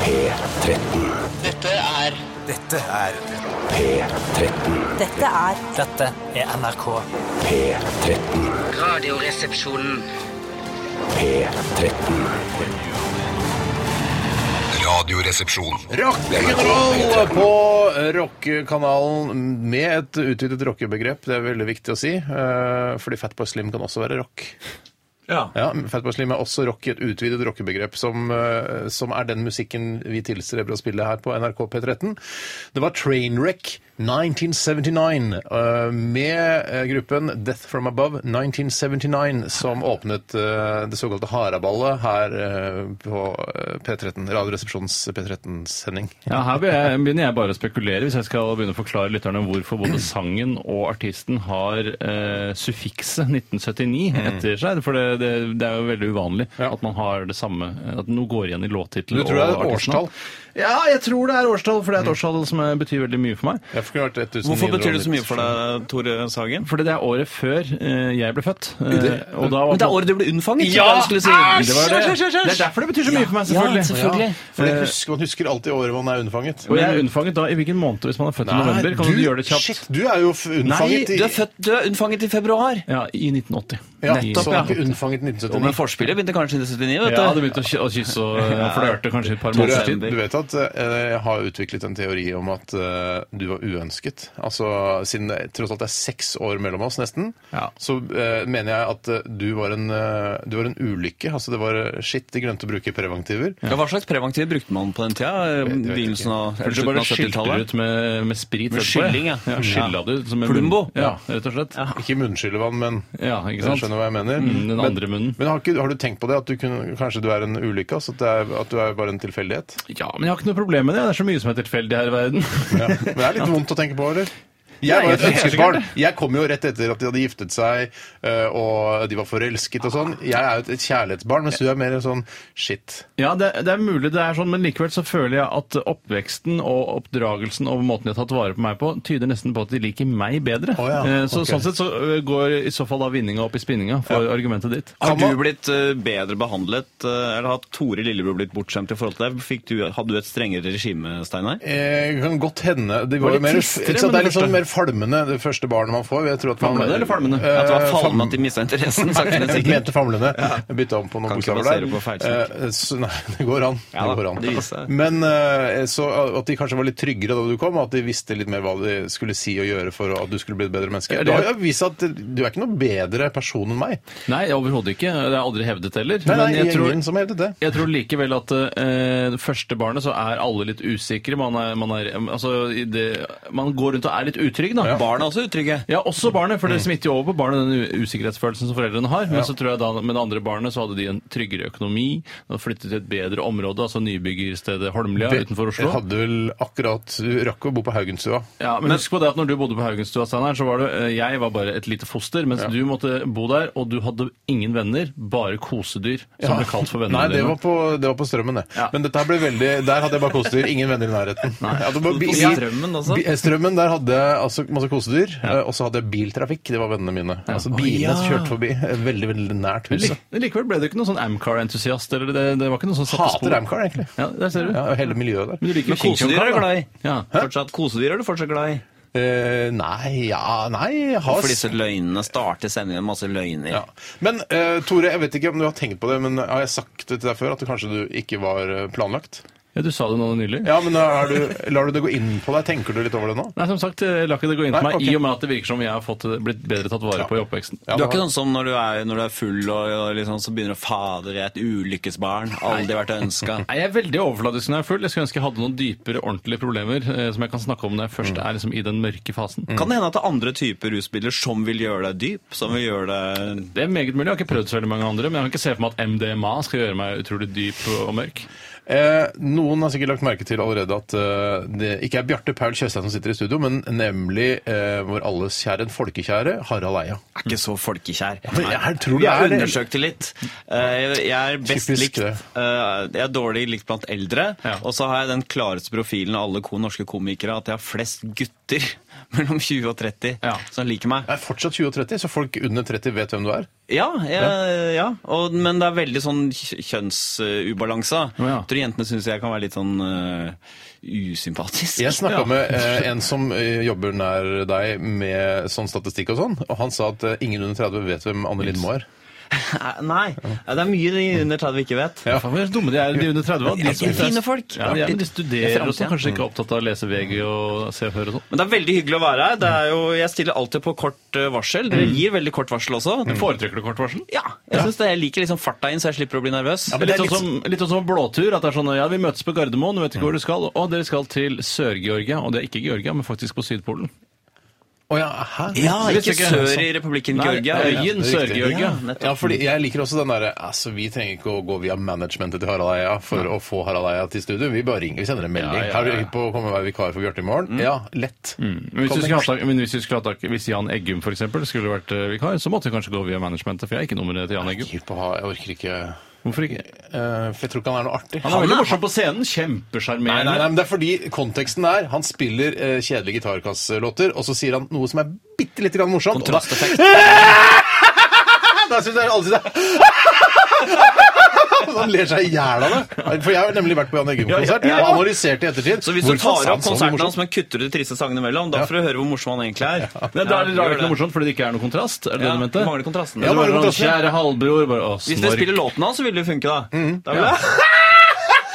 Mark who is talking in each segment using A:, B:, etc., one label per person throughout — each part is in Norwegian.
A: P13.
B: Dette er
C: Dette er
A: P13.
D: Dette er
E: Dette er NRK.
A: P13.
B: Radioresepsjonen.
A: P13.
F: Radioresepsjon.
C: Rock'n'roll på rockekanalen med et utvidet rockebegrep. Det er veldig viktig å si, eh, fordi Fatboy Slim kan også være rock.
G: Ja.
C: Ja, Fatboy Slim er også rock i et utvidet rockebegrep, som, eh, som er den musikken vi tilstreber å spille her på NRK P13. Det var Trainwreck 1979 eh, med eh, gruppen Death From Above 1979 som åpnet eh, det såkalte Haraballet her eh, på eh, P13, Radioresepsjonens P13-sending.
G: Ja, her be- begynner jeg bare å spekulere, hvis jeg skal begynne å forklare lytterne hvorfor både sangen og artisten har eh, suffikset 1979
H: Mm.
G: etter seg. For det, det, det er jo veldig uvanlig
C: Ja.
G: at man har det samme, at noe går igjen i låttittelen.
C: Du tror det er et
G: og artistnavn.
C: årstall?
G: Ja, jeg tror det er årstall, for det er et årstall som eh, betyr veldig mye for meg.
C: Jeg skulle vært 1900
H: Mm. Hvorfor betyr det så mye for deg, Tore Sagen?
G: Fordi det er året før eh, jeg ble født. eh, og da var
H: Men det er året du ble unnfanget!
G: Ja!
H: trodde jeg du skulle si.
G: det, var det. det er derfor det betyr så mye for meg, selvfølgelig.
H: Ja, selvfølgelig.
C: For jeg husker, Man husker alltid året man er unnfanget.
G: Og jeg er unnfanget da i hvilken måned hvis man er født i november? Kan du, gjøre det kjapt?
C: Shit, du er jo f-
H: Nei,
C: unnfanget
H: du er, født, du er unnfanget i februar!
G: Ja, i 1980.
C: ja,
G: I-
C: Så du er ikke unnfanget i
H: Jo, men
C: 1979.
H: forspillet begynte kanskje i 79, vet du.
G: Ja, hadde begynt å ky- å kysse og eh, flørte kanskje et par
C: Tore,
G: måneder
C: du
G: siden.
C: vet at eh, jeg har utviklet en teori om at eh, du var uønsket. Altså, Siden det tross alt er seks år mellom oss, nesten,
G: Ja.
C: så eh, mener jeg at eh, du var, en, eh, du var en ulykke. Altså, det var eh, shit, de glemte å bruke preventiver.
H: Ja, Hva slags preventiv brukte man på den tida?
C: vet jeg
H: Begynnelsen av
G: Du
H: slutten
G: bare
H: av
G: skylte
H: 70-tallet?
G: ut med, med sprit.
H: Med
G: etterpå, ja.
H: skylling, ja.
G: ja. Skylla du som en
H: Plumbo.
G: Ja, rett og slett. Ja,
C: Ikke munnskyllevann, men
G: ikke
C: jeg
G: sant?
C: skjønner hva jeg mener.
G: Mm, den andre munnen.
C: Men har, ikke, har du tenkt på det? At du kunne, kanskje du er en ulykke? Altså at, det er, at du er bare en tilfeldighet?
G: Ja, men jeg har ikke noe problem med det. Det er så mye som er tilfeldig her i verden.
C: Ja. Men det er litt vondt å tenke på, eller? Jeg var et ønskesbarn. Jeg kom jo rett etter at de hadde giftet seg, eh, og de var forelsket og sånn. Jeg er jo et- et kjærlighetsbarn, mens du er mer en sånn shit.
G: Ja, det, det er mulig det er sånn, men likevel så føler jeg at oppveksten og oppdragelsen og måten de har tatt vare på meg på, tyder nesten på at de liker meg bedre.
C: Å, ja.
G: Eh, Så
C: Ok.
G: sånn sett så eh, går i så fall da vinninga opp i spinninga for argumentet ditt.
H: Har
C: Kan
H: du
C: man-
H: blitt eh, bedre behandlet, eh, eller har Tore Lillebror blitt bortskjemt i forhold til deg? Fikk du, hadde du et strengere regime, Steinar?
C: Eh, kan godt hende. De var,
G: Var
C: jo
G: litt
C: mer,
G: tristere
C: ikke sant?
G: med
C: Det er litt
G: det
C: sånn mer falmende, det første barnet man får. Jeg tror at man,
G: Famlende eller falmende?
C: Eh,
H: At det var
C: fam-
H: falmen at de mista interessen? Sakte, men
C: Jeg
H: sikkert.
C: mente famlende. Jeg bytta om på noen
H: Kan ikke
C: bokstaver
H: basere
C: der.
H: på feilsnakk.
C: Eh, så, nei, det går an.
H: Ja da,
C: det går an.
H: det viser seg.
C: Men eh, så at de kanskje var litt tryggere da du kom, og at de visste litt mer hva de skulle si og gjøre for at du skulle bli et bedre menneske.
G: det-
C: Det har jo vist at du er ikke noe bedre person enn meg.
G: Nei, overhodet ikke. Det er aldri hevdet heller.
C: Nei, nei,
G: men jeg tror,
C: ingen som heter det.
G: jeg tror likevel at eh, det første barnet så er alle litt usikre. Man, er, man, er, altså, i det, man går rundt og er litt utrygg, da.
H: Barna er også utrygge. Mm.
G: Ja, også barnet, for det smitter jo over på barnet, den u- usikkerhetsfølelsen som foreldrene har. Men
C: Ja.
G: så tror jeg da, med det andre barnet så hadde de en tryggere økonomi, de hadde flyttet til et bedre område, altså nybyggerstedet Holmlia utenfor Oslo.
C: Jeg hadde vel akkurat Du rakk å bo på Haugenstua.
G: Ja, men, husk på det at når du bodde på Haugenstua, Steinar, så var du, eh, jeg var bare et lite foster, mens du måtte bo der, og du hadde ingen venner, bare kosedyr, som ble kalt for vennene
C: Nei, det
G: dine.
C: var på, det var på Strømmen, det.
G: Ja.
C: Men dette her ble veldig Der hadde jeg bare kosedyr. Ingen venner i nærheten. Ja, det var
H: På
C: bi-
H: Strømmen også?
C: bi- Strømmen, der hadde jeg altså, masse kosedyr, eh, og så hadde jeg biltrafikk. Det var vennene mine. Altså Bilene som kjørte forbi eh, veldig veldig nært
G: Men
C: huset.
G: lik- men likevel ble du ikke noen sånn Amcar-entusiast, eller det, det var ikke noe sånn satte spor.
C: Hater Amcar, egentlig.
G: Ja, der ser du.
C: Ja, og hele miljøet der.
G: Men du liker
H: Men kosedyr er du glad i.
G: Ja.
H: Fortsatt kosedyr er du fortsatt glad i.
C: Eh, nei, ja, nei jeg har
H: For disse løgnene starter sendingen med masse løgner.
C: Ja. Men eh, Tore, jeg vet ikke om du har tenkt på det, men har jeg sagt det til deg før? At det kanskje du ikke var eh, planlagt?
G: Ja, du sa det nå nylig.
C: Ja, men har du, lar du det gå inn på deg? Tenker du litt over det nå?
G: Nei, som sagt, jeg lar ikke det gå inn
C: Nei,
G: på meg,
C: ok.
G: i og med at det virker som jeg har fått, eh, blitt bedre tatt vare på i oppveksten.
C: Ja,
H: Du er
C: det
H: ikke sånn som når du er, når du er full og, og liksom, så begynner du å Fader, jeg er et ulykkesbarn. Aldri vært ønska.
G: Nei, Jeg er veldig overfladisk når jeg er full. Jeg skulle ønske jeg hadde noen dypere, ordentlige problemer eh, som jeg kan snakke om når jeg først er liksom, i den mørke fasen.
C: Mm.
H: Kan det hende at det er andre typer rusmidler som vil gjøre deg dyp? Som vil gjøre deg
G: Det er meget mulig. Jeg har ikke prøvd så veldig mange andre, men jeg kan ikke se for meg at MDMA skal gjøre meg utrolig dyp og mørk.
C: Eh, noen har sikkert lagt merke til allerede at eh, det ikke er Bjarte Paul Tjøstheim som sitter i studio, men nemlig eh, vår alles kjære, en folkekjære, Harald Eia.
H: er ikke så folkekjær.
C: men jeg tror det
H: Vi har
C: er-
H: undersøkt det litt. Eh, Jeg jeg er best
C: Typisk
H: likt
C: det.
H: eh, Jeg er dårlig likt blant eldre.
G: Ja.
H: Og så har jeg den klareste profilen av alle ko- norske komikere, at jeg har flest gutter mellom 20 og 30
G: Ja.
H: som liker meg.
C: Jeg er fortsatt 20 og 30, så folk under 30 vet hvem du er.
H: Ja, jeg, ja. Og, men det er veldig sånn kj- kjønnsubalanse.
G: Å, ja.
H: Jeg Tror jentene syns jeg kan være litt sånn eh, usympatisk.
C: Jeg snakka
G: Ja.
C: med eh, en som eh, jobber nær deg med sånn statistikk og sånn, og han sa at eh, ingen under 30 vet hvem Anne Lindmo er.
H: Nei, det er mye de under 30 ikke vet.
G: Ja. Faen, hvor dumme de er, de under 30. hva? De
H: Ja,
G: som
H: de er fine
G: flest-
H: folk.
G: Ja, de, er, men de
H: Det er
G: studerer og
H: fremtiden.
G: sånn, kanskje ikke er opptatt av å lese VG og se og høre og sånn.
H: Men det er veldig hyggelig å være her. Det er jo, jeg stiller alltid på kort eh, varsel. Dere gir veldig kort varsel også.
G: Foretrekker du kort varsel?
H: Ja, jeg, synes det, jeg liker liksom farta inn, så jeg slipper å bli nervøs.
G: Ja, men litt, sånn som, litt sånn som blåtur. at det er sånn, ja, Vi møtes på Gardermoen, du vet ikke hvor du skal. Og dere skal til Sør-Georgia. Og det er ikke Georgia, men faktisk på Sydpolen.
C: Å ja, hæ?
H: Ja,
G: Det
H: ikke
G: visste ikke jeg.
H: sør i republikken
G: Nei,
H: Georgia.
G: øyen
C: det er riktig.
G: Sør-Georgia.
H: Ja, nettopp.
C: Ja, fordi jeg liker også den derre altså, Vi trenger ikke å gå via managementet til Harald Eia for å få Harald Eia til studio. Vi bare ringer. Vi sender en melding.
G: Ja, ja, ja.
C: Har du lyst på å komme og være vikar for Bjarte i morgen? Ja, lett.
G: Men hvis,
C: Kom
G: vi skulle
C: med.
G: hatt tak, men hvis, vi skulle hatt tak, hvis Jan Eggum for eksempel, skulle vært eh, vikar, så måtte vi kanskje gå via managementet, for jeg er ikke nummeret til Jan Eggum.
C: Hypp på ha- Jeg orker ikke
G: Hvorfor ikke?
C: Eh, For jeg tror ikke han er noe artig.
G: Han er veldig morsom på scenen. Kjempesjarmerende.
C: Nei, nei, nei, men Det er fordi konteksten er han spiller eh, kjedelige gitarkasselåter, og så sier han noe som er bitte lite grann morsomt. og da-
H: Kontrasteffekt.
C: Da syns jeg alle synes det Han ler seg i hjel av det. For jeg har nemlig vært på Jan Eggum-konsert
H: Ja, ja, ja.
C: og analysert i ettertid.
H: Så hvis du
C: Hvorfor
H: tar
C: sa han
H: opp
C: så mye
H: konserten
C: morsomt?
H: hans, men kutter ut de triste sangene imellom, da får du høre hvor morsom han egentlig er. Ja,
G: Nei, da er det da er det
H: gjør
G: ikke noe morsomt, fordi det ikke er noe kontrast. Er det
H: Ja,
G: det du mente?
H: mangler kontrasten.
G: Ja,
C: Ja,
G: så
C: mangler
G: bare sånn,
C: kontrasten,
G: Kjære halvbror bare, å,
H: Hvis dere
G: snork.
H: spiller låten hans, så vil det jo funke, da. da vil det.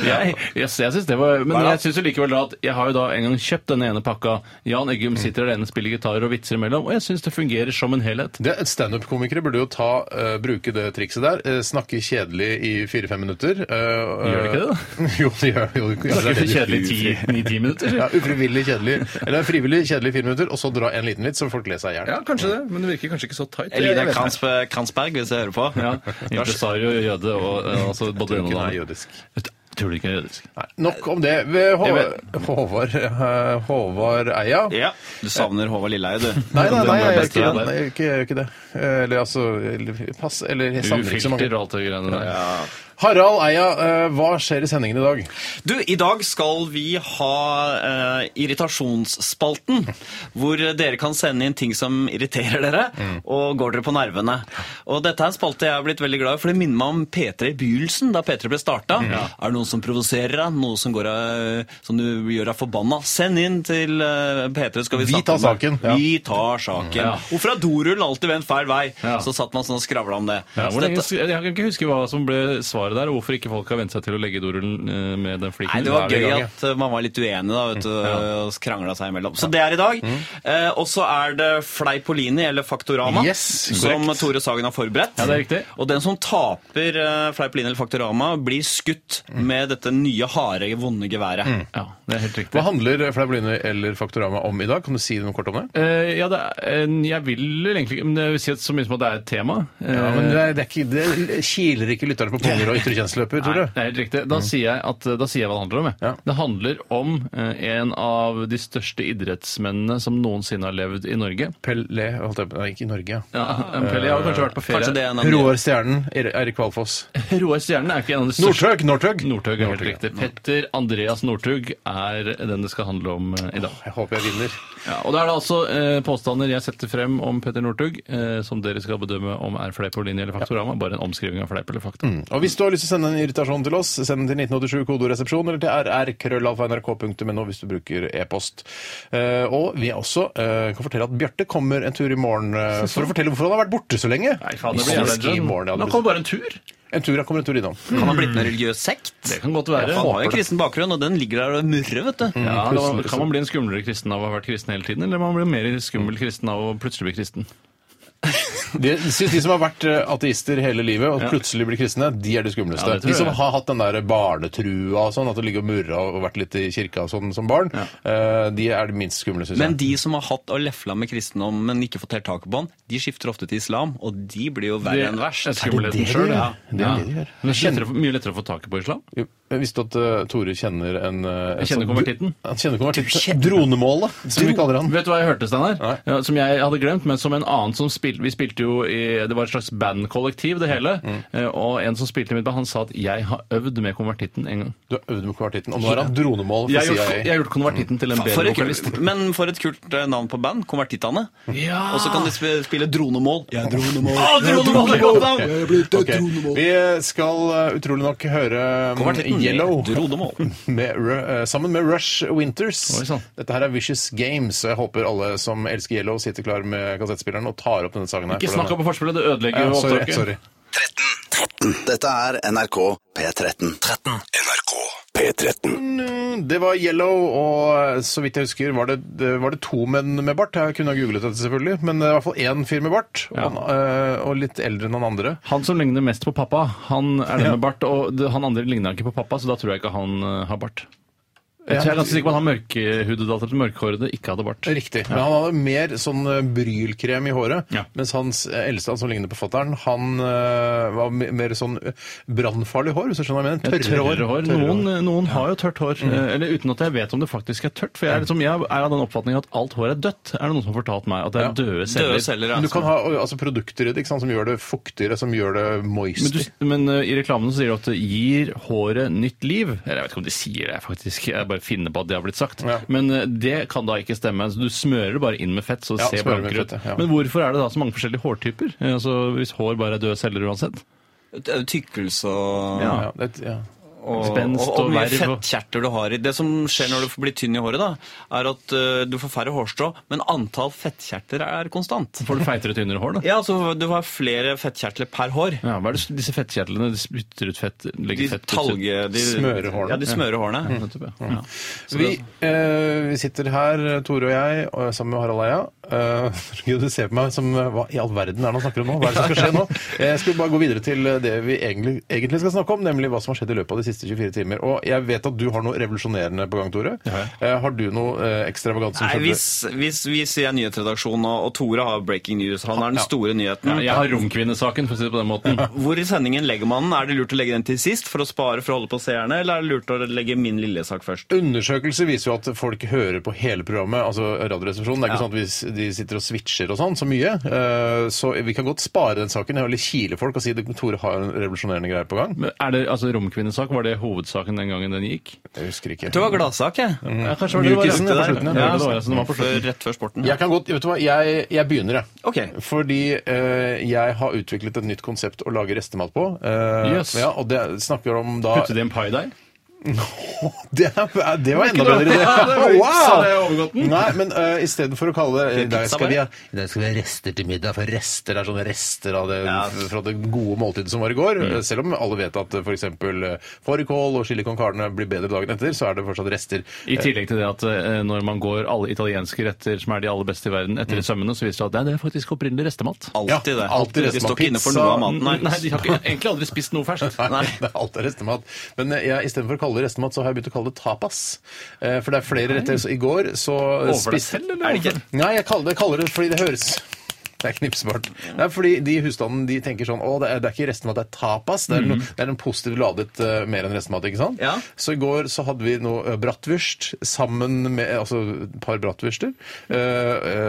G: Jeg, yes, jeg synes det var Men
H: Hva da?
G: jeg syns likevel da at jeg har jo da en gang kjøpt denne ene pakka. Jan Eggum sitter alene, spiller gitarer og vitser imellom, og jeg syns det fungerer som en helhet.
C: Det- Standup-komikere burde jo ta, eh, bruke det trikset der. eh, snakke kjedelig i fire-fem minutter. gjør
G: Gjør det ikke det,
C: da? jo, det gjør jo det.
G: Det er ikke
C: det.
G: kjedelig ti- ni-ti minutter.
C: Ja, ufrivillig kjedelig. Eller frivillig kjedelig i fire minutter, og så dra en liten vits, så folk ler seg i hjel.
G: Ja, kanskje det, men det virker kanskje ikke så tight.
H: Elina
G: Jeg vet ikke.
H: Kransp Kransberg, hvis jeg hører på.
G: Ja, Impresario, jøde og eh, altså, både
C: Tror
G: den
C: ikke den
G: og
C: er
G: den andre.
C: jødisk.
G: Tror du ikke er jødisk?
C: Nei, nok om det. Ved Hå
G: Jeg
C: Håvard, eh, Håvard Eia.
H: Ja. Du savner Håvard Lilleheie, du.
C: Nei, nei, nei, jeg
H: er
C: gjør
H: best
C: ikke,
H: venn
C: det.
H: der.
C: Nei, jeg gjør ikke, jeg gjør ikke det. Eller altså eller, Pass, eller jeg savner ikke så mange.
G: Ufilter og alt det greiene der.
C: Harald Eia, eh, hva skjer i sendingen i dag?
H: Du, i dag skal vi ha eh, irritasjonsspalten, hvor dere kan sende inn ting som irriterer dere, og går dere på nervene. Og dette er en spalte jeg har blitt veldig glad i, for det minner meg om P3 i begynnelsen, da P3 ble starta. Er det noen som provoserer deg? Noe som, går, av- som du gjør deg forbanna? Send inn til eh, P3, skal vi
C: Vi tar
H: snakke om det.
C: saken, ja.
H: Vi tar saken.
G: Ja.
H: Hvorfor har dorullen alltid vendt feil vei?
G: Ja.
H: Så satt man sånn og skravla om det.
G: Ja,
H: Så
C: Altså,
G: hvordan-
H: dette-
G: jeg kan ikke huske hva som ble svaret der, og hvorfor ikke folk har vent seg til å legge dorullen eh, med den fliken.
H: Nei,
G: Da
H: det
G: er
H: var
G: vi i
H: gøy
G: gang, ja.
H: at uh, man var litt uenig da, vet du, og krangla seg imellom. Så det er i dag.
G: Mm.
H: Eh, og så er det Fleipolini, eller Faktorama,
C: Yes,
H: som
C: korrekt.
H: Tore Sagen har forberedt.
G: Ja, det er riktig.
H: Og den som taper eh, Fleipolini eller Faktorama, blir skutt
G: Mm.
H: med dette nye, harde, vonde geværet.
G: Ja, det er helt riktig.
C: Hva handler Fleipolini eller Faktorama om i dag? Kan du si noe kort om det?
G: Eh, ja, det er, eh, jeg vil egentlig ikke men jeg vil si at så mye som at det er et tema. Eh,
C: Ja, men det, er- det, er ikke, det kiler ikke lytterne på punger og ytre kjennsløper,
G: Eh, Nei,
C: tror du?
G: det
C: Mm.
G: er helt riktig. Da sier jeg, at, eh, da sier jeg hva det handler om. Jeg.
C: Ja.
G: Det handler om eh, en av de største idrettsmennene som noensinne har levd i Norge.
C: Pelé holdt jeg på, Nei, ikke i Norge. ja.
G: Ja, Pelle, jeg har kanskje vært på ferie.
H: Kanskje det er en av de
C: Roar Stjernen, Er- Eirik Valfoss.
G: Roar Stjernen er ikke en av de største
C: Northug! Northug!
G: Northug er helt
C: Northug,
G: riktig. Petter Andreas Northug er den det skal handle om eh, i dag.
C: Jeg håper jeg vinner.
G: Ja, og da er det altså eh, påstander jeg setter frem om Petter Northug, eh, som dere skal bedømme om er fleip på linje eller faktorama. Bare en omskriving av fleip eller fakta.
C: Og hvis du har lyst til å sende en irritasjon til oss, send den til 1987 kodoresepsjon eller til rrkrøllalfa.nrk.no hvis du bruker e-post. Eh, og vi er også eh, kan fortelle at Bjarte kommer en tur i morgen eh, for å fortelle hvorfor han har vært borte så lenge.
G: Nei, faen, det
C: Vi
G: blir
C: kommer
G: jævla
C: i morgen, ja,
G: Nå
C: det
G: kom bare en tur.
C: blir- En tur, han kommer en tur innom.
H: Kan ha blitt en religiøs sekt.
G: Det kan godt være.
H: Han har jo en kristen bakgrunn, og den ligger der og murrer, vet du.
G: Ja, da, kan man bli en skumlere kristen av å ha vært kristen hele tiden, eller man blir mer skummel kristen av å plutselig bli kristen?
C: De, synes de som har vært eh, ateister hele livet og plutselig blir kristne, de er de
G: Ja,
C: skumleste.
G: det tror
C: de som
G: jeg.
C: har hatt den der barnetrua og sånn, at det ligger og murra og vært litt i kirka og sånn som barn, eh, de er de minst skumle, syns jeg.
H: Men de som har hatt og lefla med kristendom, men ikke fått helt tak på den, de skifter ofte til islam, og de blir jo verre enn verst.
G: er skummelheten
C: det de
G: sjøl,
C: gjør?
G: ja.
C: Det er det de gjør.
G: Men det er lettere, mye lettere å få taket på islam.
C: Jo, Jeg visste at eh, Tore kjenner en eh,
G: Jeg kjenner
C: sånn-
G: konvertitten.
C: Han kjenner konvertitten. Dronemålet, som vi kaller han.
G: Vet du hva jeg hørte,
C: Nei.
G: Steinar? Ja, som jeg hadde glemt, men som en annen som spilte Vi spilte jo i Det var et slags bandkollektiv, det hele. Eh, Og en som spilte i mitt band, han sa at 'jeg har øvd med konvertitten en gang'.
C: Du har øvd med konvertitten, og nå er han dronemål for
G: Jeg har gjort, jeg
C: CIA.
G: har gjort konvertitten til en
H: For
G: bedre
H: et
G: vokalist.
H: kult, men for et kult eh, navn på band. Konvertittene.
G: Ja.
H: Og så kan de sp- spille dronemål. Ja, dronemål.
C: Ok, Vi skal eh, utrolig nok høre mm,
H: Konvertitten.
C: Yellow
H: Dronemål.
C: med, Ru- eh, sammen med Rush Winters.
G: Oi, sånn. sann.
C: Dette her er Vicious Games, og jeg håper alle som elsker Yellow, sitter klar med kassettspilleren og tar opp denne sangen her.
G: Ikke
C: for den
G: snakk
C: er-
G: om forspillet, det ødelegger
C: ja,
G: jo
C: sorry,
G: opptaket.
C: sorry.
D: Dette er NRK P13.
F: NRK.
A: P13.
C: Det var Yellow, og så vidt jeg husker var det, det- var det to menn med bart. Jeg kunne ha googlet dette selvfølgelig, men det er i hvert fall én fyr med bart, og, han, eh, og litt eldre enn han andre.
G: Han som ligner mest på pappa, han er det med bart. Og det- han andre ligner ikke på pappa, så da tror jeg ikke han eh, har bart. Jeg tror jeg er ganske sikker på at han mørkhudet, altså mørkhårede, ikke hadde bart.
C: Riktig. Men han hadde mer sånn eh, brylkrem i håret,
G: Ja.
C: mens hans eh, eldste, han som ligner på fattern, han eh, var me- mer sånn eh, brannfarlig hår, hvis du skjønner hva jeg mener. Tørre hår. Tørre hår.
G: Noen, noen har jo tørt hår, eh, eller uten at jeg vet om det faktisk er tørt. For jeg er, liksom, jeg er av den oppfatningen at alt hår er dødt, er det noen som har fortalt meg. At det er døde celler.
H: Døde celler, ja.
C: Men du kan ha altså, produkter i det ikke sant, som gjør det fuktigere, som gjør det
G: Men,
C: moisty.
G: du, men eh, i reklamene så sier de at det gir håret nytt liv. Eller jeg vet ikke om de sier det, faktisk. Jeg bare finner på at det har blitt sagt.
C: Ja.
G: Men eh, det kan da ikke stemme. Så du smører det bare inn med fett, så det
C: Ja,
G: ser
C: smører med
G: blankere ut.
C: fett, ja.
G: Men hvorfor er det da så mange forskjellige hårtyper? Eh, Altså, hvis hår bare er døde celler uansett?
H: eh, Tykkelse og
G: Ja.
C: Ja, det, ja.
H: og,
G: Spenst
H: og, og
G: og
H: mye
G: verv og-
H: fettkjertler du har i. Det som skjer når du blir tynn i håret, da, er at eh, du får færre hårstrå, men antall fettkjertler er konstant.
G: Får du feitere, tynnere hår, da?
H: Ja, altså du har flere fettkjertler per hår.
G: Ja, hva er det s- disse fettkjertlene de spytter ut fett?
H: De
G: Legger fett ut-
H: talge... De,
C: Smører hårene.
H: Ja, de smører
C: Mm.
H: hårene.
G: Nettopp, ja. Ja.
C: Vi, eh, vi sitter her, Tore og jeg, og sammen med Harald Eia. Eh, Gud, du ser på meg som eh, Hva i all verden er det han snakker om nå? Hva er det som skal skje nå? Jeg skulle bare gå videre til eh, det vi egentlig, egentlig skal snakke om, nemlig hva som har skjedd i løpet av de siste 24 timer. Og jeg vet at du har noe revolusjonerende på gang, Tore. Eh, har du noe eh, ekstravagant som
H: Nei,
C: skjedde?
H: hvis, hvis, hvis jeg er nyhetsredaksjonen, og, og Tore har breaking news, han er den store nyheten.
G: Jeg har romkvinnesaken, for å si det på den måten.
H: Hvor i sendingen legger man den? Er det lurt å legge den til sist for å spare for å holde på seerne, eller er det lurt å legge min lille sak først?
C: Undersøkelser viser jo at folk hører på hele programmet, altså Radioresepsjonen. Det er ikke sånn at vi s- de sitter og switcher og sånn så mye. Eh, Så vi kan godt spare den saken. Eller kile folk og si at Tore har en revolusjonerende greie på gang.
G: Men er det, altså Romkvinnesak, var det hovedsaken den gangen den gikk?
C: Jeg husker ikke.
H: Det var gladsak, jeg.
C: Mm.
G: Ja, kanskje
C: var det det var- det var på slutten, ja.
G: Ja, det var, altså, den var på slutten.
H: Før- Rett før sporten.
C: Jeg kan godt, vet du hva, jeg, jeg begynner, jeg.
H: Ok.
C: Fordi eh, jeg har utviklet et nytt konsept å lage restemat på. Eh,
G: Yes.
C: ja, og det snakker om da
G: Putte det i en paideig?
C: Det, er- det var enda bedre idé!
G: Ja, det var ikke så det jeg overgått den.
C: Nei, men uh, istedenfor å kalle det I dag
H: pizza
C: skal, vi
H: bare?
C: ha, i dag skal vi ha rester til middag, for rester er sånne rester av det,
H: Ja.
C: fra det gode måltidet som var i går. Eh, Selv om alle vet at f.eks. fårikål og chili con carne blir bedre dagen etter, så er det fortsatt rester.
G: I tillegg til det at eh, når man går alle italienske retter som er de aller beste i verden,
C: Mm.
G: etter i sømmene, så viser det at nei, det er faktisk opprinnelig restemat.
H: Alltid
C: Ja,
H: det.
C: alltid
H: de
C: resten av
H: står ikke inne for
C: pizza.
H: noe av maten.
G: Nei,
H: Nei.
G: de har ikke, egentlig aldri spist noe ferskt.
C: Nei, det er alt er restemat. Men eh, jeg, istedenfor å kalle det restemat, så har jeg begynt å kalle det tapas. Eh, For det er flere retter. Så I går så eh,
G: Overfor deg selv, eller?
C: Er det ikke? Nei, jeg kaller det, kaller det fordi det høres det er knipsbart. Det er fordi de husstandene de tenker sånn Å, det er, det er ikke restemat, det er tapas. Det er,
G: Mhm.
C: no, det er en positiv ladet eh, mer enn restemat, ikke sant?
H: Ja.
C: Så i går så hadde vi noe eh, bratwurst sammen med Altså et par bratwurster. eh,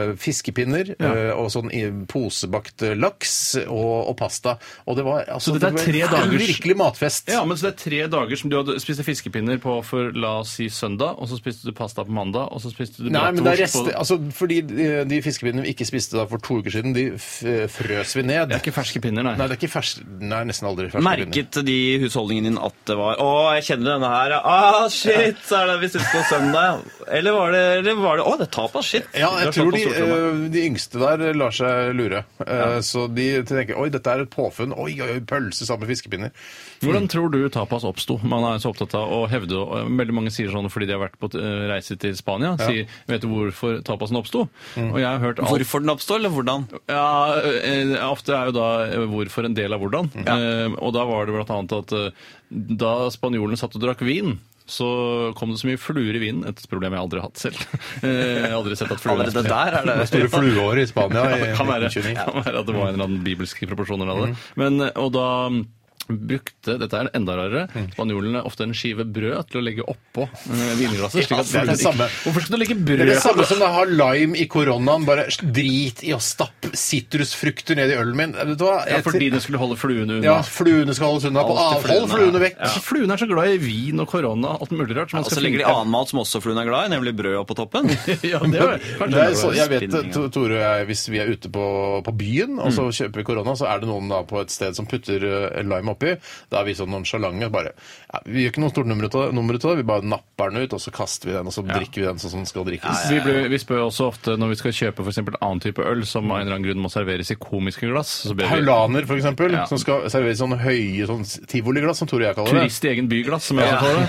C: eh, fiskepinner eh, og sånn i- posebakt eh, laks og, og pasta. Og det var altså,
G: Så dette er
C: var
G: tre
C: en
G: dagers-
C: Virkelig matfest.
G: Ja, men så det er tre dager som du hadde spiste fiskepinner på for la oss si søndag, og så spiste du pasta på mandag, og så spiste du
C: Nei, men det er
G: bratwurst
C: rester,
G: på
C: altså, fordi de- de fiskepinnene vi ikke spiste da for to uker siden, de f- frøs vi ned.
G: Det er ikke ferske pinner, nei.
C: Nei, det er ikke fersk, nei, nesten aldri ferske pinner.
H: Merket de i husholdningen din at det var Å, jeg kjenner denne her. ja. Ah, shit! Så er det vi sitter på søndag. ja. Eller var det, eller var det Å, det er tapas. Shit.
C: Ja,
H: Vi har
C: jeg
H: slått
C: tror
H: på
C: de,
H: stortromma.
C: eh, de yngste der lar seg lure. Eh, Så de tenker oi, dette er et påfunn. Oi, oi, oi, pølse sammen med fiskepinner.
G: Hvordan tror du tapas oppsto? Man er så opptatt av å hevde og Veldig mange sier sånn fordi de har vært på eh, reise til Spania. Sier, vet du hvorfor tapasen oppsto?
C: Mm.
G: Og jeg har hørt alt
H: Hvorfor den oppstår, eller hvordan?
G: Ja, eh, ofte er jo da eh, hvorfor en del av hvordan.
C: Mm.
G: Eh, og da var det blant annet at eh, da spanjolene satt og drakk vin, så kom det så mye fluer i vinen. Et problem jeg aldri har hatt selv. Eh, jeg har aldri sett at fluer
H: Allerede der er
C: Det store flueåret i Spania i Mm.
G: kan være,
C: 1929.
G: kan være at det var en eller annen bibelske proporsjoner av det. Men, eh, og da brukte dette er enda rarere, spanjolene ofte en skive brød til å legge oppå eh, vinglasset. slik
C: Mm. Ja,
G: at
C: det er det
G: ikke-
C: samme.
G: Hvorfor skal du legge
C: Det er det
G: brød
C: samme som å ha lime i koronaen. Bare drit i å stappe sitrusfrukter ned i ølen min. Vet du hva?
G: ja,
C: Jeg-
G: fordi den skulle holde fluene unna.
C: ja, fluene skal holdes unna. På
H: Alltid
C: avhold
H: fluene,
C: fluene vekk.
G: Altså, Fluene er så glad i vin og korona alt mulig rart. som man
H: Og så
G: skal
H: legger de
G: finne-
H: annen mat som også fluen er glad i, nemlig brød på toppen.
G: ja, det er, kanskje
C: Det er så, jeg vet
H: spinning, ja.
C: T- Tore og jeg, Hvis vi er ute på, på byen og så kjøper vi korona, så er det noen da på et sted som putter eh, lime oppi. Da er vi sånn nonsjalante. Bare, ja, vi gjør ikke noe stort nummer ut av nummer ut av det. Vi bare napper den ut, og så kaster vi den, og så drikker vi den sånn som den skal drikkes.
G: Vi, blir, vi spør også ofte når vi skal kjøpe for eksempel annen type øl som av en eller annen grunn må serveres i komiske glass. Så ber vi
C: Paulaner, for eksempel,
G: Ja.
C: som skal serveres i sånne høye sånn tivoliglass, som Tore og jeg kaller det. Mm.
G: turist i egen byglass, som jeg også kaller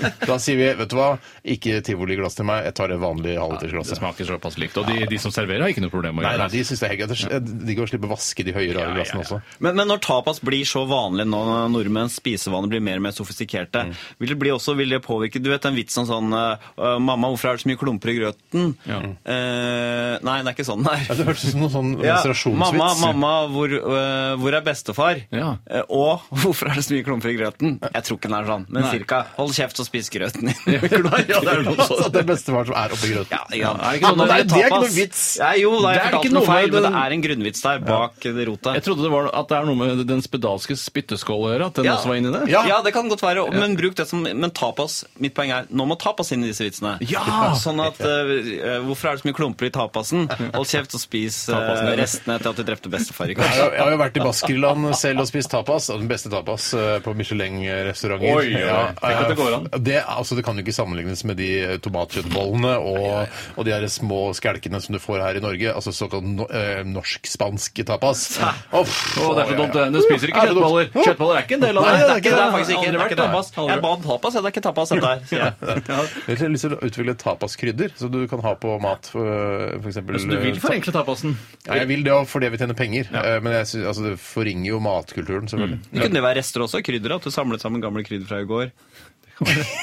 G: det.
C: Da sier vi vet du hva, ikke tivoliglass til meg, jeg tar det vanlige
G: Det
C: halvlitersglasset.
G: smaker såpass likt. Og de, de som serverer, har ikke noe problem med å
C: Nei,
G: gjøre
C: nei, de syns det er helt greit. Det er Digg å slippe å vaske de høye, rare
G: Ja, ja,
C: glassene
G: ja.
C: også.
H: Men, men når tapas blir så vanlig nå, når nordmenns spisevaner blir mer og mer sofistikerte, vil det bli også, vil det påvirke Du vet den vitsen om sånn eh, 'Mamma, hvorfor er det så mye klumper i grøten?'
G: Ja.
H: Eh, nei, det er ikke sånn det
C: Ja,
H: er.
C: Det hørtes ut som noen sånn
H: Ja,
C: menstruasjonsvits.
H: mamma, mamma, hvor, eh, hvor er bestefar?
G: Ja.
H: Eh, og hvorfor er det så mye klumper i grøten? Jeg tror ikke den er sånn, men
G: Nei.
H: cirka. Hold kjeft og spis grøten din.
G: Ja, det er noe
C: Altså,
G: sånt.
C: det er bestefar som er oppi grøten.
H: Ja, ja.
G: Er det ikke noe-
H: men
C: Nei, det er ikke
H: tapas.
C: noe vits.
H: Nei, jo, da har
G: Det
H: jeg
G: er ikke
H: fortalt
G: noe
H: noe feil,
G: med
H: men det
G: den-
H: er en grunnvits der bak det rotet.
G: Jeg trodde det var at det er noe med den spedalske spytteskåla å gjøre. At den
H: Ja.
G: også var inni der.
C: Ja.
H: Ja. det kan godt være, men bruk det som Men tapas, mitt poeng er, nå må tapas inn i disse vitsene.
G: Ja!
H: Sånn at eh, Hvorfor er det så mye klumper i tapasen? Hold kjeft og spis eh,
G: Tapasen, ja.
H: restene etter at du drepte bestefar i
C: Jeg
H: går.
C: har, jeg har jo vært i Baskerland selv og spist tapas. og Den beste tapas eh, på Michelin-restauranter.
G: Oi, oi, oi. Tenk at det går an.
C: eh, det- altså, det kan jo ikke sammenlignes med de eh, tomatkjøttbollene og, og de her små skjelkene som du får her i Norge. Altså såkalt no, eh, norsk-spansk tapas. Å, pff,
G: Å, det er så
C: ja,
G: dumt.
C: ja.
G: det. Du spiser ikke
C: Er det dumt?
G: kjøttboller. Kjøttboller er ikke en del av
C: Nei,
G: det.
C: det er ikke
H: Det
C: det.
H: er faktisk ikke, det er ikke tapas. Jeg ba om tapas, ja, det er ikke tapas, dette her. sier jeg.
C: Jeg har lyst til å utvikle tapaskrydder, så du kan ha på mat. eh, F.eks.
G: Så Altså, du vil forenkle tapasen?
C: Ja, jeg vil det også fordi vi tjener penger. Eh, Men jeg synes, altså, det forringer jo matkulturen, selvfølgelig.
G: Mm.
H: Det kunne det være rester også? Krydder? At du samlet sammen gamle krydder fra i går?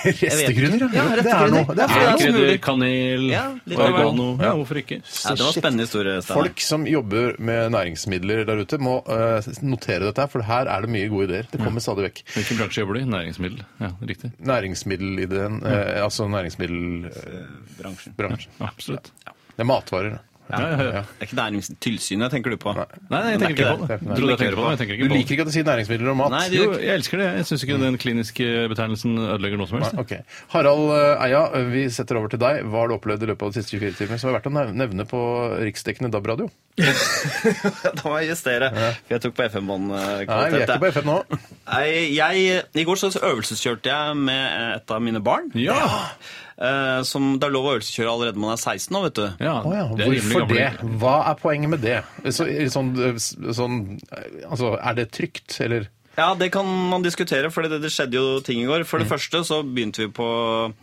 C: Restekrydder, Det
H: Ja,
C: er
H: restekrydder.
C: noe. Det er
H: Ja,
C: faktisk
G: Krydder,
H: mulig.
G: kanel,
H: Ja, litt av
G: oregano Ja, hvorfor ikke?
H: Ja, det var en spennende historie. Steinar.
C: Folk som jobber med næringsmidler der ute, må eh, notere dette, her, for her er det mye gode ideer. Det
H: Mm.
C: kommer stadig vekk.
G: Hvilken bransje jobber du i? Næringsmiddel. Ja, riktig.
C: Næringsmiddelideen,
H: Mm.
C: eh, altså næringsmiddelbransjen.
H: Eh, Bransjen.
G: Absolutt.
C: Det er matvarer. da.
G: Ja, ja, ja.
H: Det er ikke næringstilsynet tenker du på?
G: Nei, nei, jeg tenker ikke på det.
C: Nei, nei.
G: Trodde jeg tenkte på det, men jeg tenker
C: Du
G: ikke på det. Mm.
C: liker ikke at jeg sier næringsmidler og mat?
H: Nei, det
G: Jo, jeg elsker det. Jeg syns ikke den kliniske betegnelsen ødelegger noe som helst.
C: Nei, ok. Harald eh, Eia, vi setter over til deg. Hva har du opplevd i løpet av de siste 24 timer som er verdt å nev- nevne på riksdekkende DAB-radio?
H: Da må jeg justere, for jeg tok på FM-bånd.
C: Nei, vi er ikke på FM nå.
H: Nei, jeg, I går så øvelseskjørte jeg med et av mine barn.
G: Ja!
H: Eh, som det er lov å øvelseskjøre allerede når man er 16 nå, vet du.
G: ja.
C: Å ja,
G: det er rimelig
C: hvorfor det?
G: gammel.
C: Hva er poenget med det? Så, i sånn, eh, s- sånn eh, Altså, er det trygt, eller?
H: Ja, det kan man diskutere, for det, det skjedde jo ting i går. For det første så begynte vi på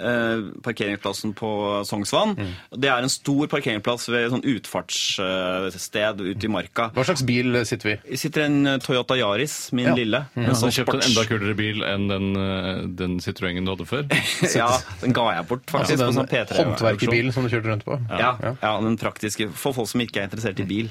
H: eh, parkeringsplassen på Sognsvann. Det er en stor parkeringsplass ved et sånn utfartssted ute i marka.
C: Hva slags bil sitter vi i?
H: Det sitter en Toyota Yaris, min
C: Ja.
H: lille.
G: Ja,
H: En
G: så
H: sånn
G: kjøpte en
H: sports-
G: enda kulere bil enn den, eh, den Citroëngen du hadde før.
H: Ja, den ga jeg bort,
C: Altså,
H: faktisk.
C: den
H: på sånn P3
C: håndverkerbilen som du kjørte rundt på?
H: Ja, ja. den praktiske, for folk som ikke er interessert i bil.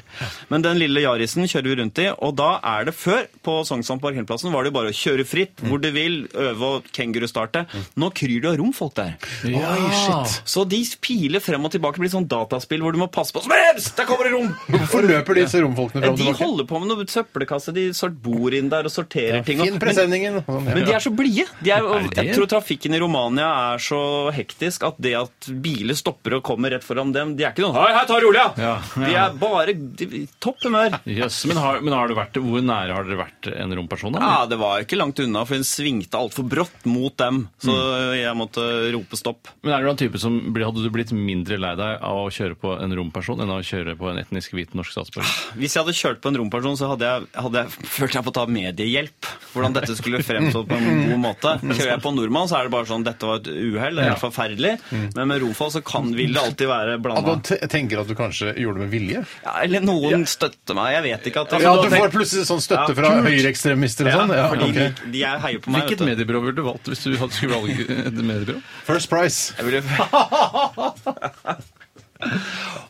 H: Men den lille Yarisen kjører vi rundt i, og da er det før på Sognsvann parkeringsplassen var det jo bare å kjøre fritt hvor du vil, øve og kengurustarte. Nå kryr det av romfolk der.
G: Oi, shit.
H: Så de piler frem og tilbake, blir sånn dataspill hvor du må passe på Brems! Der kommer det rom!
C: Hvorfor løper disse romfolkene fram og
H: De
C: tilbake?
H: holder på med noe søppelkasse, de sort bor inn der og sorterer ting. og-
C: Finn presenningen! og sånn, ja.
H: men de er så blide. De er, og
G: det det?
H: jeg tror trafikken i Romania er så hektisk at det at biler stopper og kommer rett foran dem, de er ikke noen Hei, hei, ta det rolig! Ja.
G: Ja, ja.
H: De er bare de, i topp humør.
G: Jøss, men, har, men har du vært, hvor nære har dere vært en romperson? da?
H: Ja, Det var ikke langt unna, for hun svingte altfor brått mot dem. Så jeg måtte rope stopp.
G: Men er du en type som, blir- Hadde du blitt mindre lei deg av å kjøre på en romperson enn av å kjøre på en etnisk hvit norsk statsborger?
H: Hvis jeg hadde kjørt på en romperson, så hadde jeg, hadde jeg følt jeg på å ta mediehjelp. Hvordan dette skulle fremstå på en god måte. Kjører jeg på en nordmann, så er det bare sånn dette var et uhell, det er helt forferdelig. Men med romfolk så kan, vil det alltid være
C: At
H: blanda.
C: man te- tenker at du kanskje gjorde det med vilje?
H: Ja, eller noen støtter meg. Jeg vet ikke at
C: Ja,
H: Altså,
C: du
H: da-
C: får plutselig sånn støtte
H: Ja,
C: fra
H: kult.
C: høyreekstremister og sånn? Ja,
H: fordi
C: ok.
H: de, de er heier på meg.
G: Hvilket
H: vet du.
G: mediebyrå ville Ah, du valgt hvis du hadde skulle valge et mediebyrå?
C: First Price.
H: Jeg ville-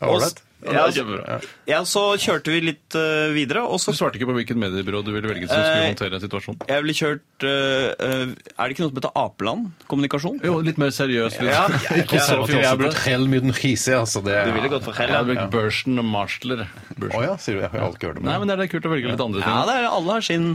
C: All
H: Og
C: right.
H: s- Ja,
G: det er kjempebra.
H: Ja, så kjørte vi litt eh, videre, og så
G: Du svarte ikke på hvilket mediebyrå du ville velge som skulle
H: Eh,
G: håndtere situasjonen.
H: Jeg ble kjørt eh, eh, Er det ikke noe som heter Apeland kommunikasjon?
G: Jo, litt mer seriøst.
H: Ja,
G: ikke så
C: Konservativ er blitt
G: fjasete.
C: hell mye krise, altså. Det,
H: Du ville gått for
G: Jeg
H: Hell,
G: hadde
H: ja.
G: blitt Børsen og Marstler. Børsen.
C: Å ja, sier du. Jeg har aldri hørt om det.
G: Nei, men det er litt kult å velge litt andre ting.
H: Ja, det er, alle har sin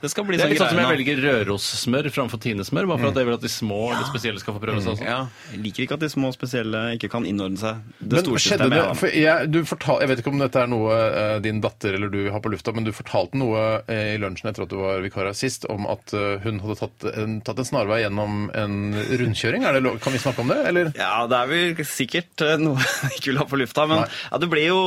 H: Det skal bli
G: det er
H: sånn
G: litt sånn som jeg
H: greie
G: velger Røros-smør framfor Tine-smør, bare for at jeg vil at de små og litt spesielle skal få prøve seg.
H: nå.
G: også.
H: Ja, jeg liker ikke at de små spesielle ikke kan innordne seg. Det
C: Men skjedde
H: store systemet
C: det,
H: jeg har.
C: for jeg, du fortal, jeg vet ikke om dette er noe eh, din datter eller du har på lufta, men du fortalte noe eh, i lunsjen etter at du var vikar her sist, om at eh, hun hadde tatt en, tatt en snarvei gjennom en rundkjøring. Er det lov? Kan vi snakke om det, eller?
H: Ja, det er vel sikkert eh, noe jeg ikke vil ha på lufta, men
C: Nei.
H: ja, det ble jo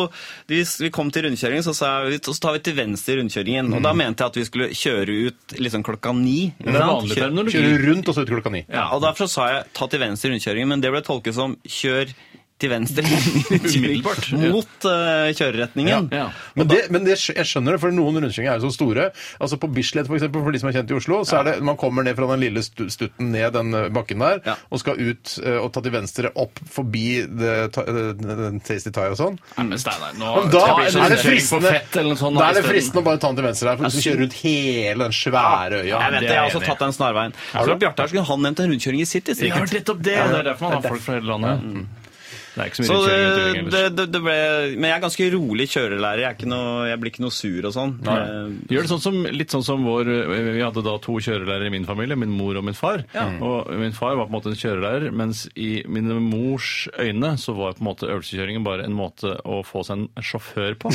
H: Vi, vi kom til rundkjøringen, så sa jeg "Vi- så tar vi til venstre i rundkjøringen. Og da mente jeg at vi skulle kjøre ut liksom klokka ni. ikke
G: Mm. Det er
H: sant?
G: vanlig
H: Kjø-
G: terminologi.
C: Kjøre rundt og så ut klokka ni.
H: Ja, og derfor sa jeg ta til venstre i rundkjøringen, men det ble tolket som kjør til venstre i rundkjøringen
G: Umiddelbart, ja.
H: mot eh, kjøreretningen.
G: Ja.
C: Men, det, men det, skj- jeg skjønner det, for noen rundkjøringer er jo så store. Altså På Bislett, for eksempel, for de som er kjent i Oslo, så er det man kommer ned fra den lille stu- stutten ned den eh, bakken der,
H: Ja.
C: og skal ut eh, og ta til venstre opp forbi det, ta, det, det, Tasty Tie og sånn.
G: Nei, men Steinar, nå
C: Men da
G: Det blir sånn
C: er det
G: kjøring på
C: fristende,
G: fett eller noe sånt,
C: da er det
G: isteden.
C: fristende å bare ta den til venstre her, for du skal kjøre rundt hele den svære øya.
H: jeg vet det, jeg har også
G: enig i.
H: tatt den snarveien. Jeg tror at Bjarte her skulle han nevnt en rundkjøring i City.
G: Ja,
H: sikkert.
G: nettopp det! Det er Mm. derfor man har folk fra hele landet. Det er ikke så mye
H: Så det,
G: rundkjøring rundt omkring
H: det,
G: ellers.
H: det, det ble, men jeg er ganske rolig kjørelærer. Jeg, er ikke noe, jeg blir ikke noe sur og sånn. Eh,
G: Gjør det sånn som, litt sånn som vår Vi hadde da to kjørelærere i min familie, min mor og min far. Mm. Og min far var på en måte en kjørelærer, mens i min mors øyne så var på en måte øvelseskjøringen bare en måte å få seg en sjåfør på.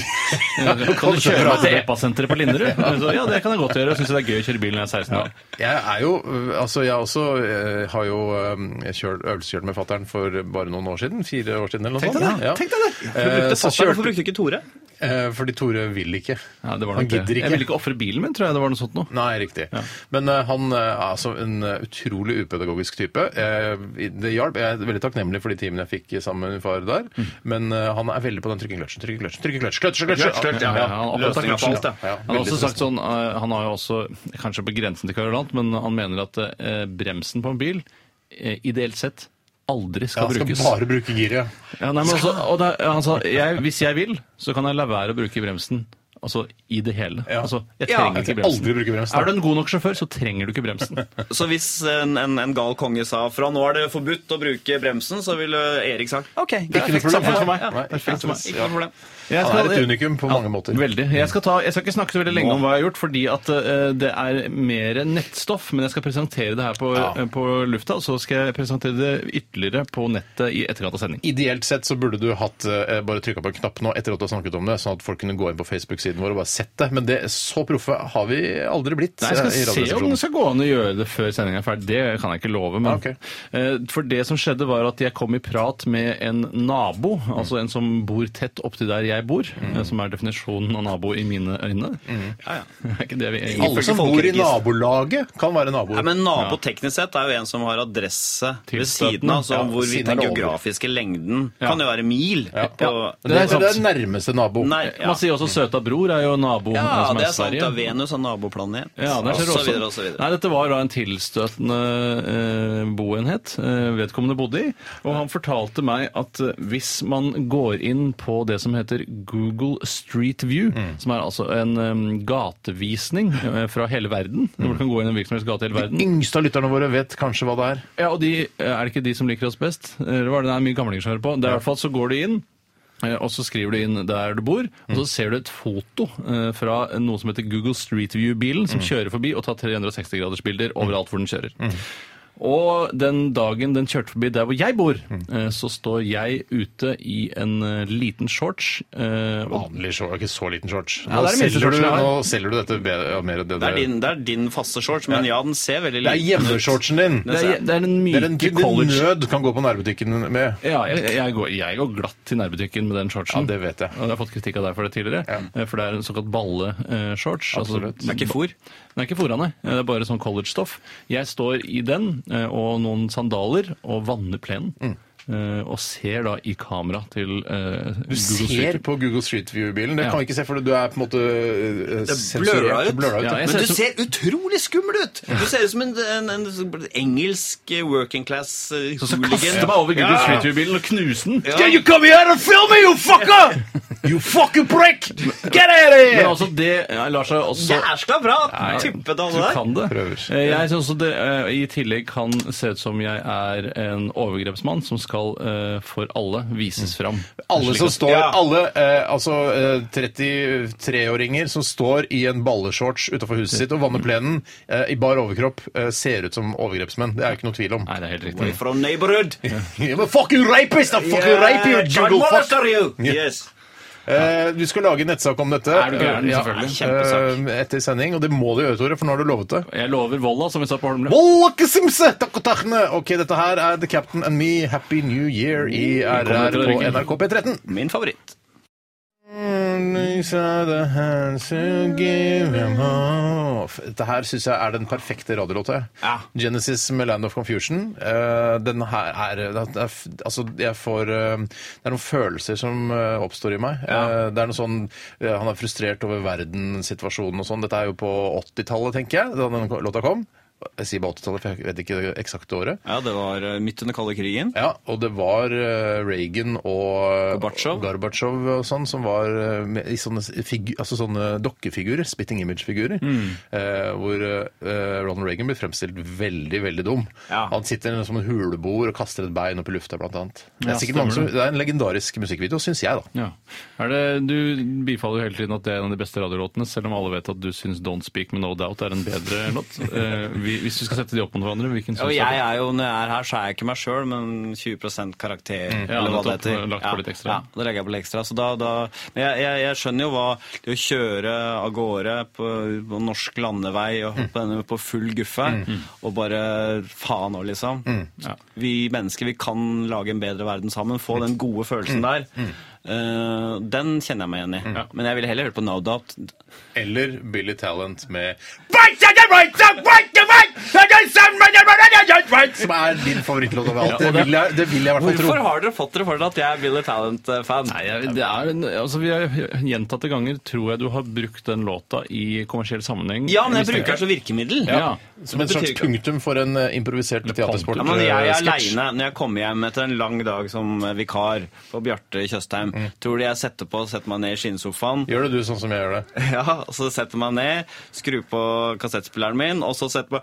G: kan du kjøre meg til EPA-senteret på Linderud? Så, ja, det kan jeg godt gjøre. Jeg syns det er gøy å kjøre bil når jeg er 16 år.
C: Jeg er jo, øh, altså jeg også øh, har jo øh, jeg kjørt, øvelseskjørt med fattern for bare noen år siden. Fire år siden eller noe sånt.
H: sånn,
C: ja.
H: Du
C: Eh,
H: brukte
C: så
H: fatteren,
C: kjørte-
H: Hvorfor brukte du ikke Tore?
C: Eh, Fordi Tore vil ikke.
G: Ja, det var
C: han
G: nok det.
C: gidder ikke.
G: Jeg ville ikke ofre bilen min, tror jeg det var noe sånt noe.
C: Nei, riktig. Men eh, han eh, er altså en eh, utrolig upedagogisk type. Eh, det hjalp. Jeg er veldig takknemlig for de timene jeg fikk sammen med min far der.
G: Mm.
C: Men eh, han er veldig på den trykke kløtsjen, trykke kløtsjen, trykke kløtsj, kløtsj, kløtsj!
G: Ja, ja, han har opptatt
H: Løsninger på alt,
G: kløtsjen.
C: ja.
G: Han har
C: Veldig
G: også sagt sånn, eh, han har jo også, kanskje på grensen til kverulant, men han mener at eh, bremsen på en bil, eh, ideelt sett, aldri
C: Ja, han
G: skal
C: skal
G: brukes.
C: bare bruke giret.
G: Ja, nei, men også, og det, han sa, jeg, hvis jeg vil, så kan jeg la være å bruke bremsen. Altså, i det hele.
C: Ja.
G: Altså, jeg
H: Ja,
G: trenger
C: jeg
G: ikke
C: skal
G: bremsen.
C: aldri bruke bremsen.
G: Er du en god nok sjåfør, så trenger du ikke bremsen.
H: Så hvis en, en, en gal konge sa fra nå er det forbudt å bruke bremsen, så ville Erik sagt OK.
C: Ikke noe
H: greit,
C: problem.
H: samme for meg.
C: Nei,
H: Ja,
C: perfekt for meg.
H: Ikke noe problem.
G: Jeg
C: Han er
G: skal-
C: et unikum på mange måter.
G: Veldig. Jeg skal, ta, jeg skal ikke snakke så veldig lenge om hva jeg har gjort, fordi at eh, det er mer nettstoff. Men jeg skal presentere det her på, eh, på lufta, og så skal jeg presentere det ytterligere på nettet i etterkant av sending.
C: Ideelt sett så burde du hatt eh, bare trykka på en knapp nå etter at du har snakket om det, sånn at folk kunne gå inn på Facebook-siden vår og bare sett det. Men det, så proffe har vi aldri blitt.
G: Nei, jeg
C: eh, i
G: skal se om
C: radioresepsjonen.
G: det skal gå an å gjøre det før sendingen er ferdig. Det kan jeg ikke love. Men,
C: Ok.
G: Eh, For det som skjedde, var at jeg kom i prat med en nabo, altså en som bor tett opptil der jeg bor,
C: Mm.
G: eh, som er definisjonen av nabo i mine øyne. Ja, ja. Er ikke det vi
C: Alle som bor i nabolaget, kan være
H: Nei,
C: naboer.
H: men Nabo teknisk sett er jo en som har adresse ved
G: Tilstøtende.
H: siden av, så
C: Ja,
H: hvor vi
C: siden er
H: den
C: det over.
H: geografiske lengden kan jo være mil. På,
C: Ja.
H: ja.
C: Det,
G: Det er
C: er, sånn-
G: sant.
C: det er nærmeste nabo.
H: Nei, ja.
G: Man sier også søta bror er jo nabo
H: ja,
G: eh, som
H: det
G: er
H: er sant.
G: Sverige.
H: Da Venus er naboplanet.
G: Ja, der
H: og
G: ser du
H: så
G: også.
H: videre og så videre.
G: Nei, dette var da en tilstøtende eh, boenhet eh, vedkommende bodde i. Og han fortalte meg at eh, hvis man går inn på det som heter Google Street View,
H: Mm.
G: som er altså en eh, gatevisning eh, fra hele verden, hvor du kan gå inn i en virksomhets gate i hele verden
C: Yngste av lytterne våre vet kanskje hva det er.
G: ja, og de, eh, er det ikke de som liker oss best? Eller var det, det er mye gamlinger som hører på. Det er i hvert fall så går du inn, eh, og så skriver du inn der du bor, og så
C: Mm.
G: ser du et foto eh, fra noe som heter Google Street View-bilen,
C: Mm.
G: som kjører forbi og tar 360-gradersbilder overalt hvor den kjører. Og den dagen den kjørte forbi der hvor jeg bor,
C: Mm.
G: eh, så står jeg ute i en eh, liten shorts. eh, og-
C: Vanlig shorts, ikke så liten shorts.
G: Ja,
C: Nå,
G: det er det
C: selger, du,
G: minste shortsen jeg har.
C: nå selger du dette bedre, ja, mer enn det
H: Det er, din, det er din faste shorts, men ja, den ser veldig
C: Det er
H: liten ut.
C: hjemmeshortsen din.
G: Det er, det er den
C: Det er den
G: myke
C: du din
G: college...
C: nød kan gå på nærbutikken med.
G: Ja, jeg, jeg, går, jeg går glatt til nærbutikken med den shortsen.
C: Ja, det vet jeg.
G: Og jeg har fått kritikk av deg for det tidligere.
C: Ja.
G: eh, For det er en såkalt balle-shorts.
C: Absolutt. Det
H: er ikke fôr?
G: Altså, Det er ikke fôr, nei. Det er bare eh, sånn college-stoff. Jeg står i den eh, og noen sandaler og vanner plenen. eh, og ser da i kamera til eh,
C: Mm. Du ser på Google Street View-bilen. Det
G: Ja.
C: kan vi ikke se, for du er på en måte eh,
H: Det bløra
C: sensurert.
H: ut.
C: Bløra ut.
G: Ja,
C: ja.
G: jeg
H: Men
G: ser
H: du
G: som-
H: ser utrolig skummel ut! Du ser ut som en, en, en engelsk eh, working class eh,
G: Så jeg
H: hooligan.
G: kaster meg over Google
H: Ja.
G: Street View-bilen og knuser den.
H: Can you
C: come here and film me, you fucker! You fucking prick! Get out of
G: Men altså, det eh, lar seg også
H: Jæskla bra!
G: Nei,
H: Tuppet det
G: du
H: der.
G: kan det.
C: Prøver.
G: Eh, Jeg synes også det eh, i tillegg kan se ut som jeg er en overgrepsmann som skal eh, for alle vises fram.
C: Alle som står,
H: Ja.
C: alle eh, altså eh, 33-åringer som står i en balleshorts utenfor huset sitt og vanner plenen eh, i bar overkropp, eh, ser ut som overgrepsmenn. Det er jo ikke noe tvil om.
G: Nei, det er helt riktig.
H: From neighborhood.
C: I'm a fucking rapist! I fucking rape you, juggle fuck!
H: Yes.
C: Eh, du skal lage en nettsak om dette
G: Er du gæren,
C: eh, ja,
G: selvfølgelig.
H: Kjempesak.
C: eh, etter sending, og det må du gjøre, Tore, for nå har du lovet det.
G: Jeg lover Volla, som vi sa på Holmlia.
C: Wallakesimse! Takk og takkene! Ok, dette her er The Captain and Me. Happy New Year i
G: Velkommen
C: RR
G: til
C: på
G: Norge.
C: NRK P13.
H: Min favoritt.
C: Dette her syns jeg er den perfekte radiolåta.
H: Ja.
C: Genesis med 'Land of Confusion'. Eh, Den her er, det er f- Altså, jeg får eh, Det er noen følelser som eh, oppstår i meg. Eh, Det er noe sånn eh, Han er frustrert over verdenssituasjonen og sånn. Dette er jo på 80-tallet, tenker jeg, da den låta kom. Jeg sier bare 80-tallet, for jeg vet ikke det eksakte året.
H: Ja, det var eh, midt under kalde krigen.
C: Ja, og det var eh, Reagan og eh,
H: Gorbatsjov.
C: Gorbatsjov og sånn som var eh, med, i sånne, figu, altså sånne dokkefigurer, spitting image-figurer,
H: Mm.
C: eh, hvor eh, Ronald Reagan blir fremstilt veldig, veldig dum.
H: Ja.
C: Han sitter som en huleboer og kaster et bein opp i lufta, blant annet. Det
G: Ja,
C: er, sikkert mange som,
G: stemmer det.
C: det er en legendarisk musikkvideo, syns jeg, da.
G: Ja. Er det, du bifaller jo hele tiden at det er en av de beste radiolåtene, selv om alle vet at du syns 'Don't Speak Med No Doubt' er en bedre låt. Eh, vi, hvis du skal sette de opp mot hverandre, hvilken syns
H: Og
G: du
H: jeg
G: er
H: er jo, når jeg er her, så er jeg ikke meg sjøl, men 20 karakter,
G: Mm. Ja,
H: eller hva det
G: nettopp.
H: heter.
G: Lagt på litt ekstra.
H: Ja, det legger jeg på litt ekstra. Så da, da, men jeg, jeg, jeg skjønner jo hva det å kjøre av gårde på, på norsk landevei og
G: Mm.
H: hoppe denne på full guffe, og bare faen nå, liksom.
G: Mm.
H: Ja. Vi mennesker, vi kan lage en bedre verden sammen. Få den gode
G: Mm.
H: følelsen der. Eh, den kjenner jeg meg igjen i. Men jeg ville heller hørt på No Doubt.
C: Eller Billy Talent med Som er din favorittlåt av alt.
G: Ja,
C: Det
G: og det-
C: vil jeg, det vil jeg i hvert fall tro.
H: Hvorfor har dere fått dere for dere at jeg er Billy Talent-fan?
G: Nei, jeg- det er en, altså vi har Gjentatte ganger tror jeg du har brukt den låta i kommersiell sammenheng.
H: Ja, men jeg
G: mistenker
H: bruker den som virkemiddel.
G: Ja.
C: Som en
H: Det betyr
C: slags
H: ikke-
C: punktum for en eh, improvisert teatersport.
H: Ja, men jeg er
C: eh, sketsj.
H: aleine når jeg kommer hjem etter en lang dag som eh, vikar for Bjarte Tjøstheim.
C: Mm.
H: Tror du jeg setter på, setter meg ned i skinnsofaen?
C: Gjør det du sånn som jeg gjør det?
H: Ja, og så setter jeg meg ned, skrur på kassettspilleren min, og så setter jeg på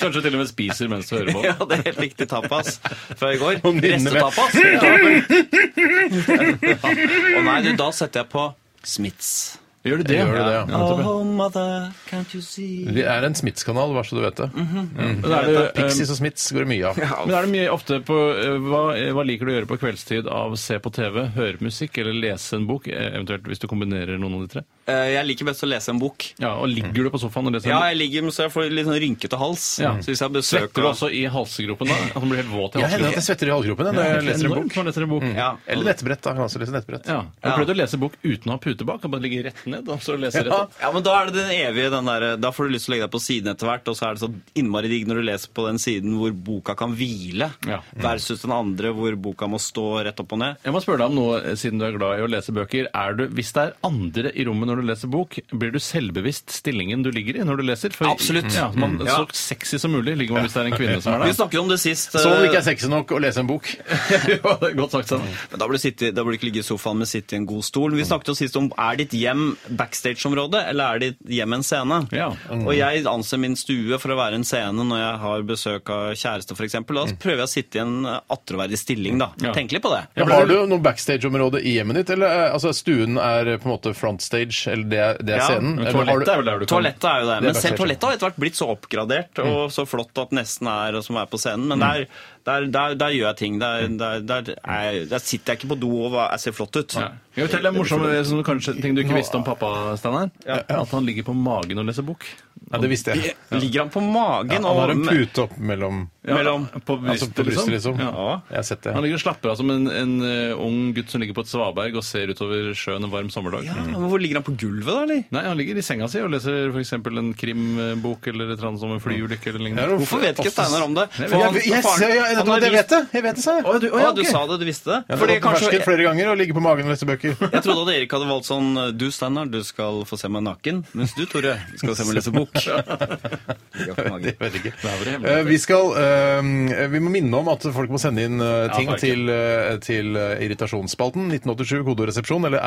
G: Kanskje til og med spiser mens du hører på.
H: Ja, det er helt riktig tapas fra i går.
C: Om det innebærer-
H: Restetapas. Ja. Og nei, du, da setter jeg på Smiths.
G: Gjør du det?
C: Gjør du det, ja.
H: Oh, mother, can't you see
C: Vi er en Smiths-kanal, bare så du vet det.
G: Men er det, eh,
C: Pixies og Smiths går det mye av.
G: men er det mye ofte på eh, hva, eh, hva liker du å gjøre på kveldstid av se på TV, høre musikk eller lese en bok? eh, Eventuelt hvis du kombinerer noen av de tre.
H: Eh, Jeg liker best å lese en bok.
G: Ja, Og ligger du på sofaen og leser
H: Ja,
G: en bok?
H: jeg ligger, men så jeg får litt sånn rynkete hals.
G: Ja.
H: Så hvis jeg besøker
G: Svetter du også i halsgropen da? At den blir helt våt i
C: Jeg hender at
G: halsgropen?
C: jeg svetter i halvgropen jeg, når jeg leser en bok.
G: Når du leser en bok. Mm.
H: Ja.
C: Eller nettbrett. da, kan jeg også lese nettbrett.
G: Ja. Jeg har prøvd å lese bok uten å ha pute bak. Kan bare ligge rett ned og så lese rett opp.
H: Ja, men Da er det den evige, den der, da får du lyst til å legge deg på siden etter hvert, og så er det så innmari digg når du leser på den siden hvor boka kan hvile,
G: Ja.
H: versus den andre hvor boka må stå rett opp og ned.
G: Jeg må spørre deg om noe, eh, siden du er glad i å lese bøker. Er du, hvis det er andre i rommet når du leser bok, blir du selvbevisst stillingen du ligger i når du leser? For-
H: Absolutt.
G: Ja, man,
H: Ja.
G: Så sexy som mulig ligger man hvis det er en kvinne som er
H: Vi
G: der.
H: snakket om det sist.
C: Så om det ikke
H: eh,
C: er sexy nok å lese en bok.
G: Ja, det er Godt sagt, Sanne.
H: men Da burde du sitte- da burde du ikke ligge i sofaen, men sitte i en god stol. Vi snakket jo sist om er ditt hjem backstage-område, eller er ditt hjem en scene?
G: Ja.
H: Og jeg anser min stue for å være en scene når jeg har besøk av kjæreste, f.eks. Da prøver jeg å sitte i en eh, attråverdig stilling, da.
G: Ja.
H: Tenk litt på det.
C: Ja, har du noe backstage-område i hjemmet ditt? Eller eh, altså, stuen er eh, på en måte frontstage, eller det, er- det er
H: Ja,
C: scenen?
G: Men
C: Eller har
G: Toalettet
C: du-
G: er vel der du kan Mm.
H: Toalettet er jo det,
C: Det er
H: men selv
C: backstage.
H: toalettet har etter hvert blitt så oppgradert og så flott at nesten er som er på scenen. Men det er, Der, der, der gjør jeg ting. Der, der, der, er jeg, der sitter jeg ikke på do og hva- jeg ser flott ut.
I: Ja. Jeg vil fortelle deg en morsom som du kanskje, ting du ikke visste om pappa, Steinar. At han ligger på magen og leser bok.
C: Ja, det visste jeg.
H: Ligger han på magen
C: Han har en
H: og
C: pute opp mellom
I: Ja,
H: Mellom-
I: på
C: Altså
I: brystet,
C: på brystet, liksom.
I: Ja.
C: Jeg har sett det.
I: Han ligger og slapper av som en, en eh, ung gutt som ligger på et svaberg og ser utover sjøen en varm sommerdag. Mm.
H: ja, men Hvor ligger han på gulvet, da? eller?
I: Nei, han ligger i senga si og leser f.eks. en krimbok eller et eller annet som en flyulykke eller lignende.
C: Ja, det-
H: Hvorfor vet ikke Steinar om det?
I: vet
H: For
I: jeg.
H: han-
C: Jeg, jeg,
H: faren-
C: jeg, jeg,
H: han har
C: jeg
H: vist-
C: vet det! Jeg vet det, sa jeg.
H: Å, du, å, ja, du
C: ok.
H: sa det, du visste det?
C: Jeg har
H: Fordi
C: gått på
H: kanskje-
C: fersken flere ganger og ligger på magen og leser bøker.
H: Jeg trodde at Erik hadde valgt sånn Du, Steinar, du skal få se meg naken. Mens du, Tore, skal se meg lese bok. Ligger på magen.
C: Jeg vet ikke.
I: er vel hemmelig.
C: Eh, Vi, skal, eh, vi må minne om at folk må sende inn eh, ting
I: Ja, takk.
C: til, eh, til eh, irritasjonsspalten 1987 kodoresepsjon eller